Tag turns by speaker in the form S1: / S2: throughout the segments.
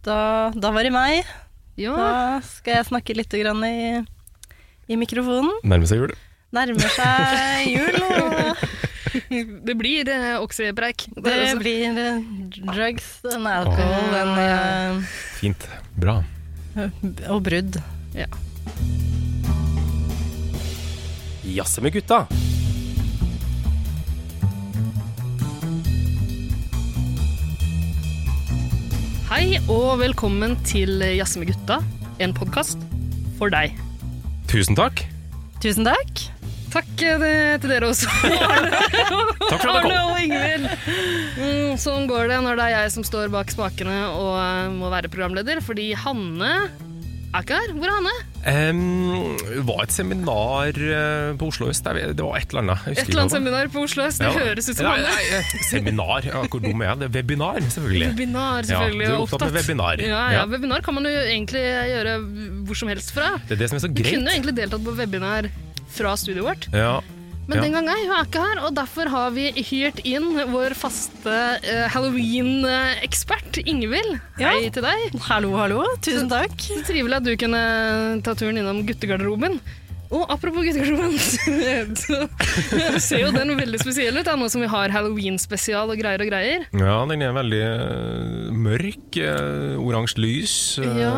S1: Da, da var det meg.
S2: Ja.
S1: Da skal jeg snakke litt grann i, i mikrofonen.
S3: Nærmer seg jul.
S1: Nærmer seg jul, og
S2: Det blir eh, oksepreik.
S1: det
S2: Der også.
S1: blir eh, drugs and alcohol and, eh,
S3: Fint. Bra.
S1: og brudd.
S2: Ja.
S3: Jazze med gutta.
S2: altså- Hei og velkommen til Jazz med gutta, en podkast for deg.
S3: Tusen takk.
S1: Tusen takk.
S2: Takk eh, det- til dere også,
S3: Takk for at
S2: Arne
S3: du kom.
S2: og Ingvild. Mm, sånn går det når det er jeg som står bak spakene og eh, må være programleder, fordi Hanne er ikke her. Hvor er Hanne?
S3: Em, det var et seminar eh, på Oslo øst. der vi- Det var et eller annet. Jeg husker
S2: Et eller annet
S3: ikke hva det var.
S2: seminar på Oslo øst. Det
S3: Ja.
S2: høres ut som
S3: Nei,
S2: Hanne.
S3: nei, eh, Seminar. Ja, hvor dum er jeg? Det er Webinar, selvfølgelig.
S2: Webinar,
S3: Ja,
S2: selvfølgelig.
S3: du er
S2: og
S3: opptatt med webinar.
S2: Ja, ja,
S3: Ja.
S2: webinar kan man jo egentlig gjøre hvor som helst fra.
S3: Det er det som er så
S2: Vi kunne jo
S3: greit.
S2: egentlig deltatt på webinar fra studioet vårt,
S3: Ja.
S2: men
S3: Ja.
S2: den gang ei, hun er ikke her, og derfor har vi hyrt inn vår faste eh, halloween-ekspert, Ingvild.
S1: Ja.
S2: Hei til deg.
S1: Hallo, hallo. Tusen takk.
S2: Så trivelig at du kunne ta turen innom guttegarderoben. Og apropos guttegarderoben, så ser jo den veldig spesiell ut, da, nå som vi har halloween-spesial og greier og greier.
S3: ja, den er veldig eh, mørk. eh, Oransje lys. eh,
S2: Ja,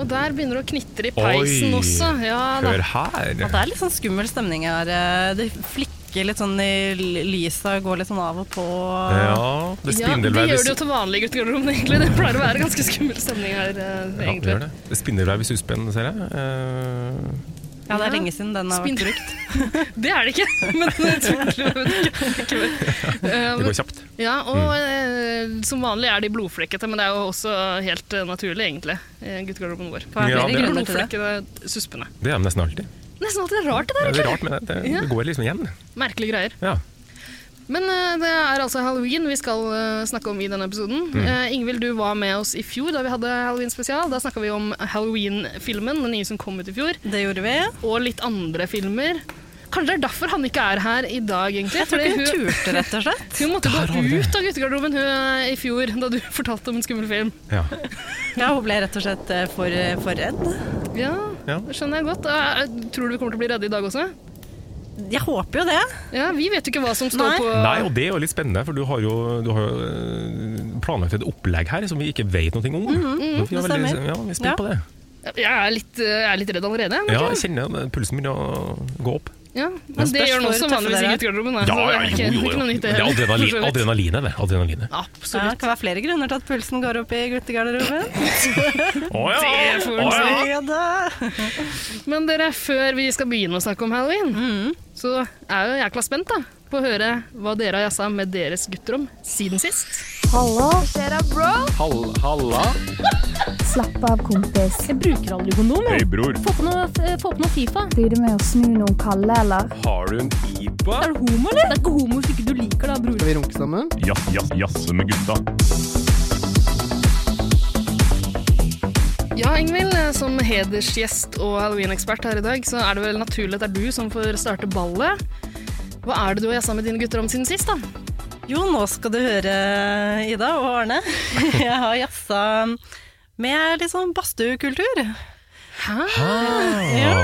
S2: og der begynner det å knitre i peisen
S3: Oi.
S2: også. Ja, da.
S3: Hør her.
S1: Ja, det er litt sånn skummel stemning her. eh, Det flikker litt sånn i l- lysa, går litt sånn av og på.
S3: Ja,
S2: Ja,
S3: det
S2: det gjør
S3: spindelvevet
S2: det jo til vanlig i guttegarderoben, egentlig. Det pleier å være ganske skummel stemning her, eh,
S3: Ja, det
S2: egentlig.
S3: gjør det. Det spindelvev i suspenn, ser jeg. Eh,
S1: Ja, det er lenge siden den har vært
S2: Spinn-
S1: brukt.
S2: Det er det ikke, men det tror
S3: det går
S2: jeg
S3: kjapt. Mm.
S2: Ja, og eh, som vanlig er de blodflekkete, men det er jo også helt eh, naturlig, egentlig, i guttegarderoben vår.
S1: Kan være
S3: Ja,
S1: flere
S3: det er
S1: grunner til det.
S2: Blodflekkene, suspene.
S3: Det er nesten alltid.
S2: Nesten alltid rart, det
S3: Det
S2: der,
S3: er
S2: egentlig.
S3: rart, men det, det,
S2: Ja.
S3: det går liksom igjen.
S2: Merkelige greier.
S3: Ja.
S2: Men eh, det er altså halloween vi skal eh, snakke om i denne episoden.
S3: Mm.
S2: Eh, Ingvild, du var med oss i fjor da vi hadde halloween-spesial. Da snakka vi om halloween-filmen, den nye som kom ut i fjor.
S1: Det gjorde vi.
S2: og litt andre filmer. Kanskje det er derfor han ikke er her i dag, egentlig.
S1: Jeg tror
S2: fordi
S1: ikke hun
S2: hun,
S1: turte, rett og slett.
S2: hun måtte gå
S3: Der har vi det.
S2: ut av guttegarderoben hun, eh, i fjor, da du fortalte om en skummel film.
S3: Ja.
S1: Ja, hun ble rett og slett eh, for, for redd.
S2: Ja,
S3: Ja.
S2: det skjønner jeg godt. Eh, tror du vi kommer til å bli redde i dag også?
S1: Jeg håper jo det.
S2: Ja, Vi vet jo ikke hva som står
S1: Nei.
S2: på
S3: Nei, og det er jo litt spennende, for du har jo, du har jo eh, planlagt et opplegg her som vi ikke vet noe om. Mm-hmm. vi er
S1: det
S3: veldig-
S1: stemmer.
S3: Ja, vi er
S1: Ja.
S3: spent på det.
S2: Jeg er litt, eh, jeg er litt redd allerede. jeg
S3: Ja,
S2: merker
S3: jeg
S2: det.
S3: kjenner det. pulsen begynner å gå opp.
S2: ja,
S3: Men
S2: Men det
S1: spørs
S2: gjør han
S1: hvor
S2: også
S1: tøffe
S2: vanligvis i
S1: dere er.
S2: guttegarderoben. da, så det er ikke- ikke noe nytt
S3: Det er
S2: heller,
S3: adrenalin,
S2: for så vidt.
S3: adrenalinet, det. Adrenalinet.
S1: Ja, det
S2: Absolutt.
S1: kan være flere grunner til at pulsen går opp i guttegarderoben.
S3: Å ja!
S2: Det får en
S3: Å ja.
S1: Ja da.
S2: Men dere, før vi skal begynne å snakke om halloween,
S1: Mm.
S2: så er jo jækla spent da, på å høre hva dere har jazza med deres gutter om siden sist.
S4: Slapp av, kompis.
S5: Jeg bruker aldri kondom. jeg.
S6: Hei, bror.
S5: Få på noe, eh, få på noe Fifa.
S4: Blir du med å snu noen kalde, eller?
S6: Har du en pipe?
S5: Er du homo, eller? Det er ikke homo hvis ikke du liker det, bror.
S7: Skal vi runke sammen?
S6: Jazz, jazz, jazze med gutta.
S2: Ja, Ingvild, eh, som hedersgjest og halloween-ekspert her i dag, så er det vel naturlig at det er du som får starte ballet. Hva er det du har jazza med dine gutter om siden sist, da?
S1: Jo, nå skal du høre, Ida og Arne. Jeg har jazza med litt sånn badstuekultur.
S3: Ah.
S1: Ja.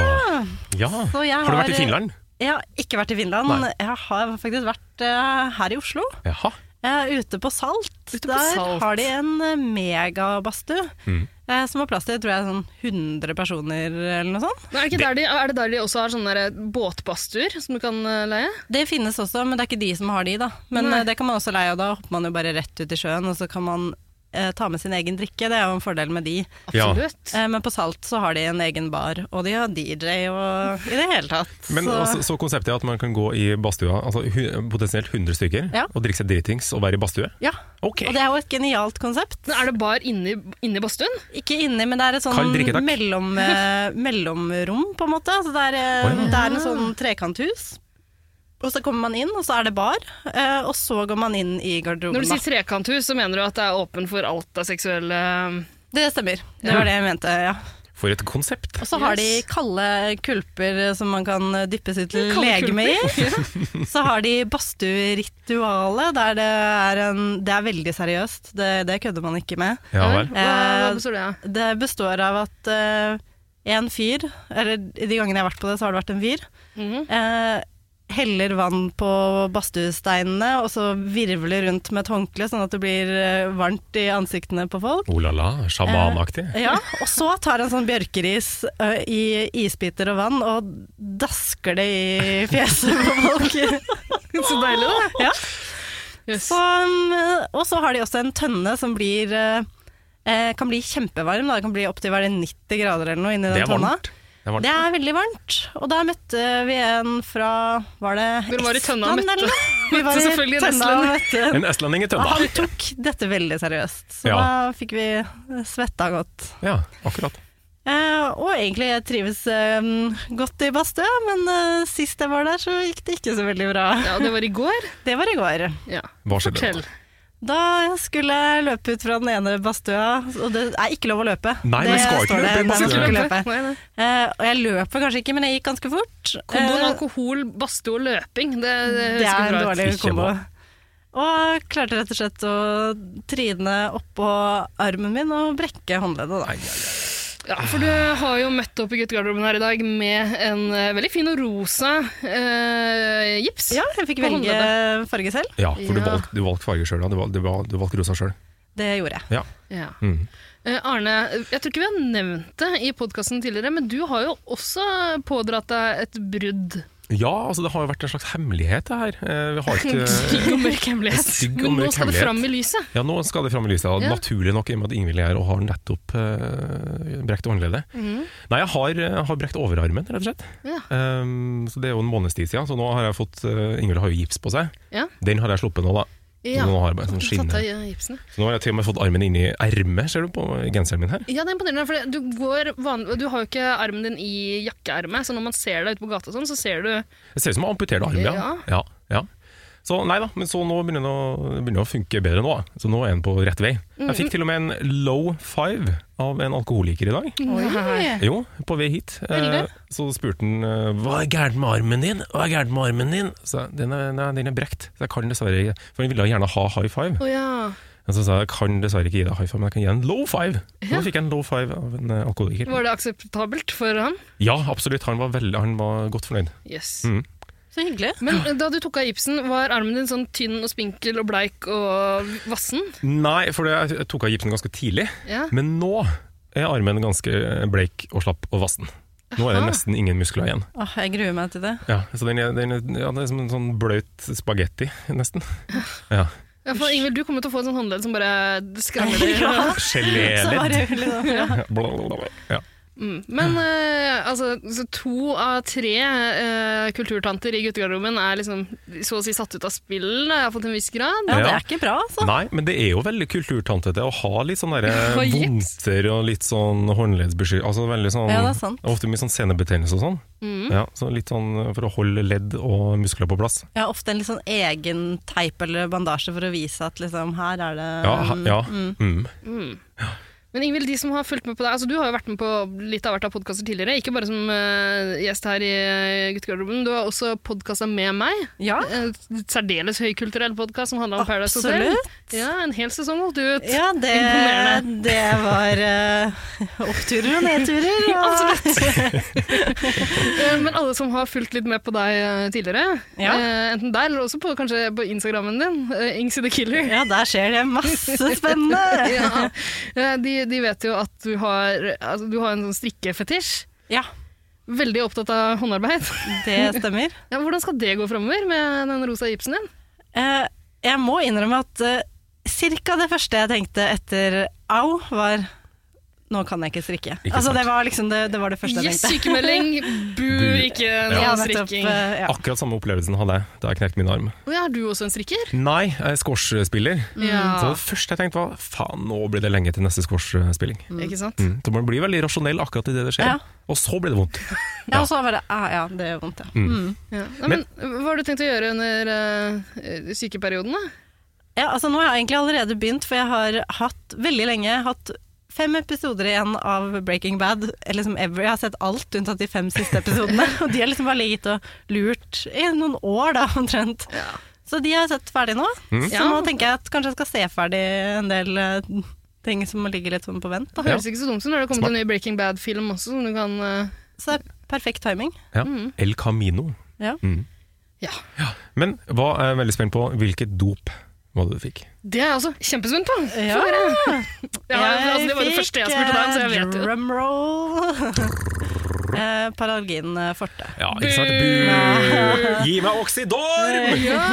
S3: ja.
S1: Så jeg
S3: Har eh, du vært i
S1: har-
S3: Finland?
S1: Jeg har ikke vært i Finland.
S3: Nei.
S1: Jeg har faktisk vært eh, her i Oslo.
S3: Jaha.
S1: Eh, ute på Salt.
S2: Ute på
S1: Der
S2: Salt.
S1: har de en eh, megabadstue
S3: Mm.
S1: eh, som har plass til tror jeg, sånn 100 personer eller noe sånt.
S2: Men Er det, ikke der de, er det der de også har sånne der båtbadstuer som du kan eh, leie?
S1: Det finnes også, men det er ikke de som har de, da. Men
S2: Nei.
S1: eh, det kan man også leie, og da hopper man jo bare rett ut i sjøen, og så kan man eh, ta med sin egen drikke. Det er jo en fordel med de.
S3: Ja.
S2: Absolutt.
S1: Eh, men på Salt så har de en egen bar, og de har DJ og i det hele tatt.
S3: Men
S1: så
S3: altså, så konseptet er at man kan gå i badstua, altså hu- potensielt 100 stykker,
S1: Ja.
S3: og drikke seg dritings og være i badstue?
S1: ja.
S3: Ok.
S1: Og det er jo et genialt konsept.
S2: Men Er det bar inni, inni badstuen?
S1: Ikke inni, men det er et sånn
S3: Kald drikke, takk.
S1: mellom, eh, mellomrom, på en måte. Altså, det, er, eh,
S3: Å, ja.
S1: det er en sånn trekanthus. Og så kommer man inn, og så er det bar. eh, og så går man inn i garderoben.
S2: Når du
S1: da.
S2: sier trekanthus, så mener du at det er åpen for alt av seksuelle eh,
S1: Det stemmer. Det var det jeg mente, ja.
S3: For et konsept.
S1: Og så har de
S2: Yes.
S1: kalde kulper som man kan dyppe sitt legeme i. Så har de badstueritualet, der det er, en, det er veldig seriøst. Det, det kødder man ikke med.
S3: Ja vel.
S2: Hva, hva
S1: Eh,
S2: består det av?
S1: Det består av at eh, en fyr, eller de gangene jeg har vært på det, så har det vært en fyr,
S2: Mhm.
S1: eh, heller vann på badstuesteinene, og så virvler rundt med et håndkle, sånn at det blir eh, varmt i ansiktene på folk.
S3: Oh la la, sjamanaktig.
S1: Ja, og så tar han sånn bjørkeris ø, i isbiter og vann og dasker det i fjeset på folk.
S2: Så deilig, da.
S1: Ja.
S2: Yes.
S1: Så, um, og så har de også en tønne som blir ø, eh, kan bli kjempevarm. Da. Det kan bli opptil 90 grader eller noe inni den
S3: Det er
S1: tønna.
S3: varmt. Det er varmt.
S1: Det er veldig varmt. Og da møtte vi en fra Var det
S2: Dere var i tønna og
S1: Estland,
S2: møtte-
S1: eller? Vi var
S2: møtte
S1: i
S2: selvfølgelig en
S1: tønna og møtte
S3: En estlending i
S1: Og
S3: tønna.
S1: han tok dette veldig seriøst. Så
S3: Ja.
S1: da fikk vi svetta godt.
S3: Ja, akkurat.
S1: Eh, og egentlig jeg trives eh, godt i badstue, men eh, sist jeg var der, så gikk det ikke så veldig bra.
S2: Ja, det var i går.
S1: Det var i går.
S2: Ja.
S3: Hva skjedde?
S2: Fortell.
S1: Da skulle jeg løpe ut fra den ene badstua, og det er ikke lov å løpe.
S3: Nei,
S1: det
S3: man skal ikke
S1: står
S3: løpe i
S1: det. Nei, man skal
S3: badstue.
S1: ikke løpe.
S2: Nei, nei.
S1: Eh, og jeg løper kanskje ikke, men jeg gikk ganske fort.
S2: Komboen
S1: Eh,
S2: alkohol, badstue og løping, det, det
S1: det
S2: høres
S1: er
S2: ikke
S1: en
S2: bra ut.
S1: dårlig
S3: Ikke
S1: kombo.
S3: bra.
S1: Og klarte rett og slett å trine oppå armen min og brekke håndleddet. Da.
S2: Ja, for du har jo møtt opp i guttegarderoben her i dag med en eh, veldig fin og rosa eh, gips.
S1: Ja, jeg fikk
S2: På
S1: velge farge selv.
S3: Ja, for du
S2: Ja.
S3: valgte, du valgte farge sjøl, du, valg- du, valg- du valgte rosa sjøl.
S1: Det gjorde jeg.
S2: Ja.
S3: Mm.
S2: Eh, Arne, jeg tror ikke vi har nevnt det i podkasten tidligere, men du har jo også pådratt deg et brudd.
S3: Ja, altså det har jo vært en slags hemmelighet det her. Eh, Vi har ikke
S2: Stygg og mørk hemmelighet.
S3: Stygg og
S2: Men nå
S3: mørk
S2: skal det
S3: hemmelighet.
S2: fram i lyset.
S3: Ja, nå skal det fram i lyset. da.
S2: Ja.
S3: Naturlig nok, i og med at Ingvild er her og har nettopp eh, brekt håndleddet.
S1: Mm.
S3: Nei, jeg har, jeg har brekt overarmen, rett og slett.
S2: Ja.
S3: Um, så Det er jo en måneds tid siden, så nå har jeg fått eh, Ingvild har jo gips på seg.
S2: Ja.
S3: Den har jeg sluppet nå, da.
S2: Ja.
S3: Nå har jeg bare sånn
S2: Du
S3: skinne.
S2: tatt av gipsene.
S3: Så nå har jeg til og med fått armen inn i ermet, ser du, på genseren min her.
S2: Ja, det er imponerende, for du, går van... du har jo ikke armen din i jakkeermet, så når man ser deg ute på gata, og sånn, så ser du
S3: Det ser ut som jeg har amputert armen, ja. ja. ja. Så nei da, men så nå begynner det å, begynner det å funke bedre nå. da. Så nå er den på rett vei. Jeg
S2: Mhm.
S3: fikk til og med en low five av en alkoholiker i dag.
S2: Nei.
S3: Jo, på vei hit. Eh,
S2: Veldig.
S3: så spurte han eh, hva er gærent med armen din? Hva er gærent med armen din? Så jeg, den er, nei, den er brekt, så jeg kan dessverre ikke For han ville gjerne ha high five.
S2: Å ja.
S3: Men så sa jeg jeg kan dessverre ikke gi deg high five, men jeg kan gi deg en low five. Så nå fikk jeg en low five av en eh, alkoholiker.
S2: Var det akseptabelt for han?
S3: Ja, absolutt. Han var, veldig, han var godt fornøyd.
S2: Yes.
S3: Mm.
S1: Så hyggelig.
S2: Men da du tok av gipsen, var armen din sånn tynn og spinkel og bleik og vassen?
S3: Nei, for det- jeg tok av gipsen ganske tidlig.
S2: Ja.
S3: Men nå er armen ganske bleik og slapp og vassen. Nå er det
S2: Aha.
S3: nesten ingen muskler igjen.
S1: Åh, jeg gruer meg til det.
S3: Ja, så den er, den er, ja, det er som en sånn bløt spagetti, nesten.
S2: Ah.
S3: Ja.
S2: Ja, for Ingvild, du kommer til å få et sånt håndledd som bare skramler.
S1: Så var
S3: Geléledd.
S1: det hyggelig da. Ja.
S3: Ja.
S2: Mm. Men eh, altså, så to av tre eh, kulturtanter i guttegarderoben er liksom så å si satt ut av spillen, har jeg fått en viss grad.
S1: ja, det
S3: Ja.
S1: er ikke bra, altså.
S3: Nei, men det er jo veldig kulturtantete å ha litt sånne der
S2: Og gips.
S3: vondter og litt sånn håndleddsbeskyttelse. Altså veldig sånn,
S1: Ja, det er sant. Mm.
S3: Ofte mye sånn senebetennelse og sånn. Ja, så litt sånn for å holde ledd og muskler på plass.
S1: Jeg har ofte en litt sånn egen teip eller bandasje for å vise at liksom, her er det
S3: Ja, ha, ja.
S1: mm.
S3: Mm.
S2: Men Ingvild, de som har fulgt med på deg, altså du har jo vært med på litt av hvert av podkaster tidligere, ikke bare som eh, gjest her i eh, guttegarderoben, du har også podkasta med meg.
S1: Ja,
S2: En særdeles høykulturell podkast som handler om Paradise Hotel.
S1: absolutt.
S2: Ja, en hel sesong holdt du ut.
S1: Ja, det,
S2: Imponerende.
S1: det var eh, oppturer og nedturer. Og,
S2: Eh, Men alle som har fulgt litt med på deg eh, tidligere,
S1: Ja.
S2: eh, enten der eller også på, kanskje på Instagrammen din, eh, Ingsy the Killer,
S1: Ja, der skjer det masse spennende.
S2: ja. Eh, de, de vet jo at du har, altså, du har en sånn strikkefetisj.
S1: Ja,
S2: Veldig opptatt av håndarbeid.
S1: det stemmer.
S2: Ja, hvordan skal det gå framover med den rosa gipsen din?
S1: Eh, jeg må innrømme at eh, cirka det første jeg tenkte etter au, var nå kan jeg ikke strikke.
S3: Ikke
S1: altså,
S3: sant.
S1: det var liksom det, det, var det første jeg
S2: Yes,
S1: tenkte.
S2: sykemelding! Bu,
S3: Bu.
S2: ikke
S1: Ja,
S2: noe
S1: nettopp,
S2: strikking.
S1: eh, ja.
S3: Akkurat samme opplevelsen hadde jeg da jeg knekte min arm.
S2: Å ja, er du også en strikker?
S3: Nei, jeg er squashspiller.
S1: Mm.
S3: Så
S1: Ah.
S2: Ja,
S3: det første jeg tenkte var faen, nå blir det lenge til neste squashspilling.
S2: ikke sant?
S3: Mm. Så man blir veldig rasjonell akkurat idet det skjer.
S1: Ja.
S3: Og så blir det vondt.
S1: Ja, og så var det ah, ja, det gjør vondt, ja.
S3: Mm.
S1: Mm.
S2: Ja. Nei, men, hva har du tenkt å gjøre under eh, sykeperioden, da?
S1: Ja, altså nå har jeg egentlig allerede begynt, for jeg har hatt veldig lenge hatt fem episoder igjen av Breaking Bad. eh, Liksom ever. Jeg har sett alt unntatt de fem siste episodene. Og de har liksom bare ligget og lurt i noen år, da, omtrent. Så de har jeg sett ferdig nå. Så
S2: Ja.
S1: nå tenker jeg at kanskje jeg skal se ferdig en del eh, ting som ligger litt sånn på vent. Da.
S2: Det høres ikke så dumt ut når det har kommet en ny Breaking Bad-film også, som du kan eh,
S1: Så det er perfekt timing.
S3: Ja.
S1: Mm.
S3: El Camino.
S1: Ja.
S2: Ja.
S3: Men hva er jeg veldig spent på, hvilket dop var det du fikk?
S2: Det er altså jeg også kjempespent på. Få
S1: Ja.
S2: høre. Ja, altså, det var det første jeg spurte deg om, så jeg vet
S1: eh,
S2: jo.
S1: Drumroll. eh, Paralgin eh, forte.
S3: Ja, ikke sant? Bu! Gi meg Oxydorm!
S2: Ja.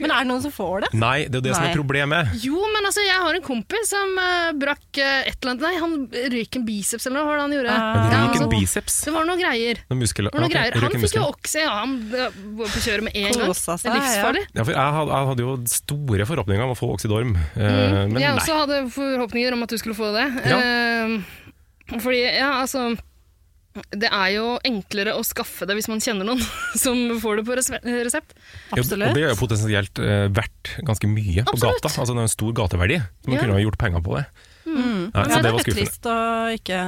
S1: Men er det noen som får det?
S3: Nei, det er jo det som
S1: Nei.
S3: er problemet.
S2: Jo, men altså, jeg har en kompis som eh, brakk eh, et eller annet Nei, han røyk en biceps eller noe, hva var det han gjorde?
S1: Ah.
S3: Men det
S2: Ja,
S3: gikk
S2: altså,
S3: en biceps.
S2: det var noe greier.
S3: Noen muskler.
S2: Det var noe
S3: ok,
S2: greier. Han
S3: røyk i
S2: fikk jo
S3: muskelen.
S2: okse, ja, han eh, var på kjøret med en gang.
S1: Kosa seg,
S2: Det er livsfarlig.
S3: ja, for jeg, hadde, jeg hadde jo store forhåpninger om å få Oxydorm, eh, men
S2: jeg
S3: nei.
S2: Mm, også hadde forhåpninger om at du skulle få det.
S3: Ja.
S2: Eh, fordi, ja, altså Det er jo enklere å skaffe det hvis man kjenner noen som får det på resep- resept.
S3: Jo, Og det er jo potensielt eh, verdt ganske mye på
S2: Absolutt.
S3: gata. Altså det er en stor gateverdi. Så man
S2: Ja. Mm.
S3: kunne ha gjort penger på det. Nei,
S1: Ja,
S3: så
S1: det
S3: det
S1: er
S3: var
S1: litt
S3: skuffende.
S1: trist å ikke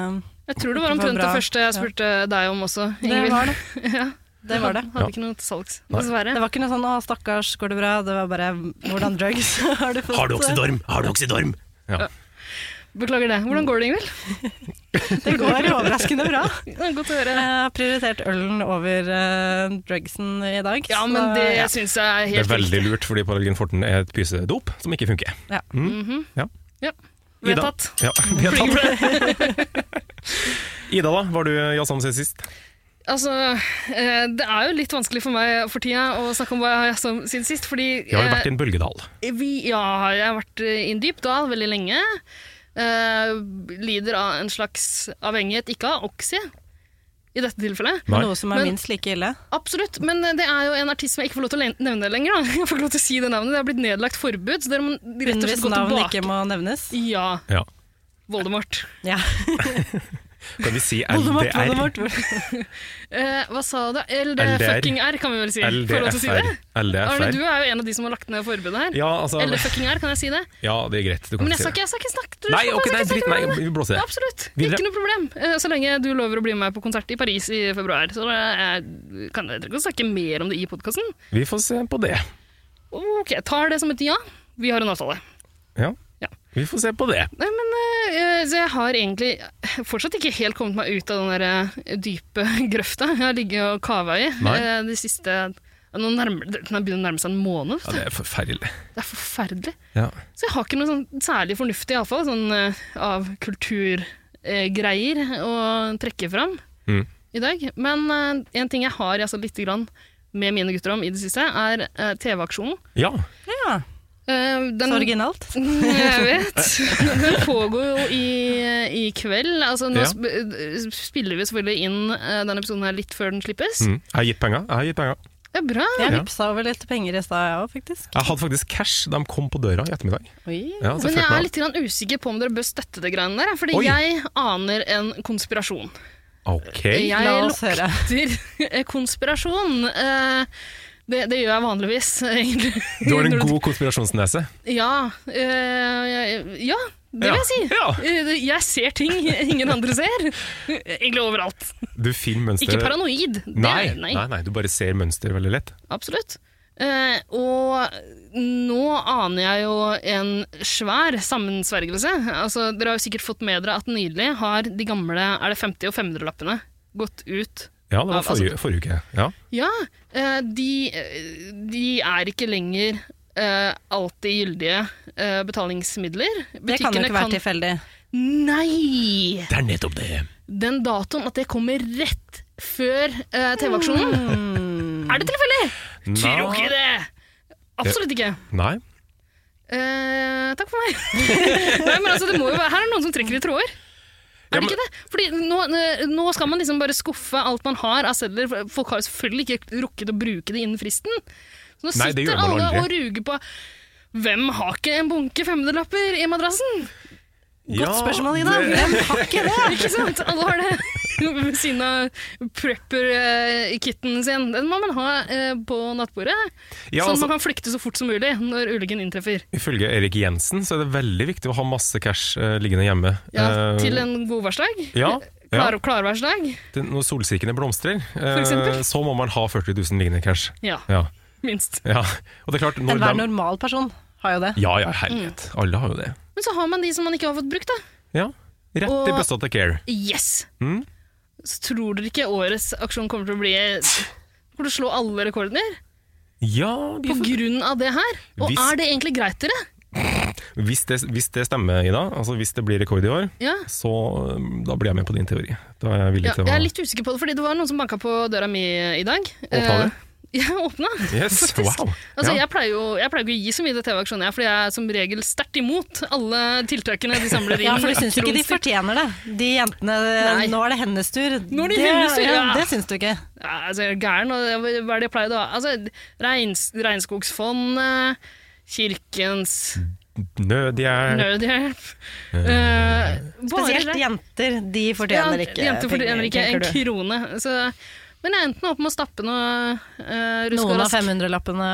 S2: Jeg tror det
S1: Det
S2: var
S1: var
S2: omtrent det
S1: bra.
S2: første jeg spurte deg om også,
S1: Det
S2: Ingvild.
S1: var det.
S2: Ja.
S1: Det var det.
S2: Hadde ikke noe til salgs,
S3: Nei.
S2: dessverre.
S1: Det var ikke noe sånn 'å, stakkars, går det bra'? Det var bare 'hvordan drugs har du fått'?
S3: Har du oksidorm? Har du oksidorm? Ja.
S2: Beklager det. Hvordan går det, Ingvild?
S1: Det går overraskende bra.
S2: Det er Godt å høre.
S1: Jeg har prioritert ølen over eh, drugsen i dag.
S2: Ja,
S1: så-
S2: men det syns jeg er
S3: Det er
S2: helt
S3: veldig lurt, fordi Paralgin Forten er et pysedop som ikke funker.
S1: Ja.
S2: Mhm.
S3: Mm. ja.
S2: riktig. Vedtatt.
S3: Ja, vi har tatt det. Ida, da? Var du jazz om siden sist?
S2: Altså, eh, det er jo litt vanskelig for meg for tida å snakke om hva jeg har som- siden sist, fordi
S3: Vi har jo
S2: eh,
S3: vært i en bølgedal.
S2: Vi, ja, jeg har vært eh, i en dyp dal veldig lenge. Eh, lider av en slags avhengighet, ikke av Oxy i dette tilfellet.
S1: Men
S3: Nei.
S1: Noe som er
S2: Men-
S1: minst like ille.
S2: Absolutt, men det er jo en artist som jeg ikke får lov til å le- nevne lenger. Da. Jeg får ikke lov til å si det navnet, det har blitt nedlagt forbud, så dere må rett og
S1: Hvis
S2: slett gå
S1: navn
S2: tilbake.
S1: ikke må nevnes.
S2: Ja,
S3: Ja.
S2: Voldemort.
S1: Ja.
S3: Kan vi si
S1: Voldemort,
S3: LDR?
S1: Voldemort, Voldemort.
S2: Eh, hva sa du? LDR.
S3: LDR.
S2: Fucking R, kan vi vel si. Får jeg lov til å si
S3: LDFR.
S2: det? Arne, du
S3: LDFR.
S2: er jo en av de som har lagt ned forbudet her.
S3: Ja, altså,
S2: Eller fucking R, kan jeg si det?
S3: ja, det er greit. Du kan
S2: Men jeg skal
S3: ikke si det.
S2: ikke, jeg skal ikke snakke du
S3: Nei,
S2: skal- jeg
S3: ok,
S2: skal
S3: nei,
S2: ikke
S3: drit,
S2: snakke
S3: nei,
S2: mer om det.
S3: vi blåser det.
S2: Absolutt.
S3: Videre.
S2: Ikke noe problem. Eh, Så lenge du lover å bli med på konsert i Paris i februar. Så da eh, kan jeg trenger ikke å snakke mer om det i podkasten.
S3: Vi får se på det.
S2: Ok, jeg tar det som et ja. Vi har en avtale.
S3: Ja.
S2: Ja.
S3: Vi får se på det.
S2: Nei, men eh, så jeg har egentlig fortsatt ikke helt kommet meg ut av den der eh, dype grøfta jeg har ligget og kava i
S3: Nei.
S2: eh, de siste nå nærmer, Den har begynt å nærme seg en måned.
S3: Ja, det er forferdelig.
S2: Det er forferdelig.
S3: Ja.
S2: Så jeg har ikke noe sånn særlig fornuftig iallfall, sånn eh, av kulturgreier eh, å trekke fram
S3: Mm.
S2: i dag. Men eh, en ting jeg har jazza lite grann med mine gutter om i det siste, er eh, TV-aksjonen.
S3: ja.
S1: Ja,
S2: Eh,
S1: så
S2: den,
S1: originalt.
S2: jeg vet. Den pågår jo i, i kveld. Altså, nå
S3: Ja.
S2: sp spiller vi selvfølgelig inn eh, denne episoden her litt før den slippes.
S3: Mm. Jeg har gitt penger. Jeg har gitt penger.
S2: Det er bra.
S1: Jeg
S3: Ja.
S1: vippsa over litt penger i stad, jeg òg, faktisk.
S3: Jeg hadde faktisk cash da de kom på døra i ettermiddag.
S1: Oi.
S3: Ja, så
S2: Men jeg
S3: følte
S2: er
S3: meg-
S2: litt grann usikker på om dere bør støtte det greiene der. Fordi
S3: Oi.
S2: jeg aner en konspirasjon.
S3: Ok.
S2: Jeg
S1: La oss høre.
S2: lukter eh, konspirasjon. Eh, Det, det gjør jeg vanligvis, egentlig.
S3: Du har en god konspirasjonsnese.
S2: Ja. eh, jeg- ja, det vil
S3: Ja,
S2: jeg si.
S3: ja.
S2: Eh, Jeg ser ting ingen andre ser. Egentlig overalt.
S3: Du finner mønster
S2: Ikke paranoid. Det,
S3: Nei, nei. nei, du bare ser mønster veldig lett.
S2: Absolutt. Eh, og nå aner jeg jo en svær sammensvergelse. Altså, dere har jo sikkert fått med dere at nylig har de gamle er det 50- og 500-lappene gått ut
S3: Ja, det
S2: Ja,
S3: var forrige, forrige uke. Ja.
S2: Ja, eh, de, eh, de er ikke lenger eh, alltid gyldige eh, betalingsmidler.
S1: Det kan jo
S2: Butikkene
S1: ikke være tilfeldig.
S2: Nei!
S3: Det er nettopp det.
S2: Den datoen at det kommer rett før eh, TV-aksjonen.
S1: Mm.
S2: Er det tilfeldig? Tror ikke det! Absolutt ikke.
S3: Nei.
S2: Eh, takk for meg. Nei, men altså, det må jo være, her er det noen som trekker i tråder. Er
S3: Ja,
S2: det
S3: men-
S2: ikke det? Fordi nå, nå skal man liksom bare skuffe alt man har av sedler. for Folk har jo selvfølgelig ikke rukket å bruke det innen fristen. Så nå
S3: Nei, det
S2: sitter
S3: gjør man
S2: alle
S3: aldri.
S2: og ruger på hvem har ikke en bunke femmerlapper i madrassen?
S1: Godt spørsmål, Ida.
S3: det-
S1: Hvem har ikke det?
S2: Ikke sant? Alle har det. ved siden av prepper-kitten sin. Den må man ha eh, på nattbordet, sånn
S3: Ja,
S2: at
S3: altså,
S2: man kan flykte så fort som mulig når ulykken inntreffer.
S3: Ifølge Erik Jensen så er det veldig viktig å ha masse cash eh, liggende hjemme.
S2: Ja,
S3: Eh,
S2: til en godværsdag.
S3: ja, ja,
S2: Klar, Klarværsdag.
S3: til Når solsikkene blomstrer, eh,
S2: eksempel.
S3: så må man ha 40 000 liggende cash.
S2: Ja,
S3: Ja,
S2: minst.
S3: ja. Og det er klart når
S1: Enhver
S3: dem-
S1: normal person har jo det.
S3: Ja, ja, herlighet.
S2: Mm.
S3: Alle har jo det.
S2: Men så har man de som man ikke har fått brukt, da.
S3: Ja. Rett
S2: Og-
S3: i bøssa til Care.
S2: Yes!
S3: Mm.
S2: Så tror dere ikke årets aksjon kommer til å bli Kommer til å slå alle rekorder
S3: Ja, vi
S2: på
S3: får-
S2: grunn av det her? Og
S3: Hvis-
S2: er det egentlig greit, dere?
S3: hvis, det, hvis det stemmer, Ida, altså hvis det blir rekord i år,
S2: Ja.
S3: så eh, da blir jeg med på din teori. Da er jeg villig
S2: Ja,
S3: til å
S2: jeg er litt usikker på det, fordi det var noen som banka på døra mi i dag.
S3: Åpna du?
S2: Eh, Jeg åpna.
S3: Yes,
S2: faktisk.
S3: wow.
S2: Altså,
S3: ja.
S2: jeg, pleier jo, jeg pleier ikke å gi så mye til TV-aksjoner, jeg, fordi jeg er som regel sterkt imot alle tiltakene de samler inn.
S1: Ja, for du syns ikke de
S2: Trond-
S1: fortjener det. De jentene
S2: Nei.
S1: Nå er det hennes tur.
S2: Nå er det hennes tur, ja.
S1: Det syns du ikke.
S2: Ja, altså, jeg er gæren, og jeg- hva er det jeg pleier da? Altså, regns, Regnskogsfondet, Kirkens
S3: Nødhjelp.
S2: Nødhjelp eh, bare
S1: Spesielt
S2: det.
S1: jenter. De fortjener ikke
S2: Ja, jenter fortjener ikke
S1: tenker
S2: en
S1: du.
S2: krone. Så, men jeg endte nå opp med å stappe noe uh, rusk og
S1: Noen av
S2: rask.
S1: 500-lappene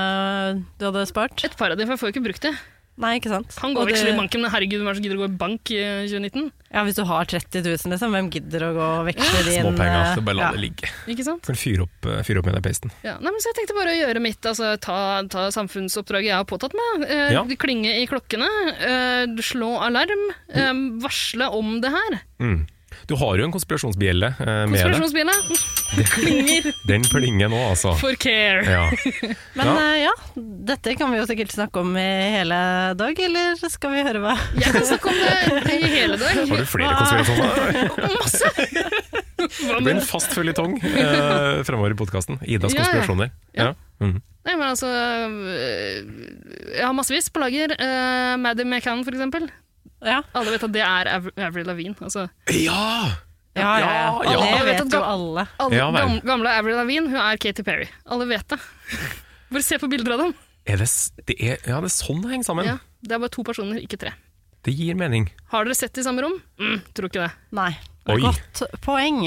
S1: du hadde spart?
S2: Et par av dem, for jeg får jo ikke brukt det.
S1: Nei, ikke sant?
S2: Kan gå
S1: Og
S2: og veksle
S1: du-
S2: i banken, men herregud, hvem er det som gidder å gå i bank i eh, 2019?
S1: Ja, Hvis du har 30 000, liksom, hvem gidder å gå og veksle de inn? eh,
S3: Småpenger. Så altså, bare la
S1: ja.
S3: det ligge.
S2: Ikke sant?
S3: Kan fyre opp, eh, fyre opp med den peisen.
S2: Ja. Nei, men så jeg tenkte bare å gjøre mitt, altså ta, ta samfunnsoppdraget jeg har påtatt meg. Eh,
S3: Ja.
S2: Klinge i klokkene, eh, slå alarm, eh, varsle om det her.
S3: Mm. Du har jo en konspirasjonsbjelle eh, med deg.
S2: Konspirasjonsbilen klinger
S3: Den plinger nå, altså.
S2: for care.
S3: Ja.
S1: Men
S3: Ja.
S1: eh, ja, dette kan vi jo sikkert snakke om i hele dag, eller skal vi høre hva
S2: Jeg kan snakke om det i hele dag.
S3: Har du flere konspirasjoner?
S2: Masse! Hva
S3: Det blir
S2: med
S3: en fast føljetong eh, fremover i podkasten. Idas
S2: Ja, ja.
S3: konspirasjoner. Ja.
S2: Ja.
S3: Mm.
S2: Nei, men altså øh, Jeg har massevis på lager. Uh, Maddy McCann, for eksempel.
S1: Ja,
S2: Alle vet at det er Av- Avril Lavigne. Altså,
S3: ja!
S1: ja, ja. ja.
S3: Ja,
S1: Og
S2: ja.
S1: det
S2: Jeg vet at
S1: vet jo
S2: gam-
S1: alle.
S2: alle,
S3: Ja, vel.
S2: gam, gamle Avril Lavigne, hun er Katy Perry. Alle vet det. Bare se på bilder av dem.
S3: Er det, s- det er, ja, det er sånn det henger sammen.
S2: Ja, det er bare to personer, ikke tre.
S3: Det gir mening.
S2: Har dere sett i samme rom? Mm, tror ikke det.
S1: Nei.
S3: Oi.
S1: Godt poeng.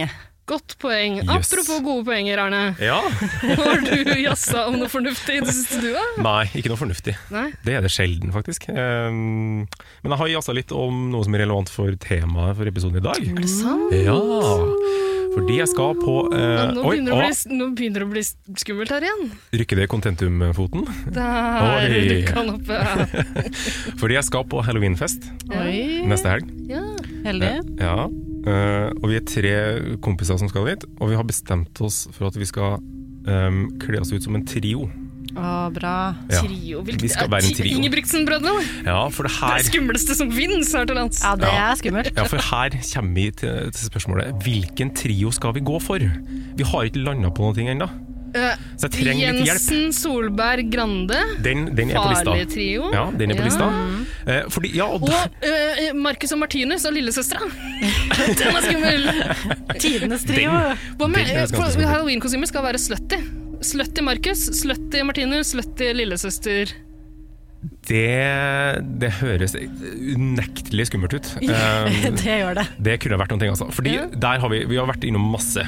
S2: Godt poeng.
S3: Jøss.
S2: Apropos gode poenger, Arne.
S3: Ja?
S2: Har du jazza om noe fornuftig i det siste du har?
S3: Nei, ikke noe fornuftig.
S2: Nei.
S3: Det er det sjelden, faktisk. Um, men jeg har jazza litt om noe som er relevant for temaet for episoden i dag.
S2: Er det sant?
S3: Ja! Fordi jeg skal på
S2: Ja,
S3: eh,
S2: nå,
S3: Oi,
S2: begynner det å
S3: å,
S2: bli, nå begynner det å bli skummelt her igjen.
S3: rykke ned kontentumfoten.
S2: Der
S3: Oi.
S2: rykka han opp. ja.
S3: Fordi jeg skal på halloweenfest
S1: Oi,
S3: neste helg.
S2: Ja.
S1: heldig.
S3: Ja. eh, og vi er tre kompiser som skal dit, og vi har bestemt oss for at vi skal em, kle oss ut som en trio.
S1: Å, bra.
S3: Ja.
S2: Trio. Hvilket
S3: Vi skal være en
S2: er ti-
S3: trio.
S2: Ingebrigtsen-brødrene.
S3: Ja, for det
S2: Det
S3: her
S2: er skumleste som finnes her til lands.
S1: Ja, det
S3: Ja.
S1: er skummelt.
S3: Ja, for her kommer vi til, til spørsmålet Hvilken trio skal vi gå for? Vi har ikke landa på noe ennå,
S2: Eh,
S3: så jeg trenger litt hjelp.
S2: Jensen, Solberg, Grande.
S3: Den, den er på lista.
S2: Farlig trio.
S3: Ja, den er på
S2: Ja.
S3: lista. Eh, fordi, ja, og
S2: Og
S3: der,
S2: eh, Marcus og Martinus og lillesøstera. Den er skummel!
S1: Tidenes trio.
S2: Hva med
S3: Den er ganske
S2: for-
S3: skummel.
S2: Halloween-kostymer skal være slutty. Slutty Marcus, slutty Martinus, slutty lillesøster.
S3: det, det høres unektelig skummelt ut. Eh,
S1: Det gjør det.
S3: Det kunne vært noen ting, altså. Fordi
S2: Ja.
S3: der har vi, vi har vært innom masse.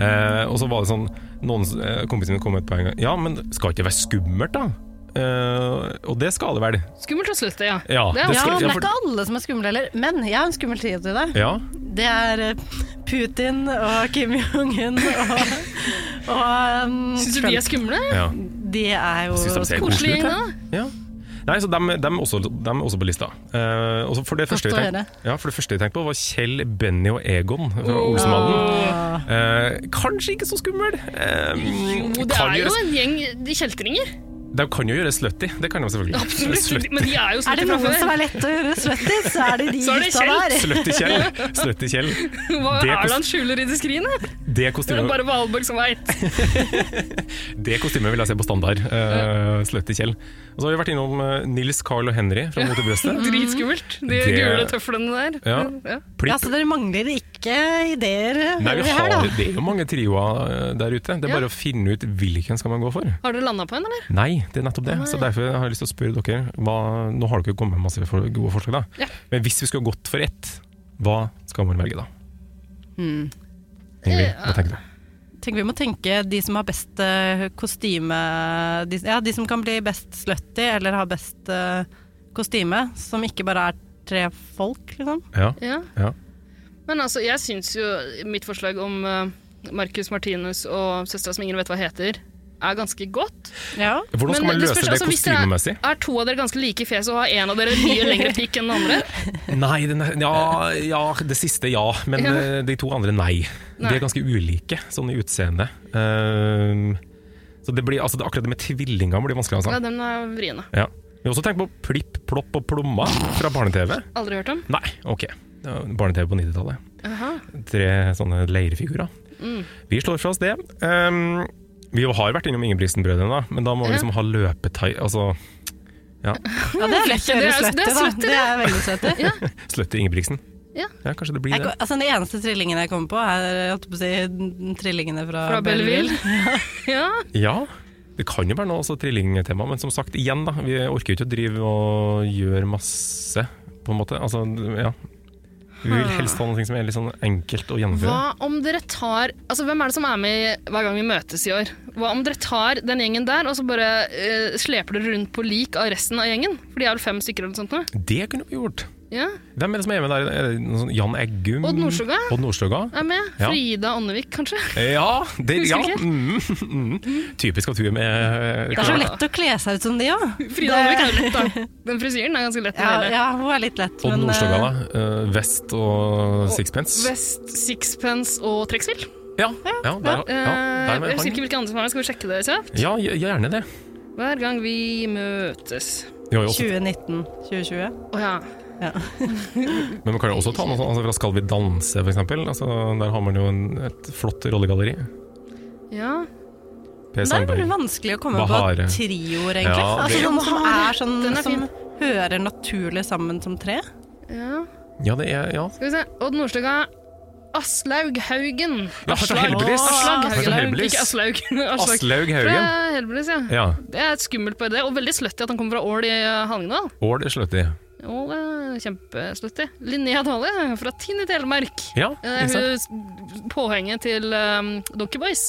S3: Eh, og så var det sånn Noen eh, kompiser mine kom med et poeng Ja, men skal ikke det være skummelt, da? Eh, og det skal det vel.
S2: Skummelt og slutty, ja.
S3: Ja,
S2: Det er
S1: Ja,
S3: skal,
S1: men det
S3: ja,
S1: er ikke alle som er skumle heller. Men jeg har en skummel trio til deg.
S3: ja,
S1: Det er eh, Putin og Kim Jong-un og, og um,
S2: Syns du de er
S1: Trump.
S2: skumle?
S3: ja.
S1: De er jo
S3: Jeg synes de ser
S2: Koselig
S3: koselige ut,
S2: gjeng,
S3: jeg.
S2: da.
S3: Ja. Nei, så dem, dem, er også, dem er også på lista. Eh, og så for, det
S1: Godt
S3: første vi
S1: å
S3: tenkte,
S1: høre.
S3: ja, for det første jeg tenkte på, var Kjell, Benny og Egon fra Olsenmannen.
S1: Åh.
S3: Eh, kanskje ikke så skummel. Eh,
S2: Jo, det
S3: kan
S2: er jo
S3: gjøres-
S2: en gjeng de kjeltringer.
S3: de kan jo gjøre slutty, det kan de selvfølgelig.
S2: Absolutt.
S3: Slutty-
S2: Men de er jo
S1: Er det
S2: slutty fra
S1: noen
S2: før.
S1: som er lett å gjøre slutty, så er det de
S2: Så er det
S1: gutta
S2: Kjell.
S1: der.
S3: Slutty Kjell. Slutty Kjell.
S2: Hva er
S3: Det er
S2: det
S3: kost-
S2: han skjuler i det skrinet?
S3: Det
S2: Det er
S3: kostymet,
S2: bare Valborg som veit.
S3: det kostymet vil jeg se på standard. Uh, Sløtte Kjell. Og så har vi vært innom eh, Nils, Carl og Henry fra Mot i
S1: Mm.
S3: brøstet.
S2: Dritskummelt. De
S3: Det-
S2: gule tøflene der.
S3: Ja.
S2: Ja.
S1: Ja,
S3: Plipp.
S1: så dere mangler ikke ideer
S3: Nei, vi
S1: hører
S3: har,
S1: da.
S3: det er jo mange trioer eh, der ute. Det er
S2: Ja.
S3: bare å finne ut hvilken skal man gå for.
S2: Har dere landa på en, eller?
S3: Nei, det er nettopp det. Så derfor har jeg lyst til å spørre dere. Hva, nå har dere kommet med masse for, gode forslag, da.
S2: Ja.
S1: Hmm.
S3: Men hvis vi skulle gått for ett, hva skal man velge da?
S2: Eh,
S3: Ingrid, hva tenker du?
S1: tenker vi må tenke de som har best eh, kostyme de, Ja, de som kan bli best slutty, eller har best eh, kostyme, som ikke bare er tre folk, liksom.
S3: Ja,
S2: Ja.
S3: ja.
S2: Men altså, jeg syns jo mitt forslag om eh, Marcus Martinus og søstera som ingen vet hva heter, er ganske godt.
S1: Ja.
S3: Hvordan skal
S2: Men
S3: man løse
S2: spørs-
S3: det
S2: altså, hvis
S3: kostymemessig?
S2: Er, er to av dere ganske like i fjeset og har en av dere mye lengre pikk enn den andre?
S3: Nei, den er, ja, ja, det siste ja, men
S2: Ja.
S3: eh, de to andre nei. De
S2: Nei.
S3: er ganske ulike sånn i utseende. Ehm, så det blir, altså, det, akkurat det med tvillinger blir
S2: Ja,
S3: vanskelig. Altså.
S2: den er vriene.
S3: Ja. Vi har også tenkt på Plipp, Plopp og Plomma fra barne-TV.
S2: Aldri hørt om.
S3: Nei, ok. Det var Barne-TV på 90-tallet.
S2: Aha.
S3: Tre sånne leirfigurer.
S2: Mm.
S3: Vi slår fra oss det. Ehm, vi har vært innom Ingebrigtsen-brødrene, da, men da må vi
S2: Ja.
S3: liksom ha løpetai... Altså,
S1: ja, det er lett å
S2: Det
S1: gjøre
S2: er- det
S1: slutty,
S2: er
S1: da.
S2: slutty,
S1: Det er veldig slutty.
S3: slutty Ingebrigtsen.
S2: Ja.
S3: kanskje det blir
S1: Jeg,
S3: det.
S1: kom- altså, de eneste trillingene jeg kommer på, er jeg holdt på å si, n- trillingene fra,
S2: Fra Belleville. ja.
S3: Ja, det kan jo være noe altså, trillingtema, men som sagt, igjen da, vi orker jo ikke å drive og gjøre masse, på en måte. Altså, ja. Vi vil helst ha noe som er litt sånn enkelt å gjennomføre.
S2: Hva om dere tar Altså, hvem er det som er med i hver gang vi møtes i år? Hva om dere tar den gjengen der, og så bare eh, sleper dere rundt på lik av resten av gjengen? For de er vel fem stykker eller noe sånt nå?
S3: Det kunne vi gjort.
S2: Ja.
S3: Hvem er det som er med der? Er det noen sånn Jan Eggum?
S2: Odd Nordstoga
S3: Odd Nordstoga?
S2: er med.
S3: Ja.
S2: Frida Åndevik, kanskje?
S3: Ja, det,
S2: Husker
S3: ja.
S2: ikke helt.
S3: Mm, mm. Typisk at hun er med. eh,
S1: Det er så lett å kle seg ut som de, ja.
S2: Frida Åndevik er jo lett, da. Den frisyren er ganske lett å
S1: Ja,
S2: dele.
S1: ja, hun er litt lett,
S3: Odd
S1: men
S3: Nordstoga,
S1: eh,
S3: da. Eh, vest og sixpence.
S2: Vest, sixpence og trekkspill.
S3: Ja, ja, der, ja,
S2: Eh,
S3: der
S2: jeg
S3: var
S2: husker ikke
S3: han.
S2: hvilke andre som er med. Skal vi sjekke det? Se?
S3: Ja, gjerne det.
S2: Hver gang vi møtes.
S3: Vi har jo også
S1: 2019, 2020.
S2: Å ja.
S3: Men man kan jo også ta noe sånn, altså fra Skal vi danse, for eksempel. Altså, der har man jo en, et flott rollegalleri.
S2: ja.
S3: Per
S1: Det er veldig
S3: Sandberg.
S1: vanskelig å komme
S3: Bahare.
S1: på trioer, egentlig.
S3: Ja,
S1: altså,
S3: det-
S1: sånn som er sånn
S2: Den er
S1: som hører naturlig sammen som tre.
S2: ja.
S3: Ja, det er ja.
S2: Skal vi se. Odd Nordstoga. Aslaug Haugen.
S3: Ja, fra Hellbillies.
S2: Aslaug
S3: Fra
S2: Haugen.
S3: Hellbillies.
S2: Ikke Aslaug. Aslaug.
S3: Aslaug
S2: Fra
S3: Haugen.
S2: Hellbillies, ja.
S3: Ja.
S2: Det er et skummelt på det, og veldig slutty at han kommer fra Ål i eh, Hallingdal.
S3: Ål Sløtti.
S2: Jo, det er Kjempeslutty. Linnea Dale fra Tinn i Telemark.
S3: Ja,
S2: Eh,
S3: ikke sant?
S2: hun s- påhenget til um, Donkey Boys.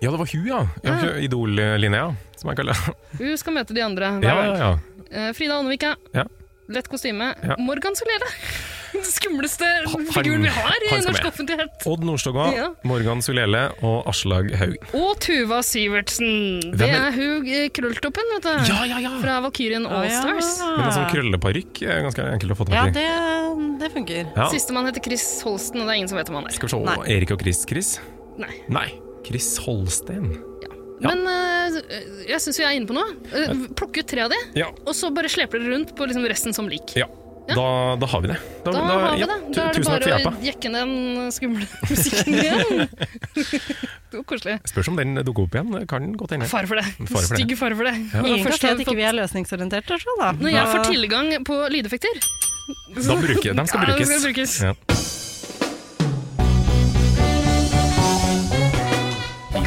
S3: ja, det var hun, ja. ja
S2: Ja.
S3: hun- Idol-Linnea, som jeg kaller henne.
S2: Hun skal møte de andre hver
S3: Ja,
S2: dag.
S3: ja, ja.
S2: Eh, Frida Åndevik, ja.
S3: Ja.
S2: Lett kostyme.
S3: Ja.
S2: Morgan Solele. Den skumleste
S3: Han-
S2: figuren vi har i
S3: han skal
S2: norsk
S3: med.
S2: offentlighet.
S3: Odd Nordstoga,
S2: Ja.
S3: Morgan Sulele og Aslaug Haugen.
S2: Og Tuva Sivertsen.
S3: Hvem
S2: Det
S3: er-
S2: er hun eh, krølltoppen, vet du.
S3: Ja, ja, ja!
S2: Fra Valkyrien Allstars.
S3: Men en sånn krølleparykk er ganske enkelt å få
S1: Ja,
S3: tak i.
S1: det, det funker.
S3: Ja.
S2: Sistemann heter Chris Holsten, og det er ingen som vet hvem han er.
S3: Skal vi se.
S1: Nei.
S3: Erik og Chris. Chris?
S2: Nei.
S3: Nei. Chris Holsten. Ja.
S2: Men eh, jeg syns vi er inne på noe. Eh, Plukke ut tre av de,
S3: Ja.
S2: og så bare sleper dere rundt på liksom resten som lik.
S3: ja. Da, da har vi det.
S2: Da, har vi
S3: ja,
S2: det.
S3: tu-
S2: Da er det
S3: tusen takk for
S2: bare
S3: hjelpa.
S2: å jekke ned den skumle musikken igjen. det var koselig.
S3: Spørs om den dukker opp igjen. Kan den godt hende.
S2: Fare for det.
S3: for det.
S2: Stygg fare for det.
S1: Ingen kan
S2: Først
S1: si
S2: har
S1: at
S2: vi
S1: ikke
S2: fått-
S1: vi er løsningsorienterte. Så, da.
S2: Når jeg
S1: Da-
S2: får tilgang på lydeffekter
S3: Da bruker, de skal
S2: Ja, de
S3: brukes.
S2: skal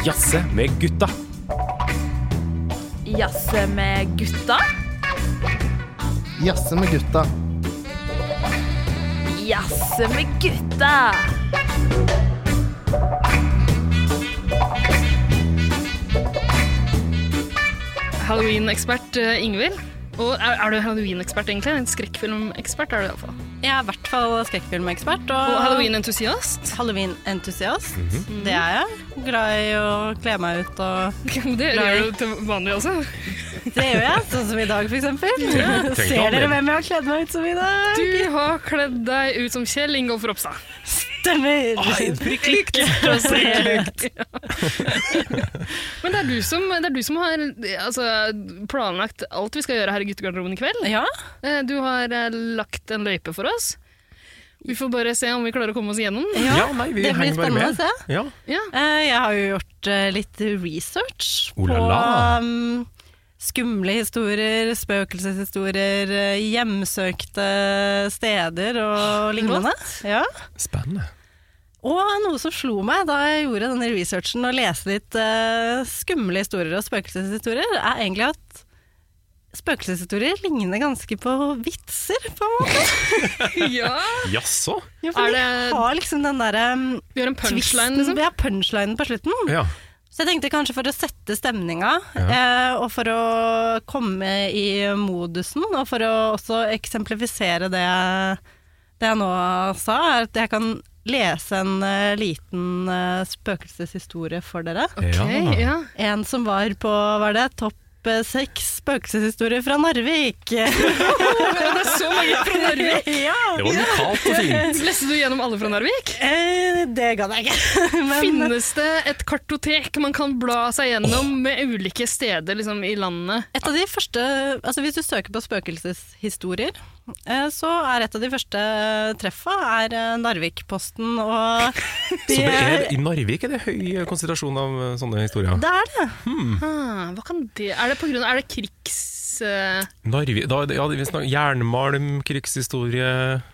S2: brukes.
S3: Ja. Jazze med gutta.
S7: Jazze med gutta.
S8: Jazze med gutta.
S7: Jazze med gutta.
S2: Halloween-ekspert eh, Ingvild. Og er, er du halloween-ekspert, egentlig? En skrekkfilmekspert er du iallfall.
S1: Jeg er i hvert fall skrekkfilmekspert.
S2: Og
S1: Og
S2: halloween-entusiast.
S1: Halloween-entusiast.
S3: Mhm.
S1: Det er jeg. Glad i å kle meg ut og
S2: Det gjør du til vanlig også.
S1: Det gjør jeg, sånn som i dag, for eksempel.
S3: tenk
S1: Ser
S3: deg
S1: dere
S3: om det.
S1: hvem jeg har kledd meg ut som i dag?
S2: Du har kledd deg ut som Kjell Ingolf Ropstad.
S1: Stemmer.
S2: Prikk likt! Prikk likt. Men det er du som, det er du som har altså, planlagt alt vi skal gjøre her i guttegarderoben i kveld.
S1: Ja.
S2: Eh, Du har eh, lagt en løype for oss. Vi får bare se om vi klarer å komme oss igjennom.
S3: Ja, nei, vi
S1: Det blir
S3: henger bare
S1: spennende å
S3: med.
S1: se.
S3: Ja.
S2: Ja.
S1: Eh, Jeg har jo gjort eh, litt research
S3: Oh la la.
S1: på um, skumle historier, spøkelseshistorier, eh, hjemsøkte steder og lignende. Ja.
S3: Spennende.
S1: Og noe som slo meg da jeg gjorde denne researchen og leste litt eh, skumle historier og spøkelseshistorier, er egentlig at spøkelseshistorier ligner ganske på vitser, på en måte.
S2: ja.
S3: Jaså?
S1: Ja, for
S2: Er
S1: de
S2: det-
S1: har liksom den derre um,
S2: Vi har en punchline,
S1: twisten-
S2: liksom.
S1: Ja, punchlinen på slutten.
S3: Ja.
S1: Så jeg tenkte kanskje for å sette stemninga, eh, og for å komme i modusen, og for å også eksemplifisere det, det jeg nå sa, er at jeg kan lese en eh, liten eh, spøkelseshistorie for dere.
S2: Ok, ja.
S1: En som var på, var det, topp eh, seks spøkelseshistorier fra Narvik.
S2: Det er så mange fra Narvik.
S1: ja.
S3: Det var lokalt og fint.
S2: Leste du gjennom alle fra Narvik?
S1: Eh, det gadd jeg ikke. Men
S2: Finnes det et kartotek man kan bla seg gjennom med ulike steder liksom, i landet?
S1: et av de første, altså hvis du søker på spøkelseshistorier, eh, så er et av de første treffa er eh, Narvikposten og de
S3: Så det er,
S1: er-
S3: I Narvik er det høy konsentrasjon av eh, sånne historier.
S1: Det er det.
S3: Mm.
S2: Ah, hva kan det Er det på grunn av Er det krigs... eh,
S3: Narvik, da, ja, vi snakker, jernmalm, krigshistorie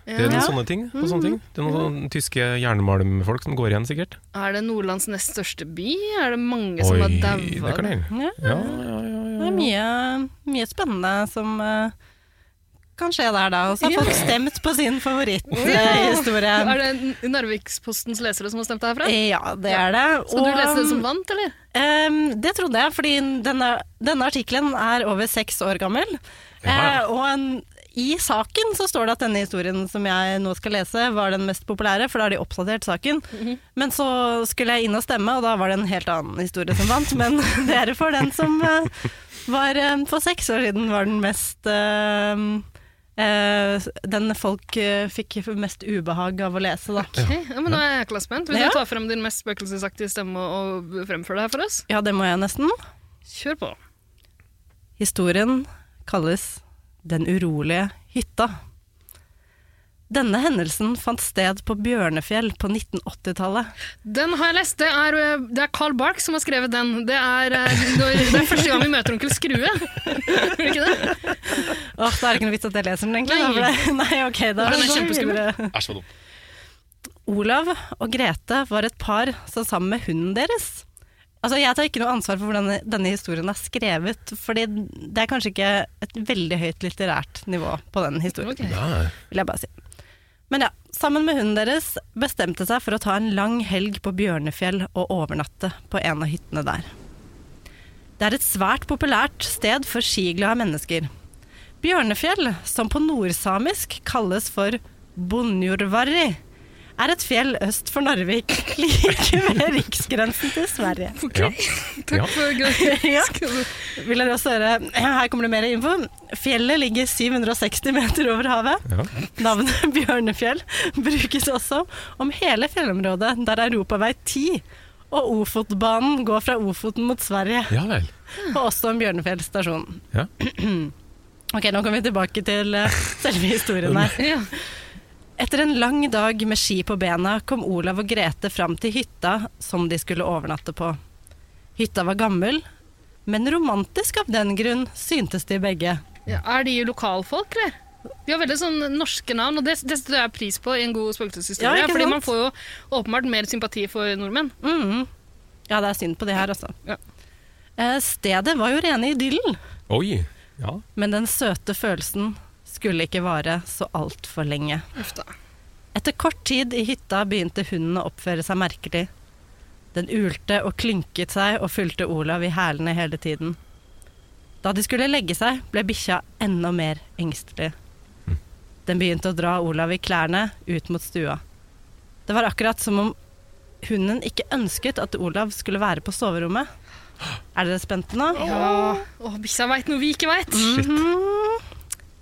S3: Det er noen
S1: Ja. Mhm.
S3: sånne ting. og sånne ting. Det er noen sånne tyske jernmalmfolk som går igjen, sikkert.
S2: er det Nordlands nest største by? Er det mange som har
S3: det
S2: daua?
S3: kan hende.
S1: Ja.
S3: Ja, ja, ja,
S1: Det
S3: ja.
S1: er mye, mye spennende som eh, kan skje der, da. Og så har folk stemt på sin favoritthistorie.
S2: Er det N- Narvikspostens lesere som har stemt herfra?
S1: Ja, det er det.
S2: Skal du
S1: Og,
S2: lese den som vant, eller?
S1: Ehm, det trodde jeg, fordi denne, denne artikkelen er over seks år gammel.
S3: Ja.
S1: Eh, og en, i saken så står det at denne historien som jeg nå skal lese, var den mest populære, for da har de oppdatert saken. Men så skulle jeg inn og stemme, og da var det en helt annen historie som vant. Men dere får den som eh, var eh, for seks år siden var den mest eh, eh, den folk eh, fikk mest ubehag av å lese, da.
S2: Ok, ja, men Nå er jeg jækla spent. Vil
S1: Ja.
S2: du ta frem din mest spøkelsesaktige stemme og og fremføre det her for oss?
S1: Ja, det må jeg nesten.
S2: Kjør på.
S1: Historien kalles Den urolige hytta. Denne hendelsen fant sted på Bjørnefjell på 1980-tallet.
S2: Den har jeg lest. Det er, eh, det er Carl Bark som har skrevet den. Det er, eh, når, det er første gang vi møter onkel Skrue. Er det ikke det?
S1: Åh, Da er det ikke noe vits at jeg leser den, egentlig. da, for det- Nei, ok, da
S2: Den er
S1: går vi
S2: kjempeskummel.
S1: videre.
S3: Æsj, så dumt.
S1: Olav og Grete var et par som sammen med hunden deres Altså, Jeg tar ikke noe ansvar for hvordan denne historien er skrevet, fordi det er kanskje ikke et veldig høyt litterært nivå på den historien.
S2: Ok.
S3: Nei.
S1: vil jeg bare si. Men ja, sammen med hunden deres bestemte seg for å ta en lang helg på Bjørnefjell og overnatte på en av hyttene der. Det er et svært populært sted for skiglade mennesker. Bjørnefjell, som på nordsamisk kalles for Bonjorvarri, er et fjell øst for Narvik, like ved riksgrensen til Sverige.
S3: Ja.
S2: Takk
S3: Ja.
S2: for greit.
S1: Ja.
S2: Skal du-
S1: Vil dere også høre, her kommer det mer info. Fjellet ligger 760 meter over havet.
S3: Ja.
S1: Navnet Bjørnefjell brukes også om hele fjellområdet der Europavei 10 og Ofotbanen går fra Ofoten mot Sverige,
S3: ja vel.
S1: og også om Bjørnefjell stasjon.
S3: Ja.
S1: Ok, nå kommer vi tilbake til eh, selve historien her.
S2: Ja.
S1: Etter en lang dag med ski på bena kom Olav og Grete fram til hytta som de skulle overnatte på. Hytta var gammel, men romantisk av den grunn syntes de begge.
S2: Ja, er de lokalfolk, eller? De har veldig sånn norske navn, og det, det setter jeg pris på i en god spøkelseshistorie.
S1: Ja, ikke
S2: fordi
S1: sant?
S2: man får jo åpenbart mer sympati for nordmenn.
S1: Mhm. Ja, det er synd på de her, altså.
S2: Ja.
S1: Eh, Stedet var jo rene idyllen,
S3: Oi. Ja.
S1: men den søte følelsen skulle ikke vare så altfor lenge.
S2: Uff da.
S1: Etter kort tid i hytta begynte hunden å oppføre seg merkelig. Den ulte og klynket seg og fulgte Olav i hælene hele tiden. Da de skulle legge seg, ble bikkja enda mer engstelig. Den begynte å dra Olav i klærne ut mot stua. Det var akkurat som om hunden ikke ønsket at Olav skulle være på soverommet. Er dere spente nå?
S2: Ja. Åh, bikkja veit noe vi ikke veit.
S1: Mhm.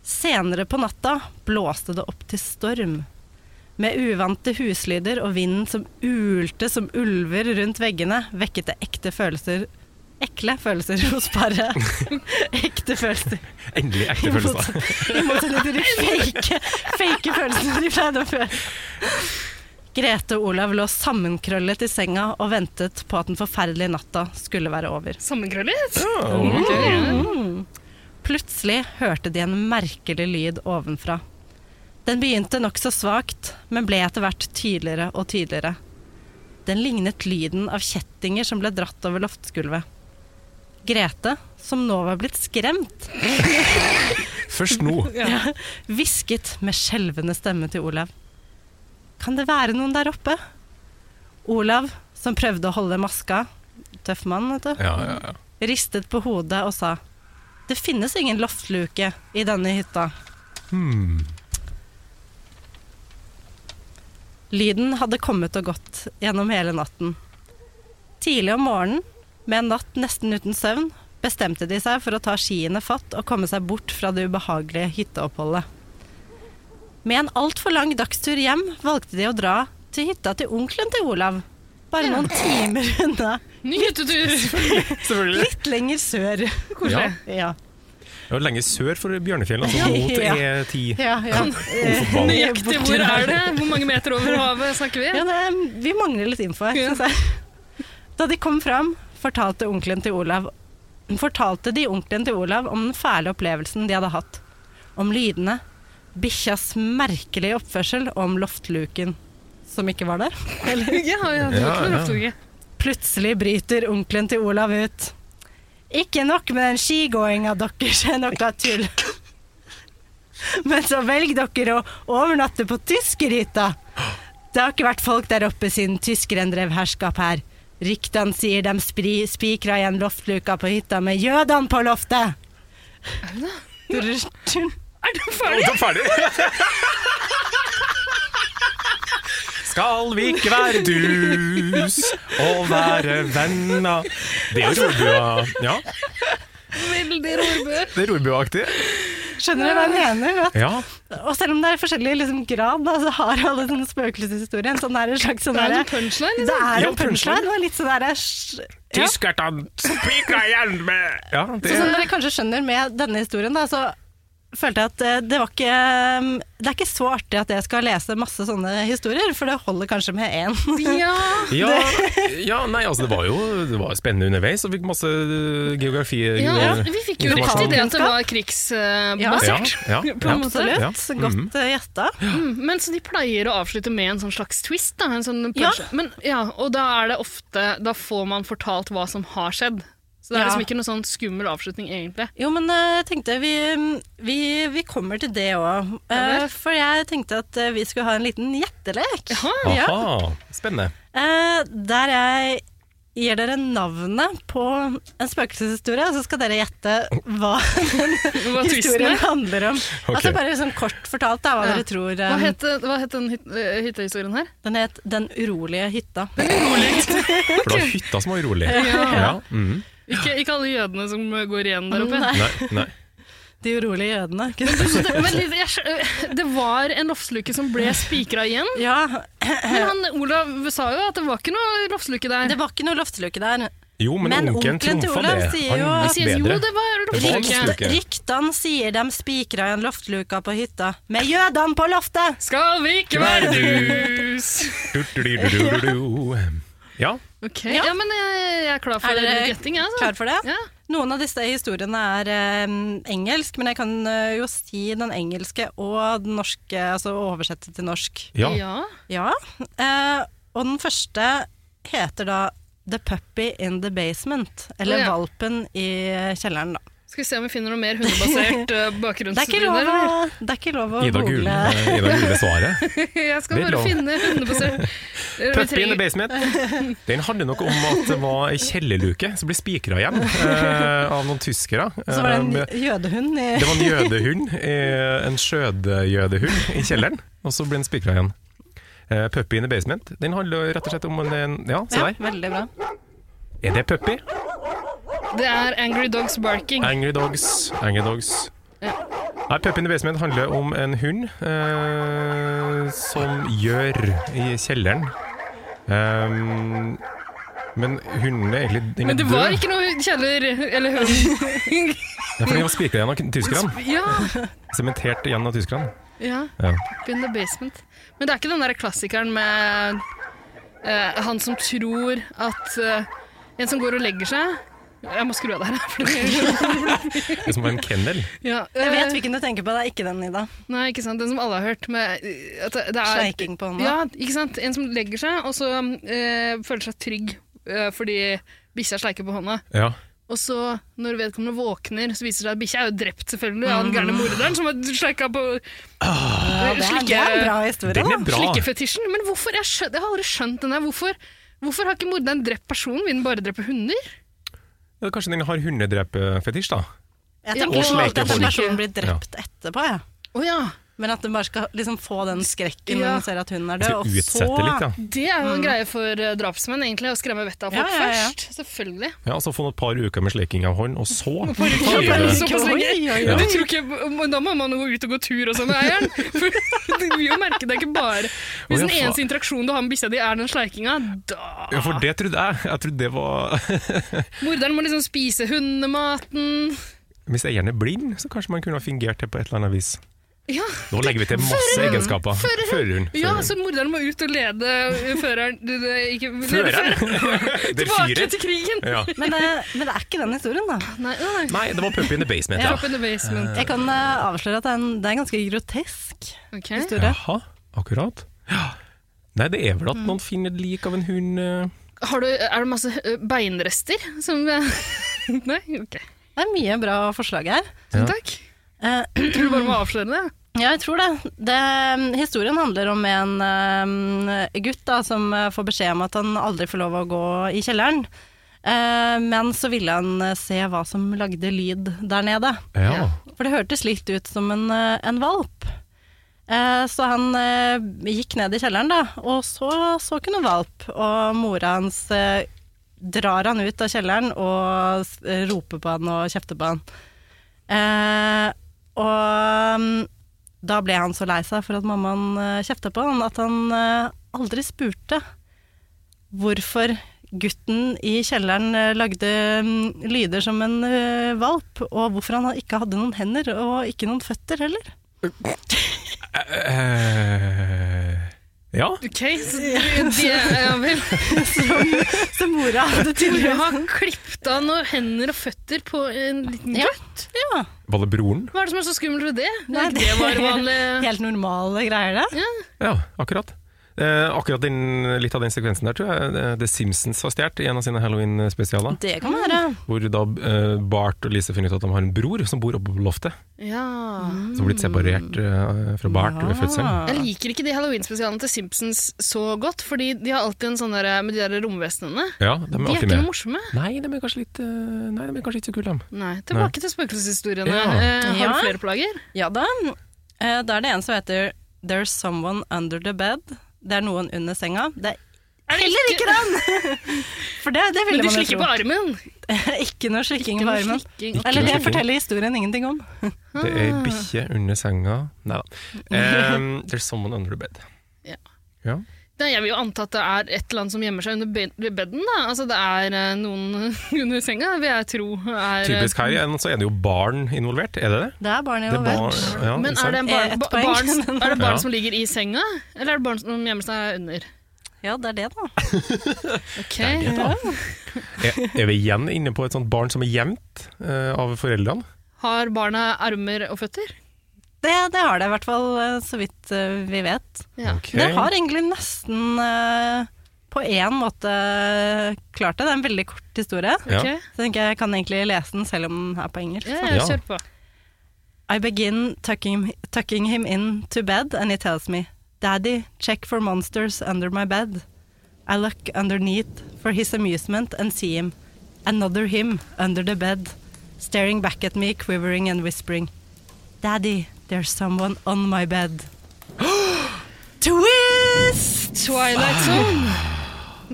S1: Senere på natta blåste det opp til storm. Med uvante huslyder og vinden som ulte som ulver rundt veggene, vekket det ekte følelser Ekle følelser hos paret. Ekte følelser.
S3: Endelig ekte følelse.
S1: I motsetning til de fake, fake følelsene de pleide å føle. Grete og Olav lå sammenkrøllet i senga og ventet på at den forferdelige natta skulle være over.
S2: Sammenkrøllet?
S3: Ja.
S2: Ok, ja.
S1: Plutselig hørte de en merkelig lyd ovenfra. Den begynte nokså svakt, men ble etter hvert tydeligere og tydeligere. Den lignet lyden av kjettinger som ble dratt over loftsgulvet. Grete, som nå var blitt skremt,
S3: Først nå.
S1: hvisket med skjelvende stemme til Olav. Kan det være noen der oppe? Olav, som prøvde å holde maska, tøff mann, vet du.
S3: Ja, ja, ja.
S1: ristet på hodet og sa Det finnes ingen loftluke i denne hytta.
S3: Hmm.
S1: Lyden hadde kommet og gått gjennom hele natten. Tidlig om morgenen, med en natt nesten uten søvn, bestemte de seg for å ta skiene fatt og komme seg bort fra det ubehagelige hytteoppholdet. Med en altfor lang dagstur hjem valgte de å dra til hytta til onkelen til Olav, bare noen timer unna,
S2: Ny hyttetur!
S3: Selvfølgelig.
S1: litt lenger sør.
S3: Ja.
S1: Ja.
S3: Det var lenge sør for Bjørnefjell, altså mot
S1: Ja.
S3: E10.
S1: Ja, ja.
S3: Ofotbanen.
S2: Nøyaktig hvor er det? Hvor mange meter over havet snakker vi?
S1: Ja, det, vi mangler litt info her, synes jeg. Da de kom fram, fortalte, onkelen til Olav, fortalte de onkelen til Olav om den fæle opplevelsen de hadde hatt. Om lydene, bikkjas merkelige oppførsel og om loftluken, som ikke var der.
S2: Ja, ja, det var ikke
S3: Ja, ja.
S2: noe loftlogge.
S1: Plutselig bryter onkelen til Olav ut. Ikke nok med den skigåinga deres er noe tull. Men så velger dere å overnatte på tyskerhytta. Det har ikke vært folk der oppe siden tyskeren drev herskap her. Ryktene sier de spri- spikra igjen loftluka på hytta med jødene på loftet. Drrrrtun.
S3: Og da ferdig! Skal vi ikke være dus og være venner Det er jo rorbua. Ja,
S2: Veldig rorbø.
S3: det er rorbuaktig.
S1: Skjønner du hva jeg mener? At,
S3: Ja.
S1: og selv om det er forskjellig liksom, grad, da, så har alle sånne spøkelseshistorier en sånn der- en slags sånn
S2: Det er
S1: derre-
S2: en punchline,
S1: Det
S2: liksom.
S1: er sånn-
S3: Ja,
S1: en punchline. Det var litt sånn derre sj- ja.
S3: Tyskerne spikra igjen med Ja,
S1: Så
S3: det Sånn,
S1: som dere kanskje skjønner med denne historien, da, så følte jeg at eh, det var ikke um, Det er ikke så artig at jeg skal lese masse sånne historier, for det holder kanskje med én.
S2: Ja.
S3: ja, ja, nei, altså det var jo det var spennende underveis, og fikk masse øh, geografi...
S2: ja,
S3: øh,
S2: vi fikk jo
S3: informasjon.
S2: riktig det at det var krigsbasert.
S3: Ja, ja,
S2: På en måte.
S1: Absolutt.
S3: Ja. Mhm.
S1: Godt eh, gjetta.
S2: Mm, men så de pleier å avslutte med en sånn slags twist, da, en sånn punch. Men, ja, og da er det ofte Da får man fortalt hva som har skjedd. Så det er
S1: Ja.
S2: liksom ikke noen sånn skummel avslutning, egentlig.
S1: Jo, men eh, jeg tenkte vi, mm, vi, vi kommer til det òg.
S2: Ja vel.
S1: for jeg tenkte at eh, vi skulle ha en liten gjettelek. Ja.
S3: Aha, spennende.
S1: Eh, der jeg gir dere navnet på en spøkelseshistorie, så skal dere gjette hva
S2: Hva twisten
S1: historien
S2: er.
S1: handler om.
S3: Ok.
S1: Altså bare sånn kort fortalt da, hva
S2: Ja.
S1: dere tror.
S2: Hva
S1: eh,
S2: het, hva het den hyt, eh, hyttehistorien her?
S1: Den het Den urolige hytta.
S3: For det var hytta som var urolig. Ja. mhm.
S2: Ikke, ikke alle jødene som går igjen der oppe.
S1: Nei,
S3: Nei, nei.
S1: De urolige jødene. ikke
S2: Så
S1: sant?
S2: det, men jeg, skj- det var en loftsluke som ble spikra igjen.
S1: Ja,
S2: Men han, Olav sa jo at det var ikke noe loftsluke der.
S1: det var ikke noe loftsluke der.
S3: Jo, men,
S1: Men
S3: onkelen
S1: onkelen til
S3: trumfa
S1: Olav
S3: det.
S1: sier
S3: Han
S1: jo-
S2: Det
S3: visste
S2: sies jo
S3: bedre.
S2: det var
S3: Det var
S2: loftsluke.
S3: loftsluke.
S1: Ryktene sier de spikra igjen loftluka på hytta med jødene på loftet!
S2: Skal vi ikke være dus?
S3: Du-du-du-du-du-du. Ja,
S2: Ok, ja. men jeg, jeg er klar for
S1: Er dere
S2: litt gjetting, jeg. Altså.
S1: Klar for det?
S2: Ja.
S1: Noen av disse historiene er eh, engelsk, men jeg kan eh, jo si den engelske og den norske, altså oversette til norsk.
S3: ja.
S2: ja.
S1: Ja. Eh, og den første heter da The Puppy in the Basement, eller
S2: Å, ja.
S1: Valpen i kjelleren, da.
S2: Skal vi se om vi finner noe mer hundebasert uh,
S1: Det er ikke lov
S2: bakgrunnslyder.
S1: å,
S2: eller?
S1: det er ikke lov å
S3: Ida
S1: google
S3: Gule, Ida Gule svaret.
S2: Jeg skal
S3: Det er
S2: bare
S3: lov.
S2: finne hundebasert Vi
S3: Puppy in the
S2: trenger-
S3: basement. Den handler nok om at det var ei kjellerluke som ble spikra igjen eh, av noen tyskere.
S1: Så var det
S3: Eh,
S1: en jødehund i
S3: det var en jødehund, eh, en skjødejødehund i kjelleren, og så ble den spikra igjen. Eh, Puppy in the basement. Den handler rett og slett om en- en Ja, se
S1: ja,
S3: der.
S1: Veldig bra.
S3: Er det puppy?
S2: Det er Angry Dogs Barking.
S3: Angry Dogs. Angry Dogs. Nei, Pup in the Basement handler om en hund eh, som gjør i kjelleren. Ehm, men hunden er egentlig den er
S2: Men det
S3: død.
S2: var ikke noe kjeller eller hund.
S3: Nei, for den var spikra igjen av tyskerne.
S2: Ja,
S3: Sementert igjen av tyskerne.
S2: ja.
S3: Ja.
S2: Up in the basement. Men det er ikke den der klassikeren med eh, han som tror at eh, en som går og legger seg Jeg må skru av det her. For det,
S3: Det som var en kennel.
S2: ja,
S1: Jeg vet
S2: eh,
S1: hvilken du tenker på, det er ikke den, Ida.
S2: Nei, ikke sant. Den som alle har hørt. Med, eh, at det- det er,
S1: Sleiking på hånda.
S2: Ja, ikke sant? En som legger seg, og så eh, føler seg trygg eh, fordi bikkja sleiker på hånda.
S3: Ja.
S2: Og så, når vedkommende våkner, så viser det seg at bikkja er jo drept, selvfølgelig, av den gærne
S1: Mm.
S2: morderen som har slikka på
S1: Ja, det, er,
S2: Slikke-
S1: det er en bra historie.
S3: Den
S1: da.
S3: er bra.
S2: slikkefetisjen. Men hvorfor? Jeg, skjøn, jeg har aldri skjønt den der. Hvorfor, hvorfor har ikke morderen drept personen? Vil den bare drepe hunder?
S3: Ja, kanskje den har hundedrepefetisj, da.
S1: Jeg
S2: Ja,
S1: tenker
S3: og
S1: jo alltid at
S3: slekehold.
S1: en person blir drept etterpå, jeg.
S2: Å ja.
S1: Men at den bare skal liksom få den skrekken når
S2: Ja.
S1: man ser at hunden er død,
S3: Skal
S1: og så
S3: utsette litt, ja.
S2: Det er jo en greie for eh, drapsmenn, egentlig, å skremme vettet av folk
S1: Ja, ja, ja.
S2: først. Selvfølgelig.
S3: ja altså få noen et par uker med sleking av hånd, og så
S2: Ja,
S3: Oi,
S2: bare
S3: det-
S2: såpass lenge.
S1: Oi, oi,
S3: oi.
S2: Men tror ikke, men da må man jo gå ut og gå tur og sånn med eieren. For du vil jo merke det er ikke bare Hvis
S3: Å, ja,
S2: den
S3: faen.
S2: eneste interaksjonen du har med bikkja di, er den sleikinga, da
S3: Ja, for det trodde jeg. Jeg trodde det var
S2: Morderen må liksom spise hundematen.
S3: Hvis eieren er blind, så kanskje man kunne ha fingert det på et eller annet vis.
S2: Ja,
S3: Nå legger vi til masse egenskaper.
S2: Førerhund.
S3: Førerhund.
S2: ja så morderen må ut og lede eh, føreren du, det, ikke, lede
S3: Føreren. Det er
S2: tilbake
S3: fyret.
S2: til krigen.
S3: Ja.
S1: Men, eh, men det er ikke den historien, da.
S2: Nei, nei, nei.
S3: Nei, det var puppy in the basement, ja.
S2: Drop in the basement.
S1: Jeg kan eh, avsløre at det er en, det er en ganske grotesk
S2: Ok.
S1: historie.
S3: Jaha, akkurat. Ja. Nei, det er vel at noen finner et lik av en hund eh,
S2: Har du, er det masse eh, beinrester som eh, Nei? Ok.
S1: Det er mye bra forslag her.
S3: Ja.
S2: Tusen takk.
S1: Eh,
S2: Tror du bare må avsløre det?
S1: Ja, jeg tror det. det eh, historien handler om en eh, gutt da, som eh, får beskjed om at han aldri får lov å gå i kjelleren. Eh, men så ville han eh, se hva som lagde lyd der nede.
S3: Ja.
S2: Ja.
S1: For det hørtes litt ut som en, eh, en valp. Eh, Så han eh, gikk ned i kjelleren, da, og så så ikke noen valp. Og mora hans eh, drar han ut av kjelleren og s- eh, roper på han og kjefter på han. Eh, Og mm, da ble han så lei seg for at mammaen eh, kjefta på han, at han eh, aldri spurte hvorfor gutten i kjelleren eh, lagde mm, lyder som en eh, valp, og hvorfor han ikke hadde noen hender og ikke noen føtter heller.
S3: Eh, ja.
S2: Ok, så det ja vel.
S1: Så mora hadde
S2: Mora
S1: tydeligvis
S2: har klippet av noen hender og føtter på en liten
S1: Ja.
S2: gutt.
S1: ja,
S3: Var det broren?
S2: Hva er det som er så skummelt ved det?
S1: Nei,
S2: det, det var
S1: det-
S2: vanlig
S1: helt normale greier, det.
S3: Ja, akkurat. Eh, akkurat den, litt av den sekvensen der tror jeg eh, The Simpsons har stjålet i en av sine Halloween-spesialer.
S1: Det kan være.
S3: Hvor da eh, Bart og Lise finner ut at de har en bror som bor oppe på loftet.
S2: Ja.
S3: Som har blitt separert eh, fra Bart ved fødselen.
S2: Jeg liker ikke de halloween-spesialene til Simpsons så godt, fordi de har alltid en sånn der med de der romvesenene.
S3: Ja, de er
S2: De er
S3: alltid
S2: ikke noe
S3: med.
S2: morsomme.
S3: Nei, de er kanskje, litt, eh, nei, de er kanskje ikke så kule, de.
S2: Nei, Tilbake til spøkelseshistoriene.
S3: Ja.
S2: Eh, har
S1: Ja.
S2: du flere plager?
S1: Ja da. Eh, Da er det en som heter There's Someone Under The Bed. Det er noen under senga. Det er heller ikke den! For det, det
S2: Men
S1: ville
S2: de
S1: man jo
S2: slikker
S1: tro.
S2: på armen!
S1: Ikke noe slikking
S2: Ikke
S1: på
S2: noe
S1: armen.
S2: slikking.
S3: Ikke
S1: Eller
S3: noe
S1: det
S3: slikking.
S1: forteller historien ingenting om.
S3: Det er ei bikkje under senga Nei da. Em, there's someone under the bed.
S2: Ja.
S3: Ja.
S2: Nei, jeg vil jo anta at det er et eller annet som gjemmer seg under be- bedden. Da. Altså, det er eh, noen under senga, vil jeg tro. Er, eh,
S3: Typisk her igjen, så er det jo barn involvert, er det det?
S1: Det er barn
S3: det er barn,
S1: involvert.
S3: ja,
S2: Men
S3: ikke
S2: er det, en
S3: sant?
S1: Eh,
S2: barn,
S1: ett
S2: ba,
S1: poeng.
S2: barn, som- er det barn
S3: Ja.
S2: som ligger i senga, eller er det barn som gjemmer seg under?
S1: Ja, det er det, da.
S2: Ok,
S3: det, da. er, er vi igjen inne på et sånt barn som er gjemt eh, av foreldrene?
S2: Har barna armer og føtter?
S1: Det, det har det i hvert fall, eh, så vidt eh, vi vet.
S2: Ja.
S3: Ok.
S1: Det har egentlig nesten eh, på én måte klart det. Det er en veldig kort historie.
S3: Ja.
S2: Ok.
S1: Så tenker jeg jeg kan egentlig lese den selv om den er på engelsk.
S2: Ja,
S3: Ja.
S2: ja, kjør på.
S1: I begin tucking, tucking him in to bed and he tells me, Daddy, check for monsters under my bed. I look underneath for his amusement and see him, another him under the bed, staring back at me, quivering and whispering, Daddy, there's someone on my bed. Twist!
S3: Ah.
S2: Twilight Zone.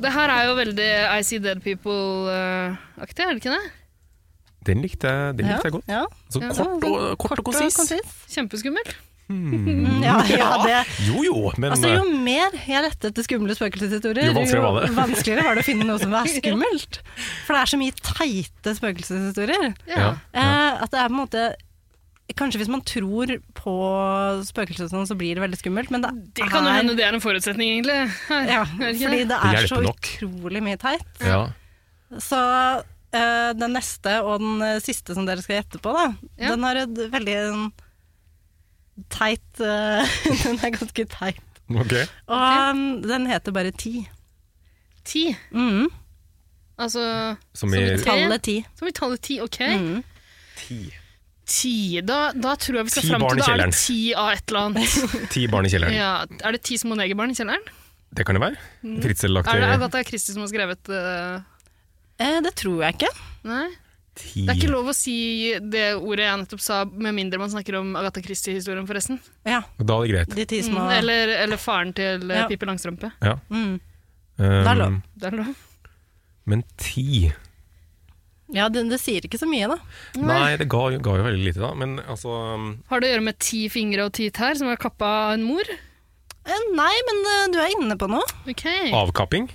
S2: Det her er jo veldig I See Dead People-aktig, er det ikke det?
S3: Den likte jeg, den likte jeg godt.
S1: Ja,
S3: Så
S2: Ja.
S3: kort og, kort og konsis.
S2: Kjempeskummelt.
S1: Mm, Ja, ja, det.
S3: Jo jo, men
S1: Altså, jo
S3: eh,
S1: mer jeg lette etter skumle spøkelseshistorier,
S3: Jo vanskeligere var det.
S1: vanskeligere var det å finne noe som var skummelt. For det er så mye teite spøkelseshistorier.
S2: Ja.
S1: Eh, at det er på en måte Kanskje hvis man tror på spøkelser og sånn, så blir det veldig skummelt, men det,
S2: Det kan jo
S1: er
S2: hende det er en forutsetning, egentlig.
S1: Ah.
S2: Her,
S1: ja,
S2: er det ikke
S1: Fordi
S2: det?
S1: det
S3: Det
S1: er så
S3: hjelper nok.
S1: utrolig mye teit.
S3: ja.
S1: Så eh, den neste og den eh, siste som dere skal gjette på, da,
S2: Ja.
S1: den har et veldig en teit eh, Den er ganske teit.
S3: Ok.
S1: Og um, den heter bare Ti.
S2: Ti.
S1: Mhm.
S2: Altså
S3: Som
S2: Som
S3: i
S2: et-
S1: Tallet ti.
S2: Så vi taller ti, ok?
S1: Mm.
S3: ti.
S2: Ti, da, da tror jeg vi skal
S3: Ti
S2: fram
S3: barn
S2: til
S3: i
S2: da er det
S3: kjelleren.
S2: ti av et eller annet.
S3: Ti barn i kjelleren.
S2: ja, er det ti små negerbarn i kjelleren?
S3: Det kan det være.
S2: Er det
S3: Fritzel-aktig.
S2: Agatha Christie som har skrevet eh,
S1: Eh, det tror jeg ikke.
S2: Nei?
S3: Ti.
S2: Det er ikke lov å si det ordet jeg nettopp sa, med mindre man snakker om Agatha Christie-historien, forresten.
S1: Ja,
S3: Da er det greit.
S1: de ti
S2: Mm,
S1: små
S2: eller, eller faren til eh,
S1: Ja.
S2: Pippi Langstrømpe.
S1: mm.
S3: Um,
S1: Da er det lov.
S2: Det er lov.
S3: Men ti
S1: Ja, det, det sier ikke så mye, da.
S3: Nei, det ga, jo- ga jo veldig lite, da. Men altså um,
S2: Har det å gjøre med ti fingre og ti tær som er kappa av en mor?
S1: Eh, nei, men eh, du er inne på noe.
S2: Ok.
S3: Ah. Avkapping?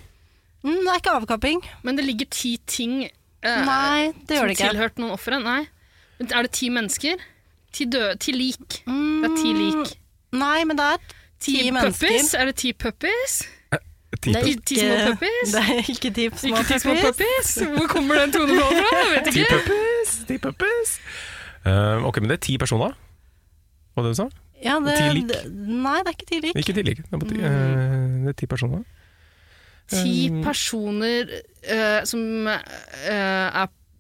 S1: Mm, det er ikke avkapping.
S2: Men det ligger ti ting eh,
S1: Nei, det gjør
S2: som
S1: det ikke.
S2: tilhørte noen ofre. Nei. Men Er det ti mennesker? Ti døde? Ti lik?
S1: Mm,
S2: Det er ti lik.
S1: Nei, men det er
S2: Ti,
S1: ti
S2: puppies?
S1: mennesker.
S2: Er det ti puppies?
S3: Ti
S1: Det er
S2: Ti,
S1: ikke-
S2: ti små puppies?
S1: Det er ikke ti små
S2: Ikke ti små
S1: puppies.
S2: puppies? Hvor kommer den tonefallet fra? Jeg vet
S3: Ti
S2: ikke.
S3: puppies! Ti puppies! Um, ok, men det er ti personer. Hva var det du sa?
S1: Ja, det,
S3: Ti lik.
S1: det- Nei, det er ikke ti lik.
S3: Ikke tillegg. Det er, på ti, eh, det er ti personer.
S2: Ti
S3: Um,
S2: personer eh, som eh, er eh,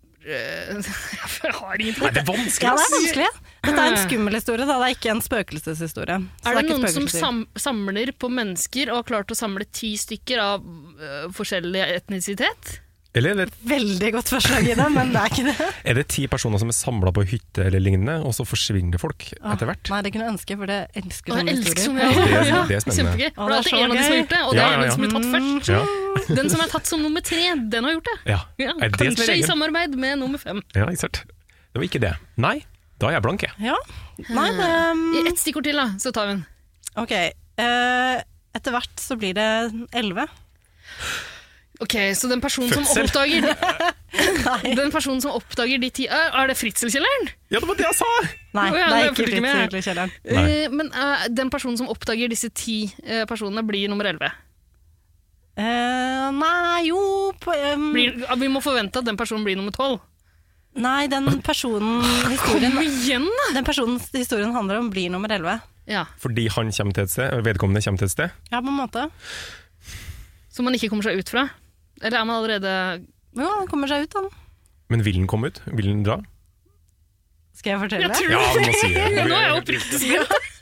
S2: Jeg har ingen
S3: Nei, det er vanskelig!
S1: Ja, det
S3: ass.
S1: er vanskelig. Dette er en skummel historie, da. Det er ikke en spøkelseshistorie. Så
S2: Eh. Er det
S1: ikke
S2: noen som
S1: spøkelseshistorie.
S2: sam samler på mennesker og har klart å samle ti stykker av eh, forskjellig etnisitet?
S3: Eller er det,
S1: Veldig godt forslag i det, men det er ikke det.
S3: er det ti personer som er samla på ei hytte eller lignende, og så forsvinner folk etter hvert?
S1: Ah, Nei, det kunne jeg ønske, for det elsker
S2: Og jeg
S1: sånne
S2: elsker
S1: historier.
S2: sånne historier.
S3: Det er- det er spennende.
S2: Kjempegøy.
S1: Å,
S2: For det er
S1: det er
S2: alltid en av de
S1: så
S2: som har
S1: gøy.
S2: gjort det, og det
S3: Ja,
S2: er
S3: ja,
S2: den som blir tatt først.
S3: Ja.
S2: Den som er tatt som nummer tre, den har gjort det.
S3: ja.
S2: Ja,
S3: Er det som er
S2: kanskje i
S3: regelen?
S2: samarbeid med nummer fem.
S3: Ja, ikke sant. Det var ikke det. Nei, da er jeg blank, jeg.
S1: Ja. Nei, det
S2: Eh, I ett stikkord til, da, så tar vi den.
S1: Ok. eh, etter hvert så blir det elleve.
S2: Ok, Så den personen som
S3: Fødsel.
S2: oppdager Den personen som oppdager de ti Er er det Fritzelkjelleren?
S3: Ja, det var det jeg sa!
S1: Nei,
S2: Å
S1: det
S2: ja,
S1: er
S2: det
S1: ikke
S2: fulgte ikke med.
S1: Fritz i kjelleren.
S3: Nei.
S2: Eh, men eh, den personen som oppdager disse ti eh, personene, blir nummer elleve.
S1: Eh, nei, jo på, ehm, em,
S2: Blir- ah, Vi må forvente at den personen blir nummer tolv.
S1: Nei, den personen
S2: Kom
S1: historien,
S2: igjen, da!
S1: den personens historien handler om, blir nummer elleve.
S2: Ja,
S3: Fordi han kommer til et sted, eller vedkommende kommer til et sted.
S1: Ja, på en måte.
S2: Som man ikke kommer seg ut fra. Eller er man allerede
S1: Jo, han kommer seg ut, han.
S3: Men vil han komme ut? Vil han dra?
S1: Skal jeg fortelle?
S3: Ja, han må si det.
S2: Nå er jeg oppriktig spent.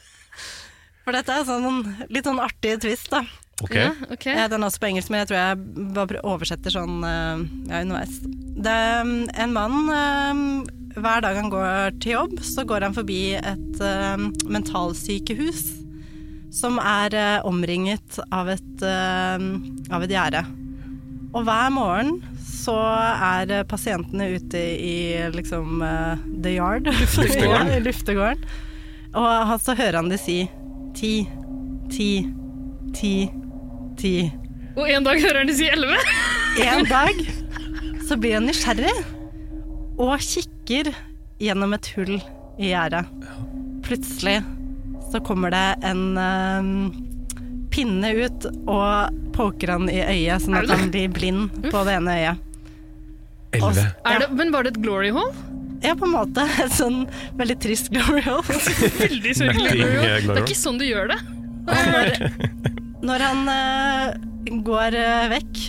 S1: For dette er sånn, litt sånn artig twist, da.
S3: Ok.
S2: Ja, ok.
S1: Eh, Den er også på engelsk, men jeg tror jeg bare pr- oversetter sånn eh, ja, underveis. Det er mm, en mann eh, Hver dag han går til jobb, så går han forbi et eh, mentalsykehus som er eh, omringet av et, eh, av et gjerde. Og hver morgen så er eh, pasientene ute i liksom eh, the yard,
S3: Luftegården.
S1: Ja, i luftegården. Og han, så hører han de si ti, ti, ti, ti.
S2: Og en dag hører han de si 11.
S1: En dag så blir han nysgjerrig og kikker gjennom et hull i gjerdet. Plutselig så kommer det en eh, pinne ut og poker han i øyet, sånn at han blir blind på det ene øyet.
S3: Elleve.
S2: Er det, men var det et glory hole?
S1: Ja, på en måte. Et sånn veldig trist glory hole.
S2: Veldig sørgelig
S3: Netting,
S2: glory hole.
S3: eh, glory
S2: Det er
S3: hole.
S2: ikke sånn du gjør det.
S1: Når han eh, går eh, vekk,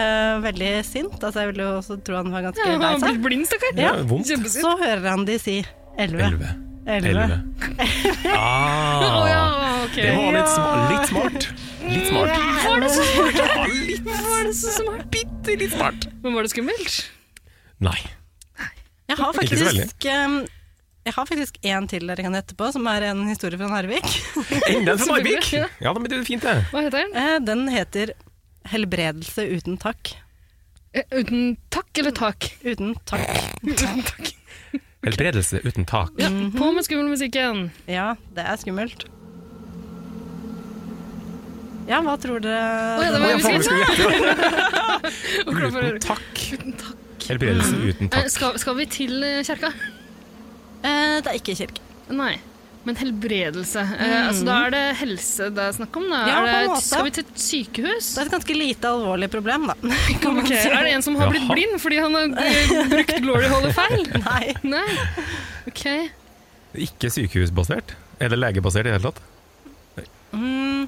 S1: eh, veldig sint, altså jeg vil jo også tro han var ganske lei
S2: Han
S1: seg,
S2: blir blind, stakkar.
S3: Ja, vondt.
S2: Kjempesint.
S1: så hører han de si elleve.
S3: Elleve.
S1: Elleve.
S3: Elleve. Ah,
S2: Å ja, ok.
S3: Det var litt, sma
S1: Ja.
S3: litt smart. Litt smart.
S2: Var det så smart?
S3: Ja, litt,
S2: Var det så smart?
S3: bitte litt smart.
S2: Men var det skummelt?
S3: Nei.
S1: Jeg har
S3: Ikke så veldig.
S1: faktisk um, jeg har faktisk en til dere kan gjette på, som er en historie fra Narvik.
S3: Enda en fra Narvik.
S2: Ja.
S3: Ja, men det er fint, det.
S2: Hva heter den?
S1: Eh, Den heter 'Helbredelse uten takk'.
S2: Eh, Uten takk eller tak?
S1: Uten takk.
S2: Uten takk.
S3: Helbredelse uten tak.
S2: Ja, på med skummelmusikken.
S1: Ja, det er skummelt. Ja, hva tror dere
S2: Å, ja, det var
S3: Å, ja,
S2: vi skulle-
S3: faen, skulle gjette det.
S2: Og klar for å høre.
S3: Uten takk.
S2: Uten takk.
S3: Helbredelse uten
S2: Eh,
S3: takk.
S2: Skal, skal vi til eh, kjerka?
S1: Eh, Det er ikke kirke.
S2: Nei. Men helbredelse. Eh, altså, da er det helse det er snakk om? Da.
S1: Ja,
S2: Er det,
S1: på en måte.
S2: Skal vi til et sykehus?
S1: Det er et ganske lite alvorlig problem, da. Kan man
S2: Ok,
S1: si.
S2: Er det en som har blitt
S3: Jaha.
S2: blind fordi han har eh, brukt glory hole feil?
S1: Nei.
S2: Nei. Ok.
S3: Ikke sykehusbasert. Er det legebasert i det hele tatt?
S1: Mm,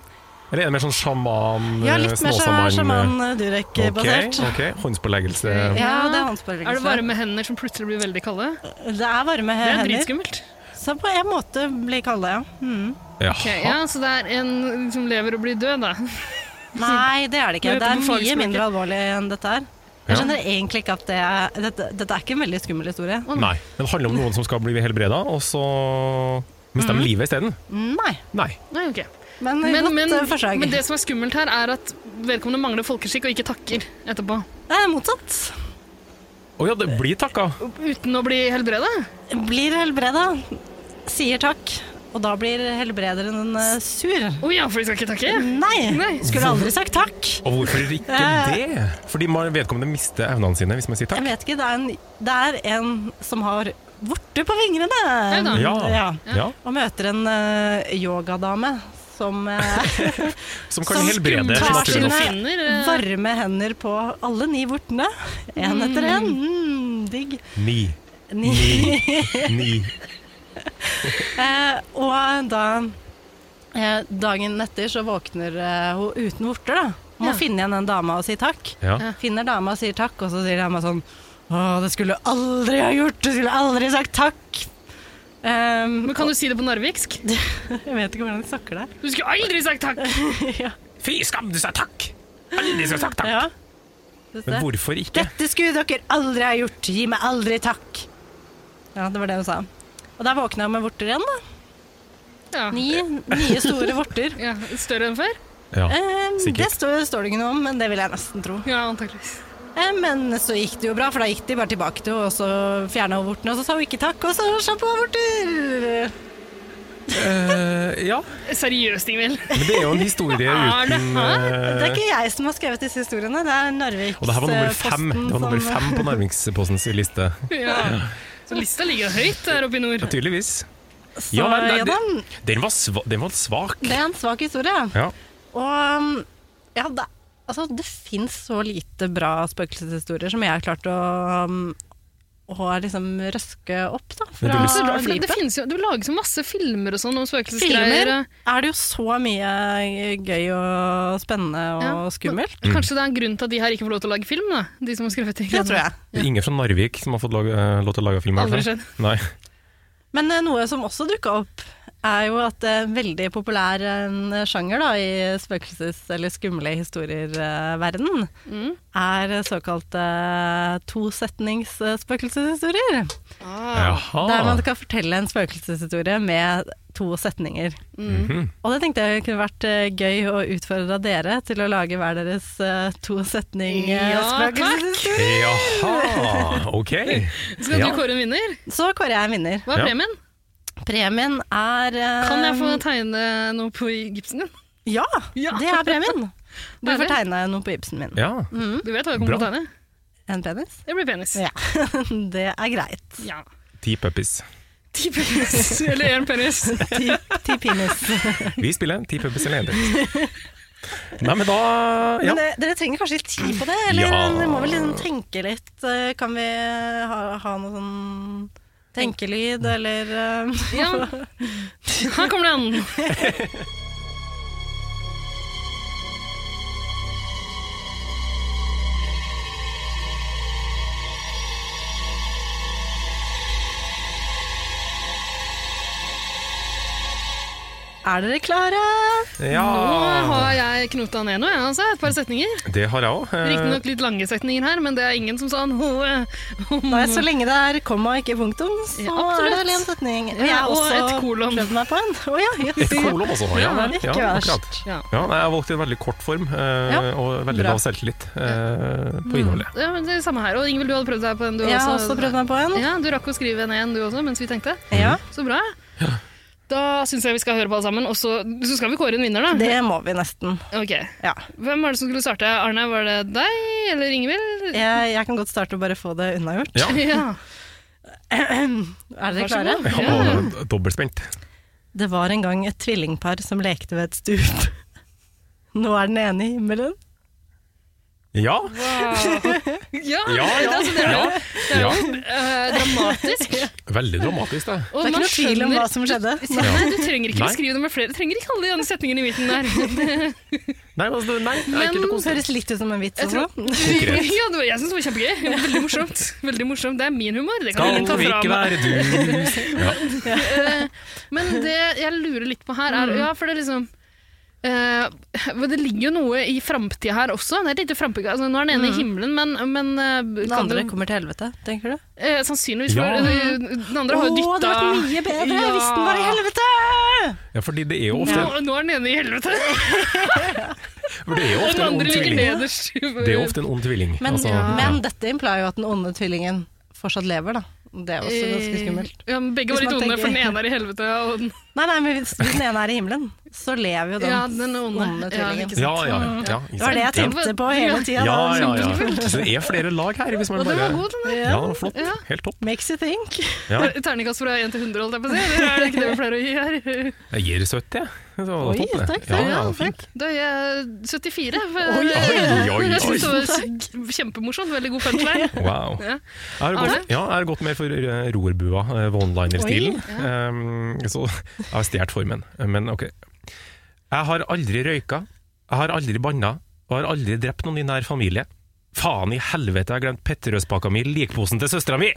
S3: Eller er det mer sånn sjaman,
S1: Ja, litt mer
S3: snåsamann-
S1: sjaman-durek-basert.
S3: eh. Ok, ok. Håndspåleggelse.
S1: Ja, det er
S2: Er det
S1: håndspåleggelse.
S2: varme hender som plutselig blir veldig kalde?
S1: Det er varme
S2: Det er
S1: hender.
S2: dritskummelt.
S1: Så på en måte blir kalde, ja. Mm.
S3: Ja.
S2: Ok, ja, så det er en som lever og blir død, da.
S1: Nei, det er det ikke.
S2: Men
S1: Det er
S2: på
S1: mye
S2: fagspråket-
S1: mindre alvorlig enn dette her.
S3: Ja.
S1: Jeg skjønner egentlig ikke at det er Dette, dette er ikke en veldig skummel historie.
S3: Nei. Men det handler om noen som skal bli helbreda, og så mister
S1: Mm.
S3: de livet isteden.
S1: Nei.
S3: Nei.
S2: Nei, ok.
S1: Men,
S2: Men,
S1: godt
S2: men,
S1: eh, forslag.
S2: men det som er skummelt her, er at vedkommende mangler folkeskikk og ikke takker etterpå.
S1: Nei, det er motsatt.
S3: Å ja, det blir takka.
S2: Uten å bli helbreda.
S1: Blir helbreda, sier takk, og da blir helbrederen eh, sur.
S2: Å ja, for de skal ikke takke?
S1: Nei!
S2: Nei.
S1: Skulle aldri sagt takk.
S3: Og hvorfor ikke det? Fordi man vedkommende mister evnene sine hvis man
S1: Jeg
S3: sier takk.
S1: vet ikke, det er en, det er en som har vorter på fingrene.
S2: da.
S3: Ja.
S1: Ja.
S3: ja.
S1: Og møter en eh, yogadame som eh,
S3: Som kan
S1: Som skummelt.
S3: helbrede.
S2: Tar
S3: naturlig
S2: sine
S3: nok.
S2: finner. eh,
S1: varme hender på alle ni vortene. Én etter én. Mm, digg.
S3: Ni.
S1: Ni.
S3: Ni.
S1: Eh, og da eh, Dagen etter så våkner eh, hun uten vorter, da. Må
S2: Ja.
S1: finne igjen den dama og si takk.
S3: Ja.
S1: Finner dama og sier takk, og så sier dama sånn Å, det skulle du aldri ha gjort! Du skulle aldri sagt takk! Ehm,
S2: Men kan du si det på narviksk?
S1: Jeg vet ikke hvordan de snakker der.
S2: Du skulle aldri sagt takk!
S3: Fy skam, du sa takk! Alle skal sagt takk.
S1: Ja. Synes
S3: Men
S1: det.
S3: hvorfor ikke?
S1: Dette skulle dere aldri ha gjort! Gi meg aldri takk! Ja, det var det hun sa. Og der våkna hun med vorter igjen, da.
S2: Ja.
S1: Ni nye store vorter.
S2: Ja, større enn før?
S3: Ja.
S1: Ehm,
S3: Sikkert.
S1: det står, står det ikke noe om, men det vil jeg nesten tro.
S2: Ja, antakeligvis.
S1: Eh, Men så gikk det jo bra, for da gikk de bare tilbake til henne, og så fjerna hun vortene, og så sa hun ikke takk, og så slapp hun av vorter!
S3: Eh, ja.
S2: Seriøst, Ingvild.
S3: Men det er jo en historie
S2: Er det-
S3: uten
S1: Det
S3: eh,
S1: er ikke jeg som har skrevet disse historiene, det er
S3: Og det her var nummer
S1: Narviksposten
S3: fem Det var nummer
S1: som-
S3: fem på Narvikspostens liste.
S2: Ja. Så lista ligger høyt der oppe i nord.
S3: Tydeligvis.
S1: Så, ja,
S3: Ja, men det-
S1: da,
S3: Den var, sva den var svak.
S1: det er en svak historie.
S3: Ja.
S1: Og um, ja, det, altså, det fins så lite bra spøkelseshistorier som jeg har klart å, um, å liksom røske opp da,
S3: Men det
S1: fra
S3: blir
S2: Så rart, for det, det
S1: dypet.
S2: finnes jo, Du lager så masse filmer og sånn om spøkelsesgreier.
S1: Filmer er det jo så mye gøy og spennende og
S2: Ja.
S1: skummelt.
S2: og- eh. Kanskje det er en grunn til at de her ikke får lov til å lage film? da? De som har skrevet de
S1: Det tror
S2: greiene.
S1: jeg.
S3: Det er Ingen fra Narvik som har fått lage, eh, lov til å lage film? i hvert
S2: Aldri
S3: fall.
S2: skjedd.
S3: Nei.
S1: Men eh, noe som også dukka opp, er jo at eh, veldig populær eh, sjanger da, i spøkelses- eller skumle historier-verden
S2: Mm.
S1: er såkalte tosetningsspøkelseshistorier.
S3: Jaha.
S1: Der man kan fortelle en spøkelseshistorie med to setninger.
S3: Mhm.
S1: Og det tenkte jeg kunne vært eh, gøy å utfordre dere til å lage hver deres eh, to eh,
S2: Ja, takk.
S1: setning-spøkelseshistorie.
S3: Jaha, ok.
S2: Skal
S3: Ja.
S2: du kåre en vinner?
S1: Så kårer jeg en vinner.
S2: Hva er
S3: Ja.
S2: premien?
S1: Premien er eh,
S2: Kan jeg få tegne noe på gipsen din?
S1: Ja,
S2: Ja.
S1: det er premien. Du
S2: Herlig.
S1: får tegne noe på gipsen min.
S3: Ja.
S2: Du vet hva jeg kommer
S3: Bra.
S2: til å tegne?
S1: En penis?
S2: Det blir penis.
S1: Mm. Ja. Det er greit.
S2: Ja.
S3: Ti puppies.
S2: Ti penis, eller én penis.
S1: Ti, ti penis.
S3: Vi spiller Ti puppies eller Henrik. Nei, men da ja.
S1: Men eh, dere trenger kanskje litt tid på det? Eller
S3: Ja.
S1: dere må vel liksom tenke litt? Eh, Kan vi ha, ha noe sånn tenkelyd,
S3: Mm.
S1: eller eh,
S2: Ja. Her kommer den.
S1: Er dere klare? Ah.
S2: Nå
S3: ja.
S2: har jeg knota ned noe, jeg, altså. Et par setninger.
S3: Det har jeg eh, òg.
S1: Eh.
S2: Riktignok litt lange setninger her, men det er ingen som sa noe om
S1: Nei, så lenge det er komma og ikke punktum, så
S2: Ja,
S1: er
S2: absolutt.
S1: det vel en setning. Og
S2: Ja,
S1: jeg har
S2: og
S1: også
S2: et kolon.
S1: prøvd meg på en. Å ja, jøss.
S3: Et kolon også. Ja,
S2: Ja,
S3: vel.
S1: ikke
S3: ja,
S1: verst.
S3: akkurat.
S2: ja.
S3: Ja, nei, jeg valgte en veldig kort form, eh,
S1: Ja,
S3: og veldig
S1: bra.
S3: lav selvtillit eh, på innholdet.
S2: ja, men det er samme her. Og Ingvild, du hadde prøvd deg på en, du
S1: Jeg har
S2: også.
S1: også prøvd meg på en.
S2: Ja, Du rakk å skrive ned en, du også, mens vi tenkte.
S1: Ja,
S2: Så bra. Da syns jeg vi skal høre på alle sammen, og så, så skal vi kåre en vinner, da.
S1: det må vi nesten.
S2: Ok.
S1: Ja.
S2: Hvem var det som skulle starte? Arne, var det deg eller Ingvild?
S1: Jeg, jeg kan godt starte og bare få det unnagjort.
S3: Ja.
S2: Ja.
S1: Er dere klare?
S3: Jeg var dobbeltspent.
S1: Det var en gang et tvillingpar som lekte ved et stup. Nå er den ene i himmelen,
S3: Ja,
S2: Ja,
S3: ja, ja. ja, ja.
S2: eh, dramatisk.
S3: Veldig dramatisk, det.
S1: Det
S2: Og
S1: er ikke
S2: man
S1: noe tvil om
S2: skjønner-
S1: hva som skjedde.
S2: Nei, du trenger ikke
S3: Nei.
S2: beskrive det med flere. Du trenger ikke alle de andre setningene i midten der.
S3: Nei, altså, nei det er
S2: Men-
S3: ikke noe
S1: Det høres litt ut som en vits.
S2: Jeg tror-
S1: altså.
S3: konkret.
S2: Ja, det var, jeg syns det var kjempegøy. Veldig morsomt. Veldig morsomt. Det er min humor. Det kan ingen ta
S3: Skal vi
S2: fra
S3: ikke
S2: meg.
S3: være dus? Ja.
S2: Eh, Men det jeg lurer litt på
S1: Mm.
S2: her, er Ja, for det er liksom eh, men det ligger jo noe i framtida her også. Det er litt framtid, altså, nå er den ene i himmelen, men, men eh,
S1: Mm. Den
S2: kan
S1: andre
S2: du-
S1: kommer til helvete, tenker du?
S2: eh, Sannsynligvis.
S3: Ja.
S2: For, eh, den andre har jo dytta
S1: det var mye bedre
S2: Ja.
S1: hvis den var i helvete!
S3: ja, fordi det er jo ofte,
S2: Nå, nå er den ene i helvete,
S3: for det er jo
S2: og den
S3: ofte en
S2: andre
S3: ond
S2: ligger
S3: tvilling.
S2: nederst. Eh,
S3: Det er jo ofte en ond tvilling.
S1: Men,
S3: altså,
S1: men dette implier jo at den onde tvillingen fortsatt lever, da. Det er også ganske skummelt.
S2: Eh, Ja, men begge var
S1: Hvis
S2: litt
S1: man
S2: onde,
S1: tenker-
S2: for den ene er i helvete. Og den,
S1: Nei, nei, men hvis hvis den ene er i himmelen, så lever jo den,
S2: Ja, den er onde. Ja,
S1: tvillingen.
S2: ikke sant.
S3: Ja, ja, ja. ja ikke
S1: det var det jeg
S3: sant?
S1: tenkte på hele tida.
S3: Ja, ja,
S1: da. Sånn
S3: ja. ja. Så det er flere lag her, hvis man
S2: og den
S3: bare
S2: var god, den der.
S3: Ja, det var flott.
S2: Ja.
S3: Helt topp.
S1: Makes you think.
S3: Ja.
S2: Ter- Terningkast fra 1 til 100, holdt jeg på å si. Eller er det ikke det vi pleier å gi her?
S3: Jeg gir 70, jeg. Så det var
S1: Oi,
S3: topp, det.
S1: takk,
S3: Ja,
S1: takk.
S3: ja,
S1: Ja,
S3: fint.
S2: Da er jeg 74. For,
S3: Oi, oi, oi,
S2: Jeg synes
S3: oi.
S2: det var kjempemorsomt. Veldig god punchline.
S3: Wow.
S2: Ja.
S3: Jeg har,
S2: Arne?
S3: gått, ja, jeg har gått mer for eh, rorbua, eh, one-liner-stilen. Um, så jeg har stjålet formen. Men ok. Jeg har aldri røyka, jeg har aldri banna, og har aldri drept noen i nær familie. Faen i helvete, jeg har glemt Petterøespakka mi i likposen til søstera mi!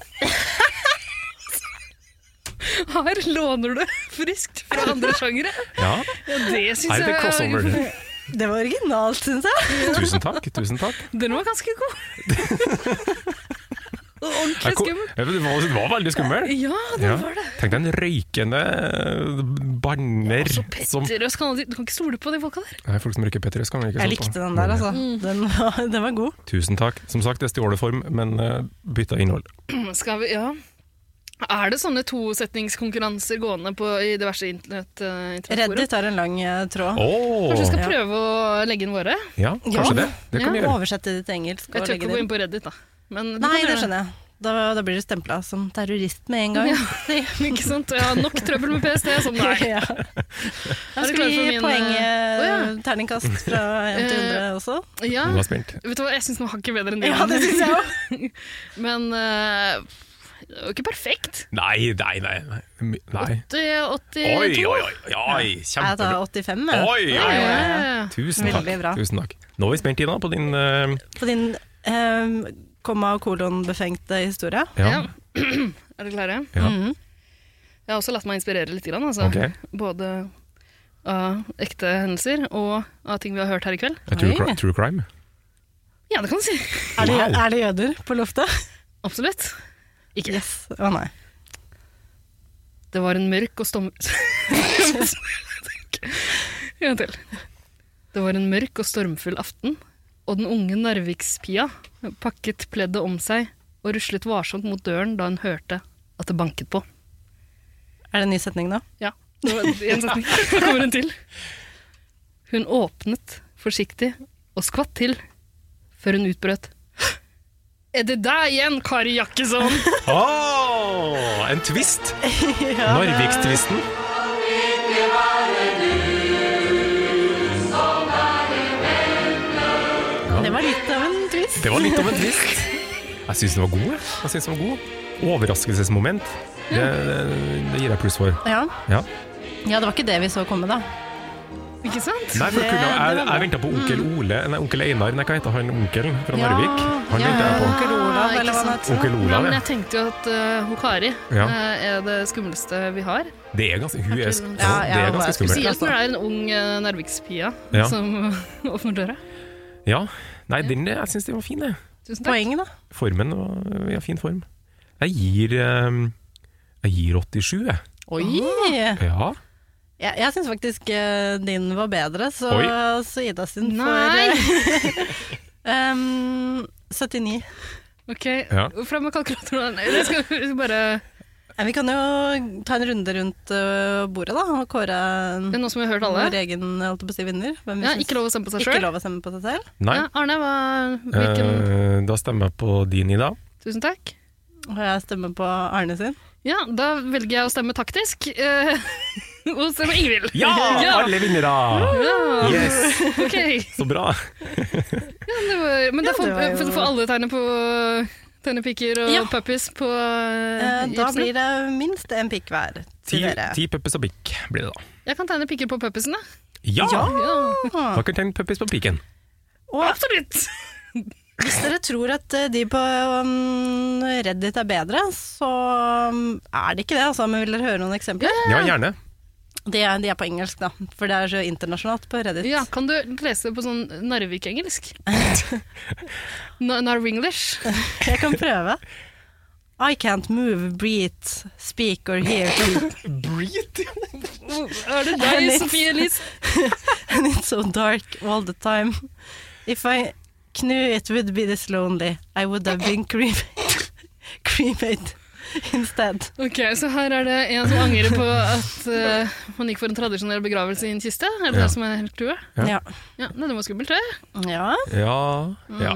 S2: Her låner du friskt fra andre sjangere.
S3: Ja,
S2: Ja, det syns
S3: her er det crossover.
S2: jeg
S1: Det var originalt, syns jeg.
S3: Tusen takk. tusen takk.
S2: Den var ganske god. Og
S3: Jeg
S2: Ordentlig
S3: ko-
S2: skummel.
S3: Ja, men Det var, det var veldig skummel.
S2: Ja, den
S3: Ja.
S2: var det.
S3: Tenk deg en røykende eh, banner
S2: Så
S3: som
S2: Petterøes kan aldri Du kan ikke stole på de folka der.
S3: Nei, folk som røyker Petterøes, kan vi ikke sånn-
S1: Jeg
S3: stå på.
S1: likte den der, altså.
S2: Mm.
S1: Den var, den var god.
S3: Tusen takk. Som sagt, jeg stjal det form, men eh, bytta innhold.
S2: Skal vi Ja. Er det sånne tosetningskonkurranser gående på i diverse internett? eh, internettforum?
S1: Reddit har en lang eh, tråd.
S3: Oh,
S2: Kanskje vi skal
S1: Ja.
S2: prøve å legge inn våre?
S3: ja, kanskje
S1: Ja.
S3: det. Det kan vi gjøre.
S1: Oversette det til engelsk. og
S2: Jeg tør
S1: legge det
S2: ikke gå
S1: inn.
S2: inn på Reddit, da. Men
S1: Nei, det skjønner jeg. Da, da blir du stempla som terrorist med en gang.
S2: jeg. Ikke sant? Jeg har nok trøbbel med PST, som det er.
S1: Ja. Da
S2: Er du
S1: skal
S2: klar
S1: vi
S2: for
S1: gi
S2: min, eh,
S1: poenget
S2: Å, ja. Eh,
S1: terningkast fra 1 til 100 også.
S2: Ja,
S3: Nå er jeg spent.
S2: vet du hva, jeg syns den var hakket bedre enn din.
S1: Ja, det syns jeg òg.
S2: Men eh, det var ikke perfekt.
S3: Nei, nei, nei. nei. My- nei.
S2: Det er 82.
S3: Oi, oi, oi! oi
S1: Jeg tar
S3: Kjempebra.
S1: 85,
S3: Oi,
S1: jeg.
S2: Ja,
S3: oi, oi.
S2: ja, ja.
S3: Tusen takk.
S1: Veldig bra.
S3: Tusen takk. Nå er vi spent, Ina, på din eh,
S1: På din eh, komma og kolon-befengte historie.
S3: ja.
S2: Ja. Er dere klare?
S3: Ja.
S1: Mhm.
S2: Jeg har også latt meg inspirere litt, grann, altså.
S3: Ok.
S2: både av ekte hendelser og av ting vi har hørt her i kveld.
S3: A True,
S1: Oi.
S3: cri true crime.
S2: Ja, det kan du si.
S1: Er, det,
S3: Wow.
S1: er det jøder på loftet?
S2: Absolutt. Ikke.
S1: Yes. Å nei.
S2: Det var en mørk og storm... en gang til. Det var en mørk og stormfull aften, og den unge Narvikspia pakket pleddet om seg og ruslet varsomt mot døren da hun hørte at det banket på.
S1: Er det en ny setning nå?
S2: Ja, det var en setning. Så kommer hun til. Hun åpnet forsiktig og skvatt til før hun utbrøt. Er det deg igjen, Kari Jakkesson?
S3: Åh, en twist! Narvikstvisten.
S1: Det var litt av en twist.
S3: Det var litt av en twist. Jeg syns den var god. jeg. jeg synes den var god. Overraskelsesmoment. Det, det, det gir jeg pluss for.
S1: Ja.
S3: Ja.
S1: ja, det var ikke det vi så komme, da.
S2: Ikke sant?
S3: Nei, for
S1: Det-
S3: kunne, jeg
S1: det var bra.
S3: jeg venta på onkel Ole Nei, onkel Einar. Nei, hva heter han onkelen fra Narvik? Han
S1: ja,
S3: venta jeg på.
S1: Onkel Olav,
S2: Ja, ikke
S1: eller hva han
S2: sant.
S1: heter.
S3: Onkel Olav,
S2: Men
S3: ja.
S2: jeg tenkte jo at uh, Hokari
S3: Ja.
S2: eh, er det skumleste vi har.
S3: Det er ganske, hun er, sk-
S2: Ja,
S3: ja,
S1: ja, hun
S3: det er
S1: er
S3: ganske skummelt.
S2: Spesielt når det er en ung uh, Narvikspia
S3: Ja.
S2: som åpner døra.
S3: Ja. Nei, den, jeg syns den var fin, jeg.
S2: Tusen takk.
S1: Poeng, da.
S3: Formen var ja, fin form. Jeg gir ehm, Jeg gir 87, jeg.
S1: Oi.
S3: Ja.
S1: Jeg, jeg syns faktisk eh, din var bedre, så,
S3: Oi.
S1: så Ida sin
S2: Nei!
S1: får eh, em, 79.
S2: Ok,
S3: Ja.
S2: fram med kalkulatoren. Nei, Jeg skal jeg skal bare
S1: Eh, Vi kan jo ta en runde rundt eh, bordet, da, og kåre en-
S2: Det er noe som vi har hørt alle.
S1: vår egen holdt jeg på å si, vinner. Hvem vi
S2: Ja,
S1: syns-
S2: ikke lov å stemme på seg
S1: ikke
S2: sjøl.
S1: lov å stemme på seg selv.
S3: Nei.
S2: Ja, Arne, hva, hvilken
S3: Eh, da stemmer jeg på din, Ida.
S2: Tusen takk.
S1: Og jeg stemmer på Arne sin.
S2: Ja, da velger jeg å stemme taktisk. Eh, hos en Ingvild.
S3: Ja! Alle vinnere!
S2: Ja,
S3: Yes!
S2: ok.
S3: Så bra.
S2: Det var, men da
S1: Ja,
S2: får,
S1: det var jo-
S2: får- får alle tegne på tegnepiker og
S1: Ja.
S2: puppies på uh,
S1: Eh, Da blir det minst en pikk hver
S3: Ti,
S1: til dere.
S3: ti puppies og pikk blir det da.
S2: Jeg kan tegne piker på puppiesen, da.
S3: Ja!
S2: Ja,
S3: Hva kan tegne puppies på piken?
S1: Og
S2: absolutt.
S1: hvis dere tror at eh, de på um, Reddit er bedre, så um, er det ikke det, altså. Men vil dere høre noen eksempler?
S3: Ja, gjerne.
S1: De er, de er på engelsk, da. For det er så internasjonalt på Reddit.
S2: Ja, kan du lese det på sånn Narvik-engelsk? Na- Narvinglish?
S1: Jeg kan prøve. I can't move, breathe, speak or hear
S2: Er det deg,
S1: Litt.
S2: Sofie Elise?
S1: and it's so dark all the time. If I knew it would be this lonely, I would have been cremated, cremated instead.
S2: Ok, så her er det en som angrer på at eh, man gikk for en tradisjonell begravelse i en kiste. Er det
S3: Ja.
S2: det som er helt due?
S3: Ja.
S1: Ja.
S2: Ja, nei, det var skummelt, det.
S1: ja.
S3: Ja, ja.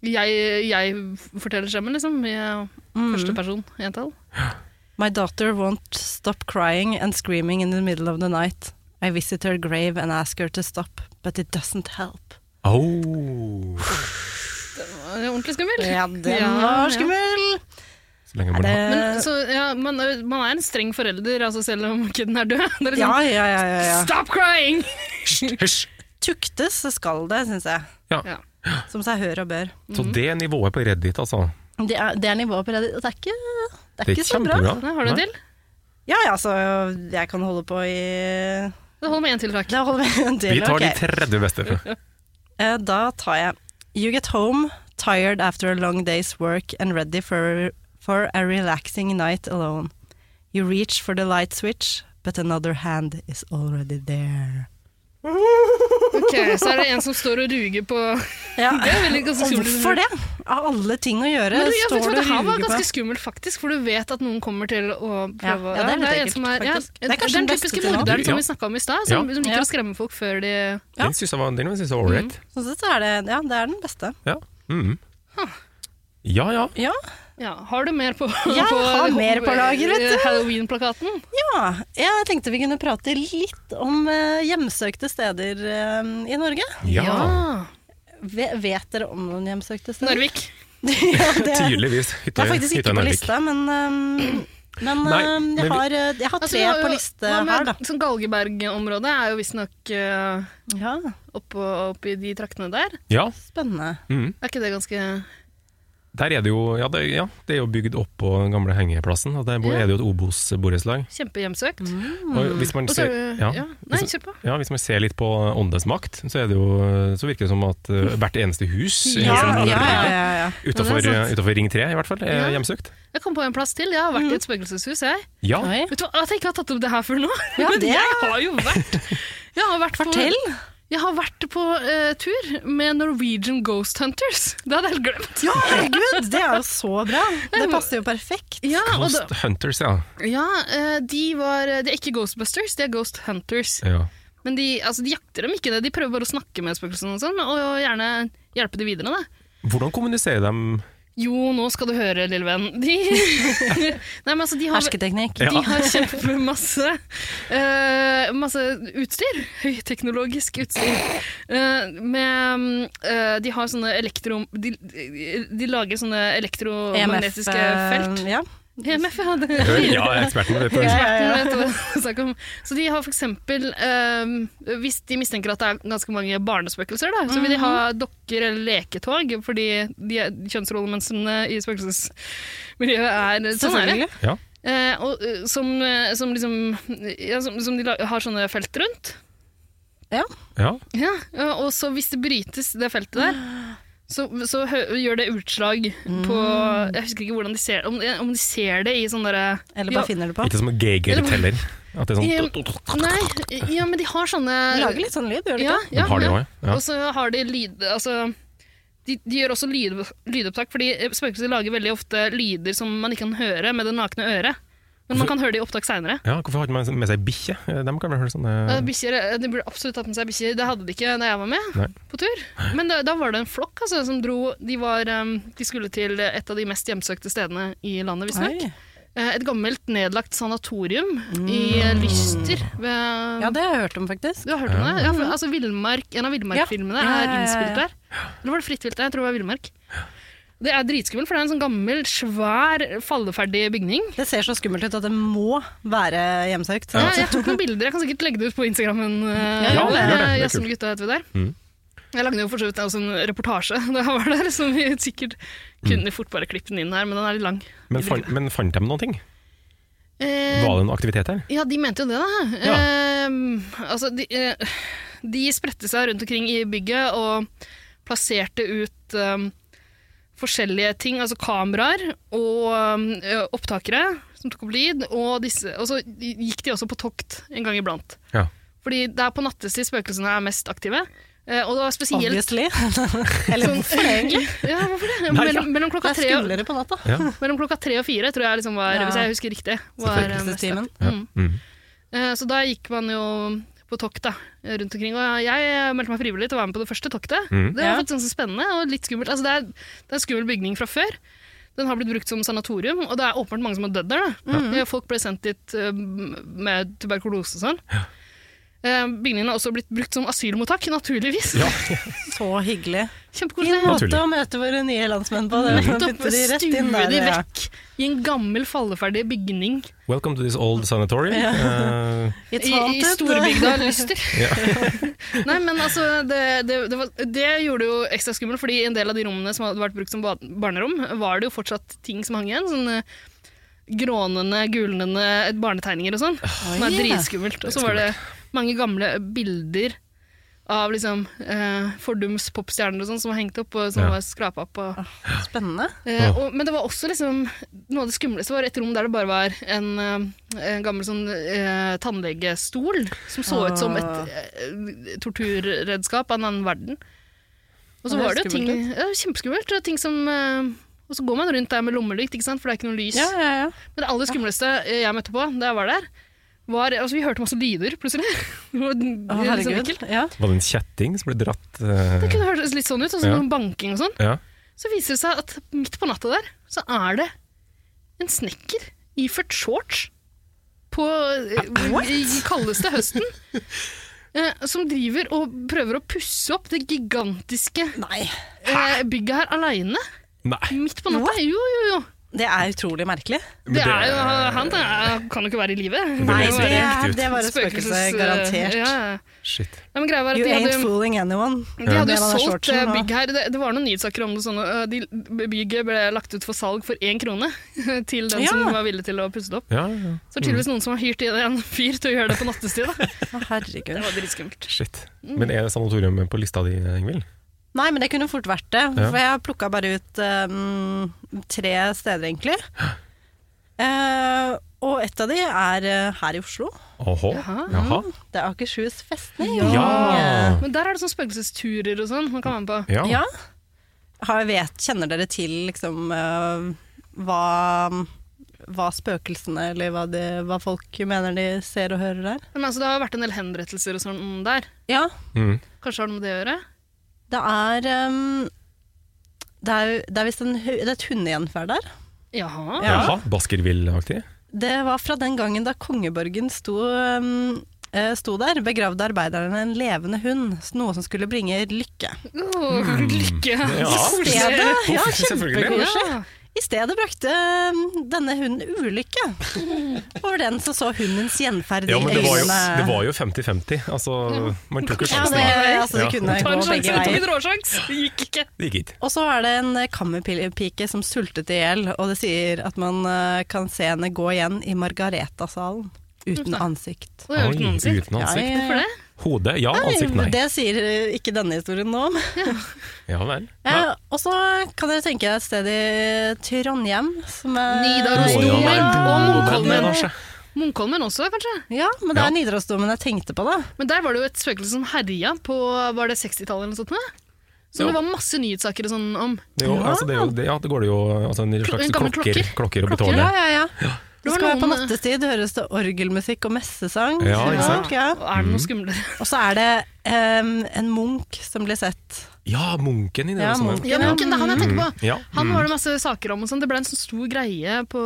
S2: Jeg, jeg forteller skjemmen, liksom. Jeg,
S1: Mm.
S2: Første person, entall.
S1: My daughter won't stop crying and screaming in the middle of the night. I visit her grave and ask her to stop, but it doesn't help.
S3: Au.
S2: Det er ordentlig skummelt.
S1: den
S2: Ja, ja.
S1: var skummel!
S3: Så lenge
S1: Er
S3: man har
S2: Men,
S1: det
S2: så, ja, man, er- man er en streng forelder, altså, selv om kiden er død. Det er liksom,
S1: Ja, ja, ja. ja, ja.
S2: Stop crying!
S3: Hysj!
S1: Tuktes så skal det, syns jeg.
S3: Ja.
S2: Ja.
S1: Som seg hør og bør.
S3: Så det er nivået på Reddit, altså.
S1: Det er, det er nivået på Reddit, og det er ikke, det er
S3: Det er
S1: ikke så bra.
S3: kjempebra.
S2: Nei, har du en
S3: Nei.
S2: til?
S1: Ja, ja, så jeg kan holde på i
S2: Det holder med én til, takk.
S1: Det holder vi en del.
S3: Vi tar de
S1: ok.
S3: 30 beste.
S1: Eh, Da tar jeg You get home, tired after a long day's work and ready for, for a relaxing night alone. You reach for the light switch, but another hand is already there.
S2: Ok, så er det en som står og ruger på
S1: Ja,
S2: Det er veldig ganske
S1: og
S2: skummelt.
S1: hvorfor det? Av alle ting å gjøre,
S2: Men du, jeg
S1: står
S2: vet,
S1: du
S2: hva, det her
S1: og
S2: var
S1: ruger
S2: ganske
S1: på.
S2: skummelt, faktisk, for du vet at noen kommer til å
S1: Ja,
S2: prøve å-
S1: ja, det er litt
S2: en
S1: ekkelt,
S2: som er-
S1: faktisk. Det er
S2: det
S1: kanskje
S2: er den
S1: den beste
S2: typiske
S1: til nå.
S2: morderen som
S3: Ja.
S2: vi snakka om i stad, som,
S3: Ja.
S2: som liker
S1: Ja.
S2: å skremme folk før de
S1: Ja.
S3: Den syns jeg var, den synes jeg var ålreit.
S1: Sånn sett så er det, ja, det er den beste.
S3: Ja. Mm. ja ja.
S1: Ja,
S2: ja, Har du mer på,
S1: Jeg
S2: på eh,
S1: har mer på lager, vet du.
S2: Halloween-plakaten?
S1: ja. Jeg tenkte vi kunne prate litt om eh, hjemsøkte steder eh, i Norge.
S3: Ja.
S1: Ve- vet dere om noen hjemsøkte steder?
S2: Narvik.
S1: ja, det,
S3: Tydeligvis.
S1: Det
S3: Hytta
S1: er faktisk
S3: hytta
S1: ikke
S3: i
S1: på
S3: Narvik.
S1: lista, men, øhm, men
S3: Nei,
S1: øhm,
S3: men vi-
S1: jeg, har, øh, jeg har
S2: Altså,
S1: tre
S2: vi har jo-
S1: på liste
S2: hva med
S1: her, da.
S2: Sånn Galgeberg-området er jo visstnok uh,
S1: Ja,
S2: oppå oppi de traktene der.
S3: Ja.
S1: spennende.
S3: Mm.
S2: Er ikke det ganske
S3: Der er det jo ja det, ja, det er jo bygd opp på den gamle hengeplassen. Og der bo-
S2: Ja.
S3: er det jo et Obos-borettslag.
S2: kjempehjemsøkt?
S1: Mm.
S3: Og hvis man
S2: Og så
S3: ser
S2: er det
S3: Mm. ja.
S2: Ja. Nei,
S3: Hvis-
S2: kjør på.
S3: Ja, Hvis man ser litt på åndens makt, så, er det jo, så virker det som at eh, hvert eneste hus liksom i
S2: Ja,
S1: Ja,
S3: hele Sogn og
S1: ja,
S3: Fjordane,
S1: ja, ja.
S3: Utenfor, eh,
S2: Det er sant.
S3: utenfor Ring 3 i hvert fall, er
S2: Ja.
S3: hjemsøkt.
S2: Jeg kom på en plass til. Jeg har vært i et spøkelseshus, jeg.
S3: Ja.
S1: Oi.
S2: Vet du hva, At jeg ikke har tatt opp det her før nå.
S1: Ja,
S2: Men
S1: det-
S2: jeg har jo vært Jeg har vært
S1: Fortell.
S2: på, jeg har vært på eh, tur med Norwegian Ghost Hunters. Det hadde jeg helt glemt.
S1: Ja, herregud, det er jo så bra. Det passer jo perfekt.
S2: Ja, og da,
S3: Ghost Hunters, ja.
S2: ja eh, de var De er ikke Ghostbusters, de er Ghost Hunters.
S3: ja.
S2: Men de, altså, de jakter dem ikke, det. de prøver bare å snakke med spøkelsene og sånn, og gjerne hjelpe de videre. Da.
S3: Hvordan kommuniserer de
S2: Jo, nå skal du høre, lille venn. De, Nei, men altså, de har
S1: Hersketeknikk.
S2: De har kjempemasse eh, masse utstyr. Høyteknologisk utstyr. Eh, med eh, De har sånne elektro... De, de, de lager sånne
S1: E
S2: elektromagnetiske
S3: E eh,
S2: felt.
S1: øh, eh, Ja.
S2: EMF, ja. Det
S3: sånn. Ja, eksperten vet det.
S2: Vet du hva jeg snakker om. Så de har for eksempel eh, Hvis de mistenker at det er ganske mange barnespøkelser, da, så vil de ha
S3: Mhm.
S2: dokker eller leketog, fordi de kjønnsrollemønstrene i spøkelsesmiljøet er Sånn er det.
S1: Selvfølgelig.
S3: Ja.
S2: Eh, og, eh, som, eh, som liksom ja, som, som de la- har sånne felt rundt.
S3: Ja.
S2: Ja. eh, og så hvis det brytes, det feltet der, så, så hø gjør det utslag på
S1: Mm.
S2: Jeg husker ikke hvordan de ser Om, om de ser det i sånn derre
S1: Eller
S2: de
S1: bare
S2: har-
S1: finner du på.
S3: Ikke som en geiger-teller. At det er
S2: Ja,
S3: sånn
S2: Nei, ja, men de har sånne
S1: Du lager litt sånn lyd, gjør du
S2: ja,
S1: ikke?
S2: ja,
S3: Har de
S2: ja.
S3: også, ja.
S2: Og så har de lyd Altså de, de gjør også lyd, lydopptak, fordi eh, spøkelser lager veldig ofte lyder som man ikke kan høre med det nakne øret. Men man kan høre det i opptak seinere.
S3: Ja, hvorfor har de ikke med seg bikkje? De kan vel høre
S2: Ja,
S3: sånne
S2: bikkjer, eh, De burde absolutt tatt med seg bikkjer. Det hadde de ikke da jeg var med
S3: Nei.
S2: på tur. Men da, da var det en flokk eh, altså, som dro de, var, em, de skulle til et av de mest hjemsøkte stedene i landet, visstnok.
S1: Oi. Mm.
S2: eh, et gammelt nedlagt sanatorium i Lyster. Ved,
S1: Ja, det har jeg hørt om, faktisk.
S2: Du har hørt om det? Ja, for, altså, Villmark, en av
S1: Ja.
S2: Villmark-filmene
S1: Ja, ja,
S2: er
S1: ja, ja.
S2: innspilt der. Eller var det Fritt vilt? Jeg tror det var Villmark. Det er dritskummelt, for det er en sånn gammel, svær, falleferdig bygning.
S1: Det ser så skummelt ut at det må være hjemsøkt.
S2: Ja, jeg tok noen bilder. Jeg kan sikkert legge det ut på Instagrammen. eh,
S3: Ja, gjør det, det er kult.
S2: Gutta heter vi der.
S3: Mm.
S2: Jeg lagde jo for så vidt også en reportasje da jeg var der, som vi sikkert
S3: Mm.
S2: kunne fort bare klippe den inn her, men den er litt lang.
S3: Men, fan, men fant de noen ting?
S2: Eh,
S3: Var det en aktivitet her?
S2: Ja, de mente jo det, da.
S3: Ja.
S2: Eh, altså, de, eh, de spredte seg rundt omkring i bygget og plasserte ut eh, forskjellige ting, altså kameraer og eh, opptakere som tok opp lyd, og, disse, og så gikk de også på tokt en gang iblant.
S3: Ja.
S2: Fordi det er på nattestid spøkelsene er mest aktive. eh, Og det var spesielt
S1: Obviously. Eller hvorfor det, egentlig?
S2: Ja, hvorfor det?
S3: Nei, ja.
S2: Mellom, mellom,
S1: Det
S2: klokka
S1: er
S2: tre og,
S1: skumlere på natta.
S3: Ja.
S2: mellom klokka tre og fire, tror jeg liksom var,
S1: Ja.
S2: hvis jeg husker riktig. Var, eh, mest
S1: Spøkelsestimen.
S2: aktiv. Mm.
S3: Mm.
S2: Eh, Så da gikk man jo på tokt da, rundt omkring. Og jeg meldte meg frivillig til å være med på det første toktet.
S3: Mm.
S2: Det var
S1: Ja.
S2: faktisk ganske spennende og litt skummelt. Altså, det, er, det er en skummel bygning fra før. Den har blitt brukt som sanatorium, og det er åpenbart mange som har dødd der. Da.
S1: Mm.
S2: Eh, Folk ble sendt dit eh, med tuberkulose og sånn. Eh, Bygningen har også blitt brukt som asylmottak, naturligvis.
S3: Ja.
S1: Så hyggelig. Fin
S2: Kjempekoselig.
S1: måte
S3: Naturlig. Mm.
S1: å møte våre nye landsmenn på. Det er å
S2: Nettopp
S1: putte de rett
S2: stuer
S1: inn der,
S2: de
S1: ja.
S2: vekk i en gammel falleferdig bygning
S3: Welcome to this old sanatorium. Eh,
S1: It's
S2: I, i
S1: haunted.
S2: storbygda Lyster.
S3: Ja.
S2: Nei, men altså, det, det, det, var, det gjorde det jo ekstra skummelt, fordi en del av de rommene som hadde vært brukt som ba- barnerom, var det jo fortsatt ting som hang igjen. sånn eh, Grånende, gulnende eh, barnetegninger og sånn. Som er
S1: Oi.
S2: dritskummelt. Og så var det mange gamle bilder av liksom eh, fordums popstjerner og sånn som var hengt opp og som
S3: Ja.
S2: var skrapa opp. Og,
S1: Spennende.
S2: Eh, og, men det var også liksom, noe av det skumleste var et rom der det bare var en, eh, en gammel sånn, eh, tannlegestol som så ut som et
S1: Ah.
S2: eh, torturredskap av en annen verden. Og så
S1: Ja,
S2: var
S1: det
S2: det
S1: er
S2: jo ting
S1: skummelt
S2: ja, Kjempeskummelt. og Ting som, eh, og så går man rundt der med lommelykt, ikke sant? for det er ikke noe lys.
S1: Ja, ja, ja.
S2: Men det aller skumleste eh, jeg møtte på da jeg var der, var altså, Vi hørte masse lyder plutselig. Det var
S1: Å,
S2: litt sånn
S1: herregud.
S2: ekkelt.
S1: Ja.
S3: var det en kjetting som ble dratt? eh,
S2: Det kunne hørtes litt sånn ut. Og så
S3: Ja.
S2: noen banking og sånn.
S3: ja.
S2: Så viser det seg at midt på natta der, så er det en snekker iført shorts på eh, i kaldeste høsten. eh, Som driver og prøver å pusse opp det gigantiske
S1: Nei.
S2: eh, bygget her aleine.
S3: Nei.
S2: Midt på natta. Jo, jo, jo.
S1: Det er utrolig merkelig.
S2: Det
S3: Men det-
S2: er jo, han er, kan jo ikke være i live.
S3: Nei,
S2: må
S3: ser
S2: være
S3: riktig ut.
S1: det var et spøkelse,
S2: spøkelses-
S1: garantert.
S2: Ja, ja.
S3: Shit.
S2: Nei, men greia var at
S1: You
S2: de hadde
S1: ain't fooling anyone.
S2: De hadde
S1: Ja, den
S2: jo
S1: der
S2: solgt det
S1: shortsen,
S2: bygget her. Det, det var noen nyhetssaker om det. Sånne, øh, de, bygget ble lagt ut for salg for én krone til den som
S1: Ja.
S2: var villig til å pusse det opp.
S3: Ja, ja.
S2: Så det er
S3: Mm.
S2: tydeligvis noen som har hyrt inn en fyr til å gjøre det på nattestid. Da.
S1: Å, herregud.
S2: Det var dritskummelt.
S3: Shit. Men er sanatoriet på lista di, Ingvild?
S1: Nei, men det kunne fort vært det.
S3: Ja.
S1: For jeg plukka bare ut um, tre steder, egentlig. Eh, og et av de er eh, her i Oslo.
S3: Åhå.
S2: Jaha.
S3: Jaha.
S1: Det er Akershus festning.
S3: Ja.
S2: Men der er det sånne spøkelsesturer og sånn man kan være med på.
S3: Ja.
S1: Ja. Har, vet, kjenner dere til liksom eh, hva, hva spøkelsene eller hva, de, hva folk mener de ser og hører der?
S2: Men altså, det har vært en del henrettelser og sånn der.
S1: Ja,
S3: Mm.
S2: Kanskje har det med det å gjøre?
S1: det er eh, det er, det er visst en, hu- det er et hundegjenferd der.
S2: Jaha.
S1: Ja.
S3: Jaha. Baskerville-aktig?
S1: Det var fra den gangen da kongeborgen sto, eh, eh, sto der, begravde arbeiderne en levende hund, noe som skulle bringe lykke.
S2: Åh, lykke.
S3: Mm. Ja.
S2: Så
S1: I stedet,
S2: koselig.
S1: ja,
S3: Selvfølgelig.
S1: kjempekoselig.
S2: Ja.
S1: I stedet brakte mm, denne hunden ulykke over den som så hundens gjenferd i
S3: Ja, men det var jo-
S1: øynene.
S3: det var jo 50-50. Altså, man tok jo
S1: Ja,
S3: sjansen.
S1: det,
S3: da.
S1: altså, det
S3: Ja.
S1: kunne
S2: Ta en
S1: gå
S2: sjanse,
S1: begge
S2: tok en
S1: veier.
S2: råsjans. Det gikk ikke.
S3: Det gikk ikke.
S1: Og så er det en eh, kammerpike som sultet i hjel, og det sier at man eh, kan se henne gå igjen i Margareta-salen uten
S2: Mm.
S1: ansikt.
S2: Det er jo
S3: Oi,
S2: ikke noen sikt.
S3: Uten ansikt.
S2: Hvorfor det?
S3: Hode ja, ansikt
S1: Nei,
S3: nei.
S1: Det sier eh, ikke denne historien noe om.
S3: Ja vel.
S1: Eh, og så kan dere tenke deg et sted i Trondheim som er Ja,
S2: Nidarosdomen. Og
S3: Ja,
S2: Munkholmen.
S3: men, Lars,
S2: Munkholmen også, kanskje?
S1: Ja, men det
S3: Ja.
S1: er Nidarosdomen jeg tenkte på, da.
S2: Men der var det jo et spøkelse som herja på var det 60-tallet eller noe sånt. nå? Som
S3: Ja.
S2: det var masse nyhetssaker og sånn om.
S3: Det, er jo, altså, det, er jo, det, ja, det går det jo altså, en slags
S2: gammel
S3: klokker,
S2: klokker.
S3: klokker oppi
S2: Klokker,
S1: Ja,
S3: tårnet.
S1: ja, ja. Det
S2: var
S1: skal være på
S2: noen-
S1: nattestid, høres det orgelmusikk og messesang.
S3: Ja, ikke sant?
S1: Ja.
S2: Og er det noe skumlere?
S1: Og så er det em, en munk som blir sett.
S3: Ja, munken i det.
S1: Ja,
S3: også, men-
S1: munken.
S2: Ja, men det er han jeg tenker
S3: Mm,
S2: på.
S3: ja.
S2: Han var det masse saker om og sånn. Det ble en sånn stor greie på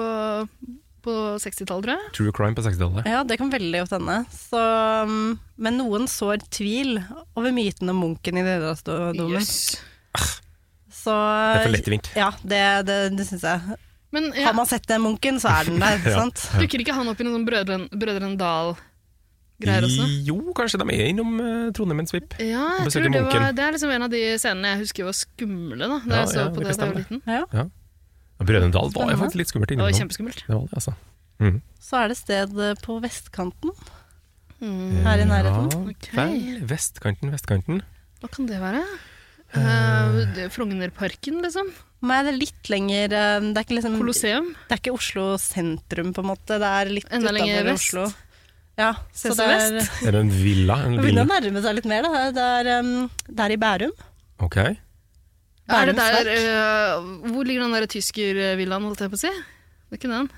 S2: på 60-tallet, tror jeg.
S3: True crime på 60-tallet.
S1: Ja, det kan veldig godt hende. Så, mm, men noen sår tvil over myten om munken i Nidarosdomen.
S2: Jøss.
S1: Så
S3: Det er for lettvint.
S1: Ja, det, det, det syns jeg.
S2: Men ja,
S1: Har man sett den munken, så er den der,
S3: Ja.
S1: sant?
S2: dukker ikke han opp i noen sånn Brødren, Brødren Dal-greier også?
S3: Jo, kanskje de er innom eh, Trondheim en svipp.
S2: Ja,
S3: Og
S2: jeg
S3: besøker
S2: tror det, var,
S3: munken.
S2: det er liksom en av de scenene jeg husker var skumle da, da
S3: Ja,
S2: jeg så
S3: ja,
S2: på det da
S3: det
S2: jeg
S3: bestemmer.
S2: var liten.
S1: Ja.
S3: Brødrene Dal var jo faktisk litt skummelt
S2: Det var
S3: innimellom.
S2: kjempeskummelt.
S3: Det var det, altså.
S1: Så er det sted eh, på vestkanten.
S2: Mm.
S1: Her i nærheten.
S3: Ja,
S2: Ok.
S3: vel. Vestkanten, vestkanten.
S2: Hva kan det være? Eh, det- Frognerparken, liksom?
S1: Men det er litt lenger eh, Det er ikke,
S3: Mm.
S1: liksom, det
S2: Colosseum?
S1: er ikke Oslo sentrum, på en måte. Det er litt
S2: Enda lenger
S1: utenfor
S2: vest.
S1: Oslo. Ja, så
S2: CC
S1: det er,
S2: Vest?
S3: Er det en villa? En
S1: det begynner
S3: villa?
S1: å nærme seg litt mer. Da. Det, er, em, det er i Bærum.
S3: Ok.
S2: Er det
S1: Bærums
S2: der,
S1: Verk.
S2: eh, hvor ligger den der tyskervillaen, holdt jeg på å si? Det er ikke den.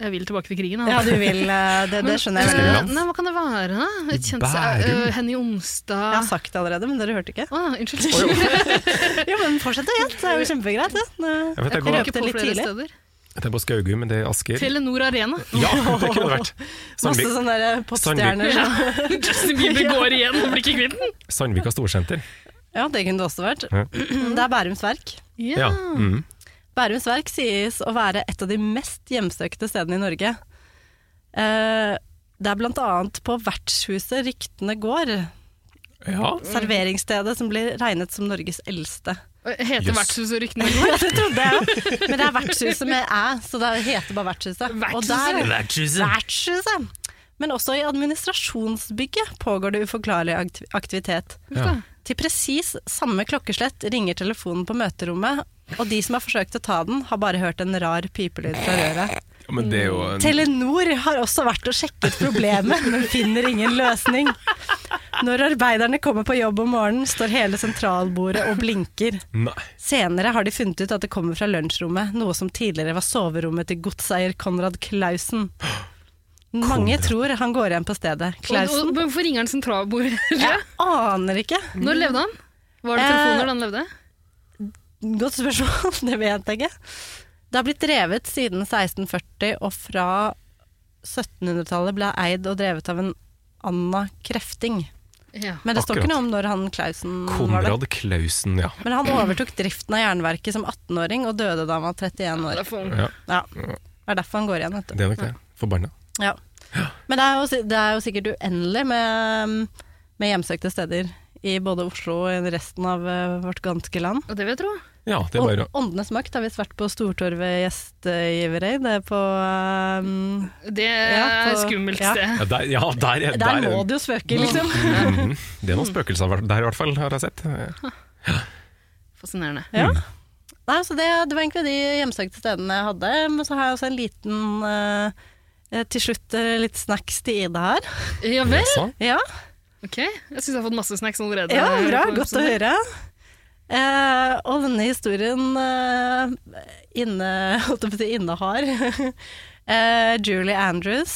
S2: Jeg vil tilbake til krigen.
S1: Ja, du vil eh, Det, det skjønner jeg veldig
S3: Skulle
S1: godt.
S3: godt.
S2: Nei, hva kan Ah. det være, da? Et kjent
S3: Bærum?
S2: eh, Henny
S1: Jeg har
S2: Onstad
S1: sagt det allerede, men dere hørte ikke.
S2: Å, unnskyld.
S1: Jo, men fortsett å gjette, det er jo kjempegreit. Det. Nå-
S3: Jeg vet
S2: Jeg
S3: jeg
S2: kom
S3: går
S1: røpte
S2: ikke på
S1: litt
S2: flere
S1: tidlig.
S2: steder.
S3: jeg tenker på Skaugum, men det er Asker.
S2: Telenor Arena.
S3: Ja, det kunne det vært.
S1: Masse
S3: Sandvik,
S1: sånne der popstjerner. som-
S2: Justin Bieber går igjen og blir ikke kvitt den.
S3: Sandvika storsenter.
S1: Ja, det kunne det også vært.
S3: Ja.
S1: Det er Bærums Verk.
S3: Ja. Mm.
S1: Bærums Verk sies å være et av de mest hjemsøkte stedene i Norge. Eh, Det er blant annet på Vertshuset ryktene går,
S3: ja.
S1: Mm. serveringsstedet som blir regnet som Norges eldste.
S2: Heter
S3: Jøss.
S2: vertshuset ryktene i går?
S1: Det trodde jeg jo, men det er Vertshuset med æ, så det heter bare Vertshuset. Og der Vertshuset! Men også i administrasjonsbygget pågår det uforklarlig aktiv- aktivitet.
S3: Ja.
S1: Til presis samme klokkeslett ringer telefonen på møterommet, og de som har forsøkt å ta den, har bare hørt en rar pipelyd fra røret.
S3: Ja, Men det er jo en
S1: Telenor har også vært og sjekket problemet, men finner ingen løsning. Når arbeiderne kommer på jobb om morgenen, står hele sentralbordet og blinker.
S3: Nei.
S1: Senere har de funnet ut at det kommer fra lunsjrommet, noe som tidligere var soverommet til godseier Konrad Klausen. Mange
S3: Konrad.
S1: tror han går igjen på stedet.
S2: Og- og-
S1: Klausen?
S2: men Hvorfor ringer han sentralbordet?
S1: Jeg aner ikke.
S2: Når levde han? Var det
S1: Eh,
S2: telefoner da han levde?
S1: Godt spørsmål, det vet jeg ikke. Det har blitt drevet siden 1640, og fra 1700-tallet ble eid og drevet av en Anna Krefting.
S2: Ja.
S1: Men det står
S3: Akkurat.
S1: ikke noe om når han Klausen var der.
S3: Konrad Klausen, ja.
S1: Men han overtok driften av jernverket som 18-åring, og døde da han var 31
S2: Det
S1: år.
S2: er for ung.
S3: ja.
S1: Ja. Det er derfor han går igjen, vet du.
S3: Det er nok det. Forbanna.
S1: Ja. Men det er, jo, si- det er jo sikkert uendelig med, med hjemsøkte steder i både Oslo og i resten av eh, vårt ganske land.
S2: Og det vil jeg tro.
S3: Ja, det er bare
S1: Og Åndenes makt har visst vært på Stortorvet gjestgiveri. Det er på eh,
S2: Det
S1: Ja,
S2: er
S1: på-
S2: skummelt
S1: ja.
S2: sted.
S3: ja, der, ja, der, er-
S1: Der
S3: der er-
S1: må det jo spøke, liksom.
S3: Mhm. Det er noen spøkelser hver- der i hvert fall, har jeg sett.
S2: Fascinerende.
S1: Ja.
S3: Mm.
S1: Nei, så det, det var egentlig de hjemsøkte stedene jeg hadde. Men så har jeg også en liten eh, eh, Til slutt eh, litt snacks til Ida her.
S2: Ja vel?
S3: Jaså?
S1: Ja,
S2: Ok. Jeg syns jeg har fått masse snacks allerede.
S1: Ja, bra.
S2: På
S1: Godt å
S2: episoden.
S1: høre. Eh, og denne historien eh, inne, holdt jeg på å si, innehar eh, Julie Andrews,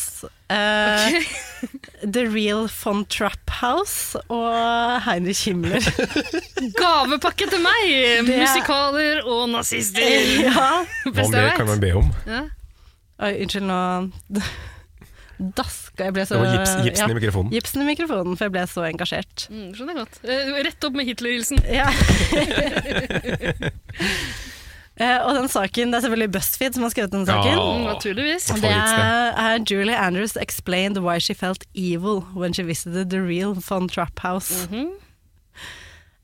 S1: eh, The Real Von Trapp House og Heinrich Himmler.
S2: Gavepakke til meg!
S1: Det-
S2: Musikaler og nazister!
S1: ja.
S3: Hva
S2: Beste
S3: mer
S2: jeg
S3: kan
S2: vet.
S3: man be om?
S2: Ja.
S1: Oi, unnskyld, nå daska jeg ble så
S3: Det var gips, gipsen i
S1: ja,
S3: mikrofonen.
S1: gipsen i mikrofonen, for jeg ble så engasjert.
S2: Mm, skjønner jeg godt. Eh, Rett opp med Hitler-hilsen.
S1: Ja. Eh, og den saken, det er selvfølgelig BuzzFeed som har skrevet den saken.
S3: Ja.
S2: Mm, Naturligvis.
S3: Hva
S1: Altså, Det
S3: Favorittsted.
S1: er, er Julie Andrews explained why she felt evil when she visited the real Von Trapp House.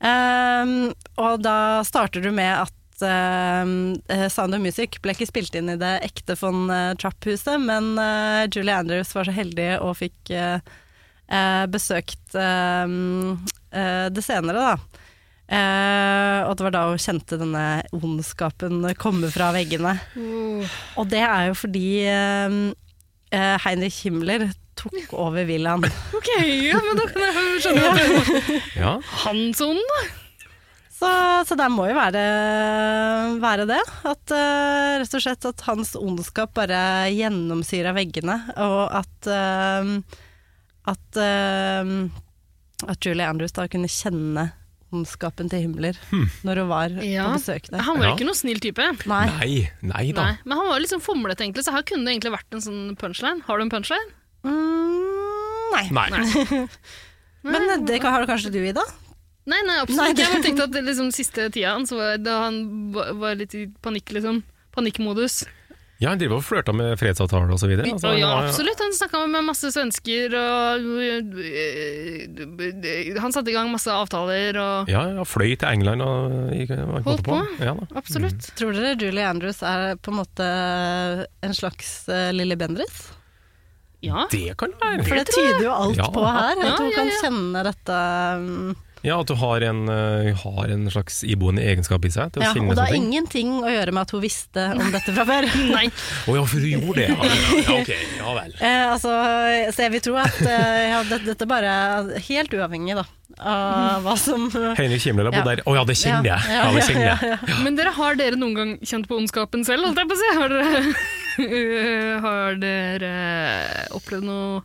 S1: Um, og da starter du med at um, eh, Sound of Music ble ikke spilt inn i det ekte Von eh, Trapp-huset, men eh, Julie Andrews var så heldig og fikk eh, eh, besøkt um, eh, det senere, da. Eh, og det var da hun kjente denne ondskapen komme fra veggene. Og det er jo fordi ehm, eh, Heinrich Himmler tok over villaen.
S2: Ok, ja, men da kan jeg skjønne at det var
S3: Ja.
S2: Hansonen, da.
S1: Så, så det må jo være, være det. At eh, rett og slett at hans ondskap bare gjennomsyra veggene, og at ehm, at, ehm, at Julie Andrews da kunne kjenne ondskapen til Himmler når hun var
S2: Ja.
S1: på besøk der.
S2: Han var
S3: Ja.
S2: ikke noe snill type.
S1: Nei.
S3: Nei, nei da.
S2: Nei, men han var litt sånn fomlete, egentlig, så her kunne det egentlig vært en sånn punchline. Har du en punchline?
S1: Mm, nei.
S3: Nei.
S1: Men det kan- har du kanskje du, Ida?
S2: Nei, nei, absolutt
S1: Nei,
S2: ikke.
S1: det-
S2: Jeg bare tenkte at det liksom siste tida hans, var- da han ba- var litt i panikk, liksom. Panikkmodus.
S3: Ja, han driver og flørter med fredsavtaler og så videre. Altså,
S2: Og ja,
S3: han var-
S2: absolutt. Han snakka med masse svensker, og øh, Han satte i gang masse avtaler, og
S3: Ja, ja, fløy til England og gikk, holdt,
S2: Holdt
S3: på.
S2: på.
S3: Ja, Mm. da.
S2: Absolutt.
S1: Tror dere Julie Andrews er på en måte en slags eh, Lilly Bendriss?
S2: Ja.
S3: Det kan være.
S1: For det tyder jo alt
S3: Ja.
S1: på her. At
S2: Ja,
S1: hun
S2: ja,
S1: kan
S2: ja.
S1: kjenne dette um,
S3: Ja, at du har en, eh, har en slags iboende egenskap i seg til å
S1: ja,
S3: kjenne
S1: Og det
S3: sånne
S1: har
S3: ting.
S1: ingenting å gjøre med at hun visste om dette fra før.
S2: Nei.
S3: Å ja, for du gjorde det, ja. ja ok, ja vel.
S1: Eh, altså, så jeg vil tro at eh, ja, dette, dette bare er helt uavhengig da, av hva som
S3: Heinrich Himmler har bodd
S1: Ja.
S3: der. Å ja, det kjenner jeg! Ja, det kjenner jeg.
S2: Men dere, har dere noen gang kjent på ondskapen selv, holdt jeg på å si? Har dere, har dere opplevd noe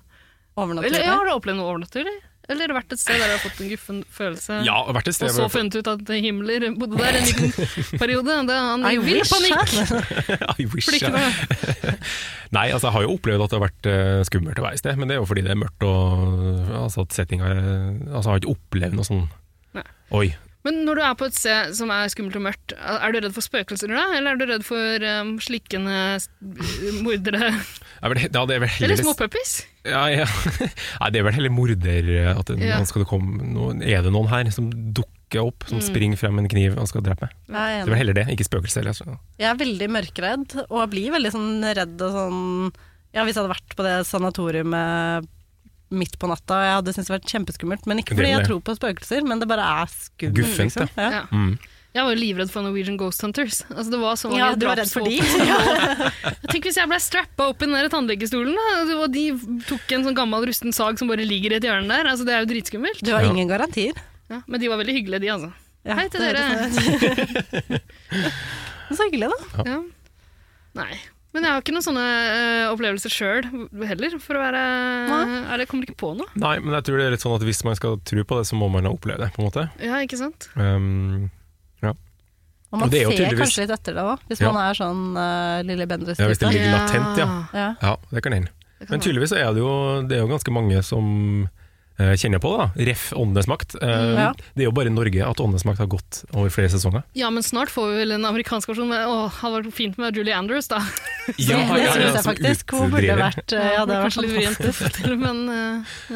S1: overnaturlig.
S2: Eller ja, har dere opplevd noe overnaturlig? Eller vært et sted der dere har fått en guffen følelse?
S3: Ja, og vært et
S2: Og
S3: sted
S2: så funnet ut at Himmler bodde der en liten periode. Det er han
S1: I
S2: vill
S1: wish,
S2: panikk!
S1: ja.
S3: I wish.
S2: Fordi ikke
S3: jeg-
S2: noe-
S3: Nei, altså jeg har jo opplevd at det har vært eh, skummelt å være i sted, men det er jo fordi det er mørkt og altså, at settinga er- Altså jeg har ikke opplevd noe sånn
S2: Nei.
S3: Oi.
S2: Men når du er på et sted som er skummelt og mørkt, er du redd for spøkelser da? Eller er du redd for um, slikkende s- mordere?
S3: Jeg vil, he- ja, det er vel
S2: Eller
S3: heller
S2: småpuppies?
S3: ja, ja. Nei, det er vel heller morder eh, at det,
S2: Ja.
S3: nå skal det komme noen, Er det noen her som dukker opp, som springer frem med en kniv og skal drepe meg?
S1: Jeg er
S3: Det
S1: enig.
S3: er vel heller det, ikke spøkelser. eller, altså.
S1: Jeg er veldig mørkredd, og blir veldig sånn redd og sånn Ja, hvis jeg hadde vært på det sanatoriumet midt på natta, jeg hadde syntes det vært kjempeskummelt. Men ikke
S3: Det
S1: fordi
S3: er det.
S1: jeg tror på spøkelser, men det bare er skummelt.
S3: Guffent,
S1: liksom. ja.
S2: Ja.
S3: Mm.
S2: Jeg var jo livredd for Norwegian Ghost Hunters. Altså, det var så mange
S1: ja, du var redd for de?
S2: drapsvåpen. Tenk hvis jeg ble strappa opp i den der tannlegestolen, da, og de tok en sånn gammel rusten sag som bare ligger i et hjørne der. Altså, det er jo dritskummelt.
S1: Du har
S3: Ja.
S1: ingen garantier.
S2: Ja, men de var veldig hyggelige, de, altså.
S1: Ja,
S2: Hei til
S1: det
S2: dere.
S1: høres sånn ut. Så hyggelig, da.
S2: Ja. Nei. Men jeg har ikke noen sånne eh, opplevelser sjøl heller, for å være Eller jeg kommer ikke på noe.
S3: Nei, men jeg tror det er litt sånn at hvis man skal tro på det, så må man ha opplevd det, på en måte.
S2: Ja, ikke sant?
S3: Um,
S1: Og
S3: Og
S1: man
S3: det er jo
S1: ser
S3: tydeligvis-
S1: kanskje litt etter det òg, hvis
S3: Ja.
S1: man er sånn uh, Lille Bendriss.
S3: ja, hvis det
S1: type.
S3: ligger latent, ja.
S1: Ja.
S3: Ja, det kan hende.
S2: Det kan
S3: Men tydeligvis så er det jo, det er jo ganske mange som eh, kjenner på det, da. Ref Åndenes makt. Eh,
S1: Ja.
S3: Det er jo bare i Norge at Åndenes makt har gått over flere sesonger.
S2: være. ja, men snart får vi vel en amerikansk versjon. Med, å, det hadde vært fint med Julie Andrews, da.
S1: Det,
S3: Ja,
S1: det
S3: ja, ja,
S1: syns jeg
S3: som
S1: faktisk. Hun burde
S3: utdriver.
S1: vært uh, Ja, det var
S2: kanskje litt
S1: fantastisk.
S2: vrient å fortelle, men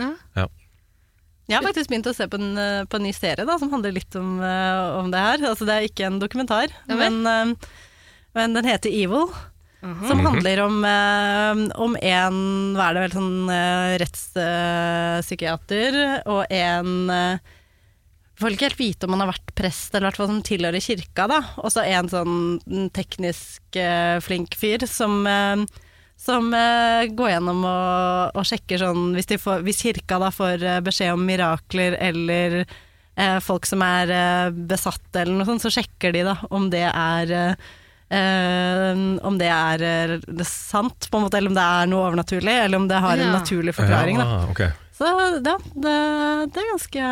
S2: eh, ja.
S1: Jeg har faktisk begynt å se på en, eh, på en ny serie da, som handler litt om, eh, om det her. Altså, det er ikke en dokumentar,
S2: Ja vel. Mhm.
S1: men, eh, men den heter Evil. Som handler om, eh, om en hva er det vel, sånn, eh, rettspsykiater og en eh, Får ikke helt vite om han har vært prest eller hvert fall som tilhører kirka. da. Og så en sånn teknisk eh, flink fyr som eh, som eh, går gjennom og, og sjekker sånn hvis, de får, hvis kirka da får eh, beskjed om mirakler eller eh, folk som er eh, besatt eller noe sånt, så sjekker de da om det er eh, eh, om det er eh, det er sant, på en måte, eller om det er noe overnaturlig, eller om det har en
S2: Ja.
S1: naturlig forklaring. Da.
S3: Ja, ok.
S1: Så ja, det, det er ganske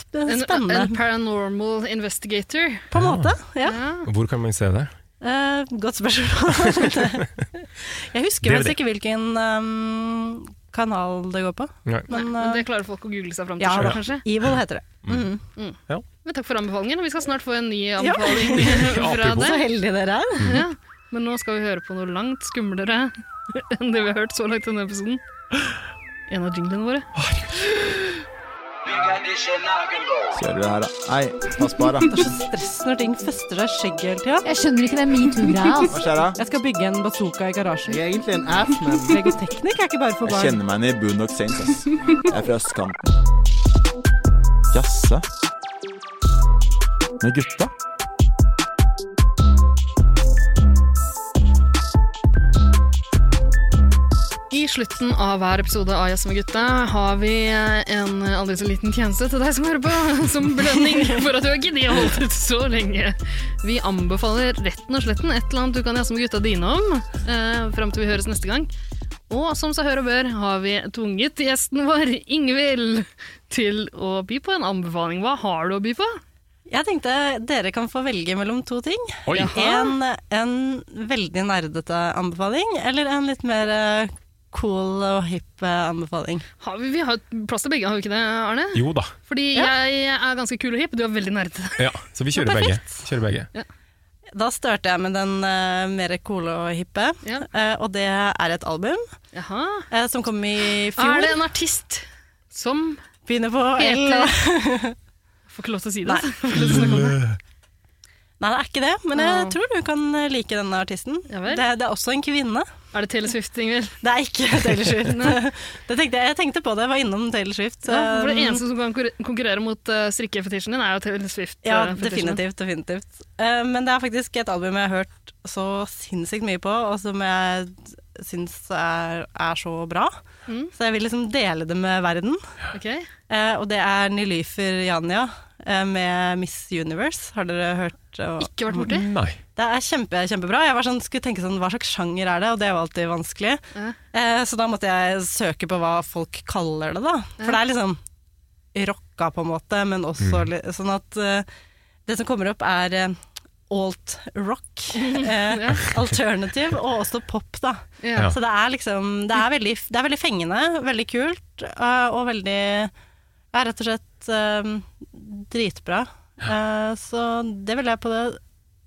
S1: sp
S2: eh, En,
S1: spennende,
S2: en paranormal investigator.
S1: på en måte. Ja.
S2: Ja.
S3: Hvor kan man se det?
S1: Eh, godt spørsmål. jeg husker
S3: DVD.
S1: faktisk ikke hvilken ehm, kanal det går på.
S3: Nei.
S2: Nei,
S1: Men,
S2: men
S1: eh,
S2: det klarer folk å google seg fram til
S1: ja,
S2: selv,
S1: da.
S2: kanskje.
S1: Evil heter det.
S8: Mm.
S1: Mhm.
S2: Men takk for anbefalingen. Vi skal snart få en ny anbefaling fra
S3: apropos.
S1: Så
S2: deg.
S1: heldige dere er.
S2: Ja. Men nå skal vi høre på noe langt skumlere enn det vi har hørt så langt i denne episoden. En av jinglene våre.
S8: Ser du her, da? Nei, pass på her, da.
S1: Det er så stress når ting fester seg i skjegget hele tida.
S5: Jeg skjønner ikke den metoo-greia.
S8: Hva
S5: Altså.
S8: skjer da?
S1: Jeg skal bygge en bazooka i garasjen.
S8: Jeg er egentlig en ass, men
S1: Legoteknikk er ikke bare for
S8: Jeg
S1: barn.
S8: kjenner meg igjen i Boondock Saints, ass. Jeg er fra østkanten. Jasse? Med gutta?
S2: I slutten av hver episode av Jazz med gutta har vi en aldri så liten tjeneste til deg som hører på, som belønning for at du har giddet å holde ut så lenge. Vi anbefaler retten og sletten et eller annet du kan jazze med gutta dine om, eh, fram til vi høres neste gang. Og som seg hør og bør har vi tvunget gjesten vår, Ingvild, til å by på en anbefaling. Hva har du å by på?
S1: Jeg tenkte dere kan få velge mellom to ting.
S3: Oi.
S1: En, en veldig nerdete anbefaling, eller en litt mer eh, cool og hipp eh, anbefaling.
S2: Har vi, vi har jo plass til begge, har vi ikke det, Arne?
S3: Jo da.
S2: Fordi jeg er ganske kul og hipp, du er veldig nerdete.
S3: Ja, så vi kjører begge. Kjører begge.
S1: Da starter jeg med den eh, mer coole og hippe,
S2: Ja.
S1: eh, og det er et album
S2: Jaha.
S1: eh, som kom i
S2: Er
S1: fjor.
S2: det en artist som
S1: Begynner på L.
S2: heter Får ikke lov til å si det.
S1: Nei.
S2: altså. Får ikke lov til å snakke om det.
S1: Nei, det er ikke det, men jeg
S2: Åh.
S1: tror du kan eh, like denne artisten.
S2: Ja vel.
S1: det, det er også en kvinne.
S2: Er det Taylor Swift, Ingvild?
S1: Det er ikke Taylor Swift. det tenkte jeg, jeg tenkte på det, jeg var innom Taylor Swift.
S2: Ja, for det
S1: Um,
S2: eneste som kan konkurre- konkurrere mot uh, strikkefetisjen din, er jo Taylor Swift.
S1: Ja,
S2: eh, fetisjen.
S1: definitivt. definitivt. Eh, men det er faktisk et album jeg har hørt så sinnssykt mye på, og som jeg syns er, er så bra.
S2: Mm.
S1: Så jeg vil liksom dele det med verden.
S2: Ok.
S1: Eh, og det er Nilyfer Janja eh, med Miss Universe. Har dere hørt? eh,
S2: Ikke vært borti?
S3: Nei.
S1: det er kjempe, kjempebra. Jeg var sånn, skulle tenke sånn, hva slags sjanger er det, og det var alltid vanskelig.
S2: Ja.
S1: Eh, så da måtte jeg søke på hva folk kaller det, da. For det er liksom rocka, på en måte, men også li sånn at eh, Det som kommer opp, er eh, alt rock, eh,
S2: Ja.
S1: alternative og også pop, da.
S2: Ja.
S1: Så det er liksom Det er veldig, det er veldig fengende, veldig kult, eh, og veldig Ja, rett og slett eh, dritbra. Eh, så det vil jeg på det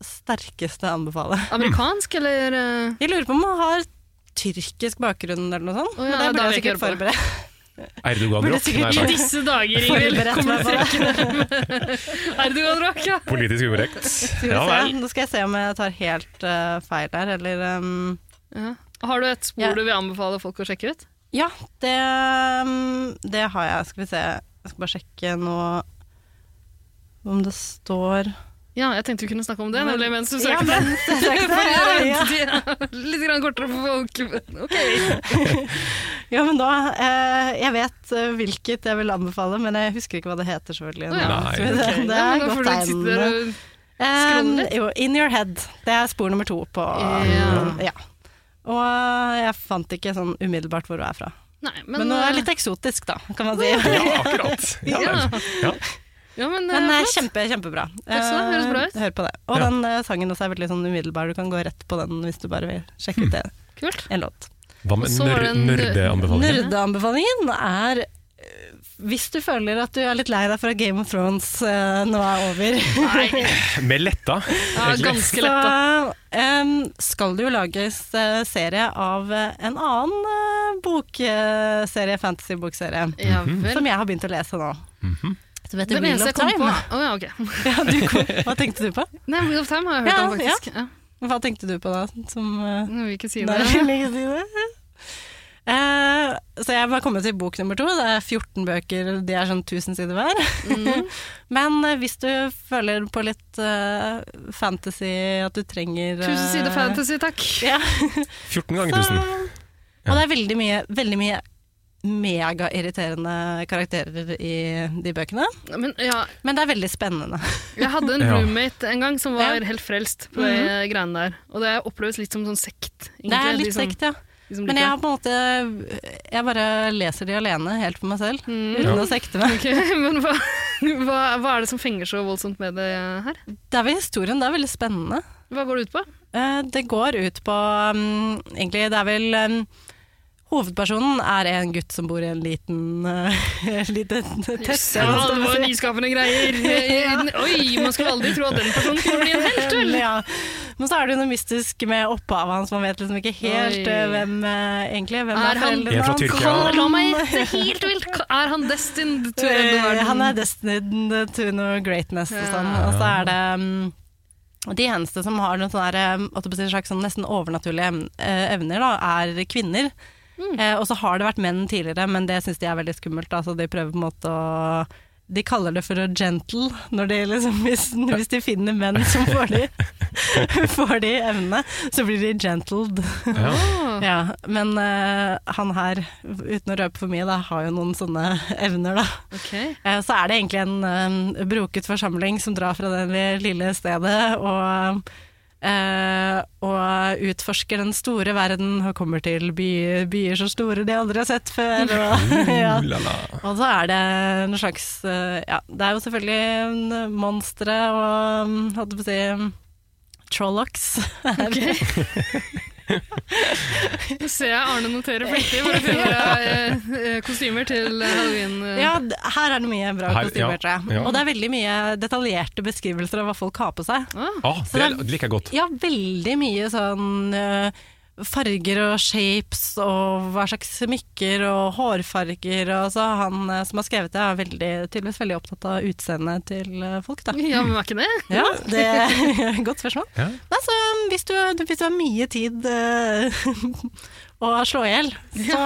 S1: sterkeste anbefale.
S2: Amerikansk, eller eh,
S1: Jeg lurer på om han har tyrkisk bakgrunn eller noe sånt.
S2: Å ja,
S1: men det
S2: da
S1: burde jeg
S2: vil jeg ikke
S1: sikkert forberedt,
S3: Erdogan
S1: Burde
S3: Rock.
S1: sikkert
S3: Nei,
S2: I
S3: takk.
S2: disse dager, Ingvild,
S1: forberedt meg på det.
S2: Erdogan-rock, ja.
S3: Politisk ukorrekt.
S1: Skal vi
S3: Ja
S1: se.
S3: vel.
S1: Nå skal jeg se om jeg tar helt eh, feil her, eller ehm,
S2: ja. Har du et spor
S1: Ja.
S2: du vil anbefale folk å sjekke ut?
S1: Ja, det, ehm, det har jeg. Skal vi se. Jeg skal bare sjekke nå om det står
S2: Ja, jeg tenkte vi kunne snakke om det, nemlig mens du
S1: Ja,
S2: søkte.
S1: men-
S2: Fordi
S1: ja,
S2: ventetiden er Litt grann kortere for folk. Ok.
S1: ja, men da eh, Jeg vet eh, hvilket jeg vil anbefale, men jeg husker ikke hva det heter, selvfølgelig.
S2: Å ja.
S1: Nå.
S3: Nei,
S1: Skal vi se.
S3: ok.
S1: Det
S2: Ja, men
S1: er
S2: da får
S1: godt eh.
S2: du sitte der
S1: tegnende.
S2: og-
S1: Um,
S2: Scrolle litt?
S1: jo, In Your Head. Det er spor nummer to på
S2: Ja.
S1: ja. Og uh, jeg fant ikke sånn umiddelbart hvor du er fra.
S2: Nei, men, eh,
S1: Men, nå er det litt eksotisk, da, kan man si.
S3: Ja, akkurat. Ja,
S2: Ja.
S3: vel. ja.
S2: Ja, men,
S1: Men
S2: eh,
S1: eh,
S2: flott.
S1: kjempe, kjempebra.
S2: Takk skal du ha, høres bra ut.
S1: Eh, Hør på det. Og
S3: Ja.
S1: den eh, sangen også er veldig sånn umiddelbar. Du kan gå rett på den hvis du bare vil sjekke ut det.
S2: Kult.
S1: En låt.
S3: Hva med
S2: Og så var
S3: nør
S2: det en-
S3: nørdeanbefalingen?
S1: Nerdeanbefalingen er eh, hvis du føler at du er litt lei deg for at Game of Thrones eh, nå er over,
S2: Nei,
S3: Med letta.
S2: ja, ganske lett. da.
S1: så em, skal det jo lages eh, serie av eh, en annen eh, bokserie, fantasy-bokserie,
S2: Ja vel.
S1: som jeg har begynt å lese nå. Som heter
S2: Den
S1: Wheel
S2: eneste
S1: of
S2: jeg kom på
S1: Time.
S2: Å ja, ok.
S1: Ja, du kom, hva tenkte du på?
S2: Nei, Wheel of Time har jeg hørt
S1: Ja,
S2: om, faktisk. Ja.
S1: Hva tenkte du på da? Som, eh,
S2: Nå vil vi ikke si det.
S1: Nei, jeg vil ikke si det. Eh, så jeg var kommet til bok nummer to. Det er 14 bøker, de er sånn 1000 sider hver.
S2: Mhm.
S1: Men eh, hvis du føler på litt eh, fantasy, at du trenger eh,
S2: Tusen sider fantasy, takk.
S1: Ja.
S3: 14 ganger 1000.
S1: Og det er veldig mye, veldig mye megairriterende karakterer i de bøkene.
S2: Men ja,
S1: Men det er veldig spennende.
S2: Jeg hadde en
S3: Ja.
S2: roommate en gang som var
S1: Ja.
S2: helt frelst på de greiene der. Og det oppleves litt som sånn sekt. egentlig,
S1: Det er
S2: de
S1: litt
S2: som-
S1: sekt, ja.
S2: de som
S1: Men jeg
S2: liker
S1: har på en måte Jeg bare leser de alene, helt for meg selv.
S2: det. Mm.
S1: Uten
S3: Ja.
S1: å sekte meg.
S2: Ok, men hva, hva, hva er det som fenger så voldsomt med det her?
S1: Det er vel historien, det er veldig spennende.
S2: Hva går det ut på?
S1: Eh, Det går ut på um, Egentlig, det er vel um, Hovedpersonen er en gutt som bor i en liten uh, liten test.
S2: Ja,
S1: eller hva skal
S2: det
S1: man
S2: var
S1: si.
S2: nyskapende greier. Eh, Oi, man skulle aldri tro at den personen kunne bli en helt, vel?
S1: Ja. Men så er det jo noe mystisk med opphavet hans. Man vet liksom ikke helt
S2: Oi.
S1: eh, hvem eh, egentlig hvem
S2: Er
S1: er
S2: han-
S1: foreldrene
S3: Er fra Tyrkia?
S2: Kan, la meg gjette helt vilt. Er han destined to end the
S1: Eh,
S2: world?
S1: Han er destined to no greatness og sånn.
S2: Ja.
S1: Og så er det um, de eneste som har noen sånne der, um, holdt jeg på å si, slags sånn nesten overnaturlige em- eh, evner, da, er kvinner. Eh, og så har det vært menn tidligere, men det syns de er veldig skummelt. Da, så de prøver på en måte å De kaller det for å gentle, når de liksom, hvis, hvis de finner menn som får de, får de evnene, så blir de gentled.
S3: Ja.
S2: Åh,
S1: Ja, men eh, han her, uten å røpe for mye, da, har jo noen sånne evner, da.
S2: ok.
S1: Eh, Så er det egentlig en um, broket forsamling som drar fra det lille stedet og eh, og utforsker den store verden og kommer til byer, byer så store de aldri har sett før. Og, ja.
S3: Ulala.
S1: og så er det en slags eh, Ja, det er jo selvfølgelig en monstre og hm, holdt jeg på å si Trollocs.
S2: Nå ser jeg Arne notere flittig hvor du finner eh, eh, kostymer til halloween. eh.
S1: Ja, d- her er det mye bra
S3: Her- ja,
S1: kostymer, tror jeg.
S3: ja.
S1: Og det er veldig mye detaljerte beskrivelser av hva folk har på seg.
S2: Ah,
S3: Ah,
S1: Så
S3: det
S1: det er-
S3: liker jeg godt.
S1: Ja, veldig mye sånn eh, farger og shapes og hva slags smykker og hårfarger. Og så han eh, som har skrevet det, er veldig, tydeligvis veldig opptatt av utseendet til eh, folk, da.
S2: ja, men er ikke det?
S1: Ja, det Godt spørsmål.
S3: Ja.
S1: Nei, så um, hvis du, hvis du har mye tid eh, å slå i hjel, så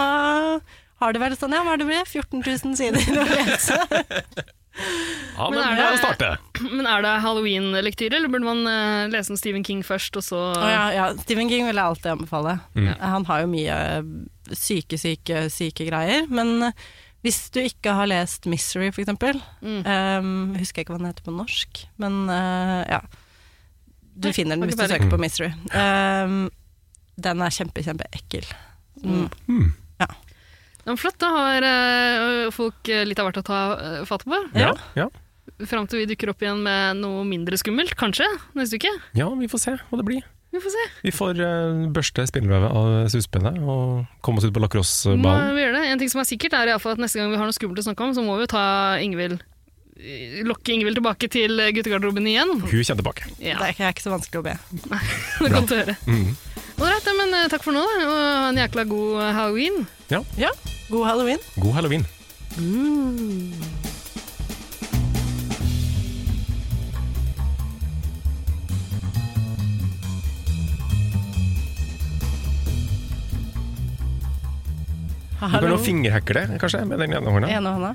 S1: har du vel sånn, ja, hva er det blir? 14 000 sider å lese.
S3: Ja,
S2: Men
S3: men
S2: er
S3: la
S2: det-
S3: oss starte.
S2: Men er det halloween-lektyre, eller burde man eh, lese en Stephen King først, og så
S1: Å ja, ja. Stephen King vil jeg alltid anbefale.
S3: Mm.
S1: Han har jo mye syke, syke, syke greier. Men eh, hvis du ikke har lest 'Misery', for eksempel
S2: Mm.
S1: ehm, Husker jeg ikke hva den heter på norsk, men eh, ja. Du
S2: Nei,
S1: finner den
S2: har
S1: hvis du
S2: ikke
S1: søker
S3: Mm.
S1: på 'Misery'. Ehm, den er kjempe, kjempeekkel. Mm.
S3: Hmm.
S2: Ja, men flott, da har eh, folk eh, litt av hvert å ta eh, fatt på.
S3: Ja, ja.
S2: Fram til vi dukker opp igjen med noe mindre skummelt, kanskje, neste uke.
S3: ja, vi får se hva det blir.
S2: Vi får se.
S3: Vi får eh, børste spindelvevet av suspennet og komme oss ut på
S2: Må
S3: lacrossebanen.
S2: vi gjøre det. En ting som er sikkert, er i alle fall at neste gang vi har noe skummelt å snakke om, så må vi jo ta Ingvild eh, Lokke Ingvild tilbake til eh, guttegarderoben igjen.
S3: Hun kjenner tilbake.
S2: Ja,
S1: Det er ikke, er ikke så vanskelig å be.
S2: det er godt å høre.
S3: Mm.
S2: Ålreit, ja, men eh, takk for nå, da, og ha en jækla god eh, halloween.
S1: Ja, god halloween.
S3: God halloween. Du kan jo fingerhekle, kanskje, med den ene hånda.
S1: Ene hånda.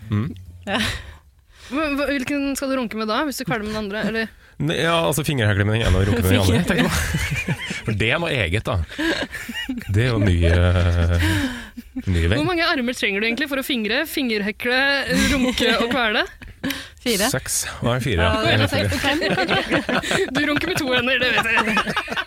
S2: Hva- hva- Hvilken skal du runke med da, hvis du kveler med den andre? Eller?
S3: Ne- Ja, altså fingerhekle med den ene og runke med den andre. tenker jeg på. For det er noe eget, da. Det er jo ny, eh, ny vei.
S2: Hvor mange armer trenger du egentlig for å fingre, fingerhekle, runke og kvele?
S1: Fire.
S3: Seks. Nei, fire. Ja.
S2: Du runker med to hender, det vet jeg.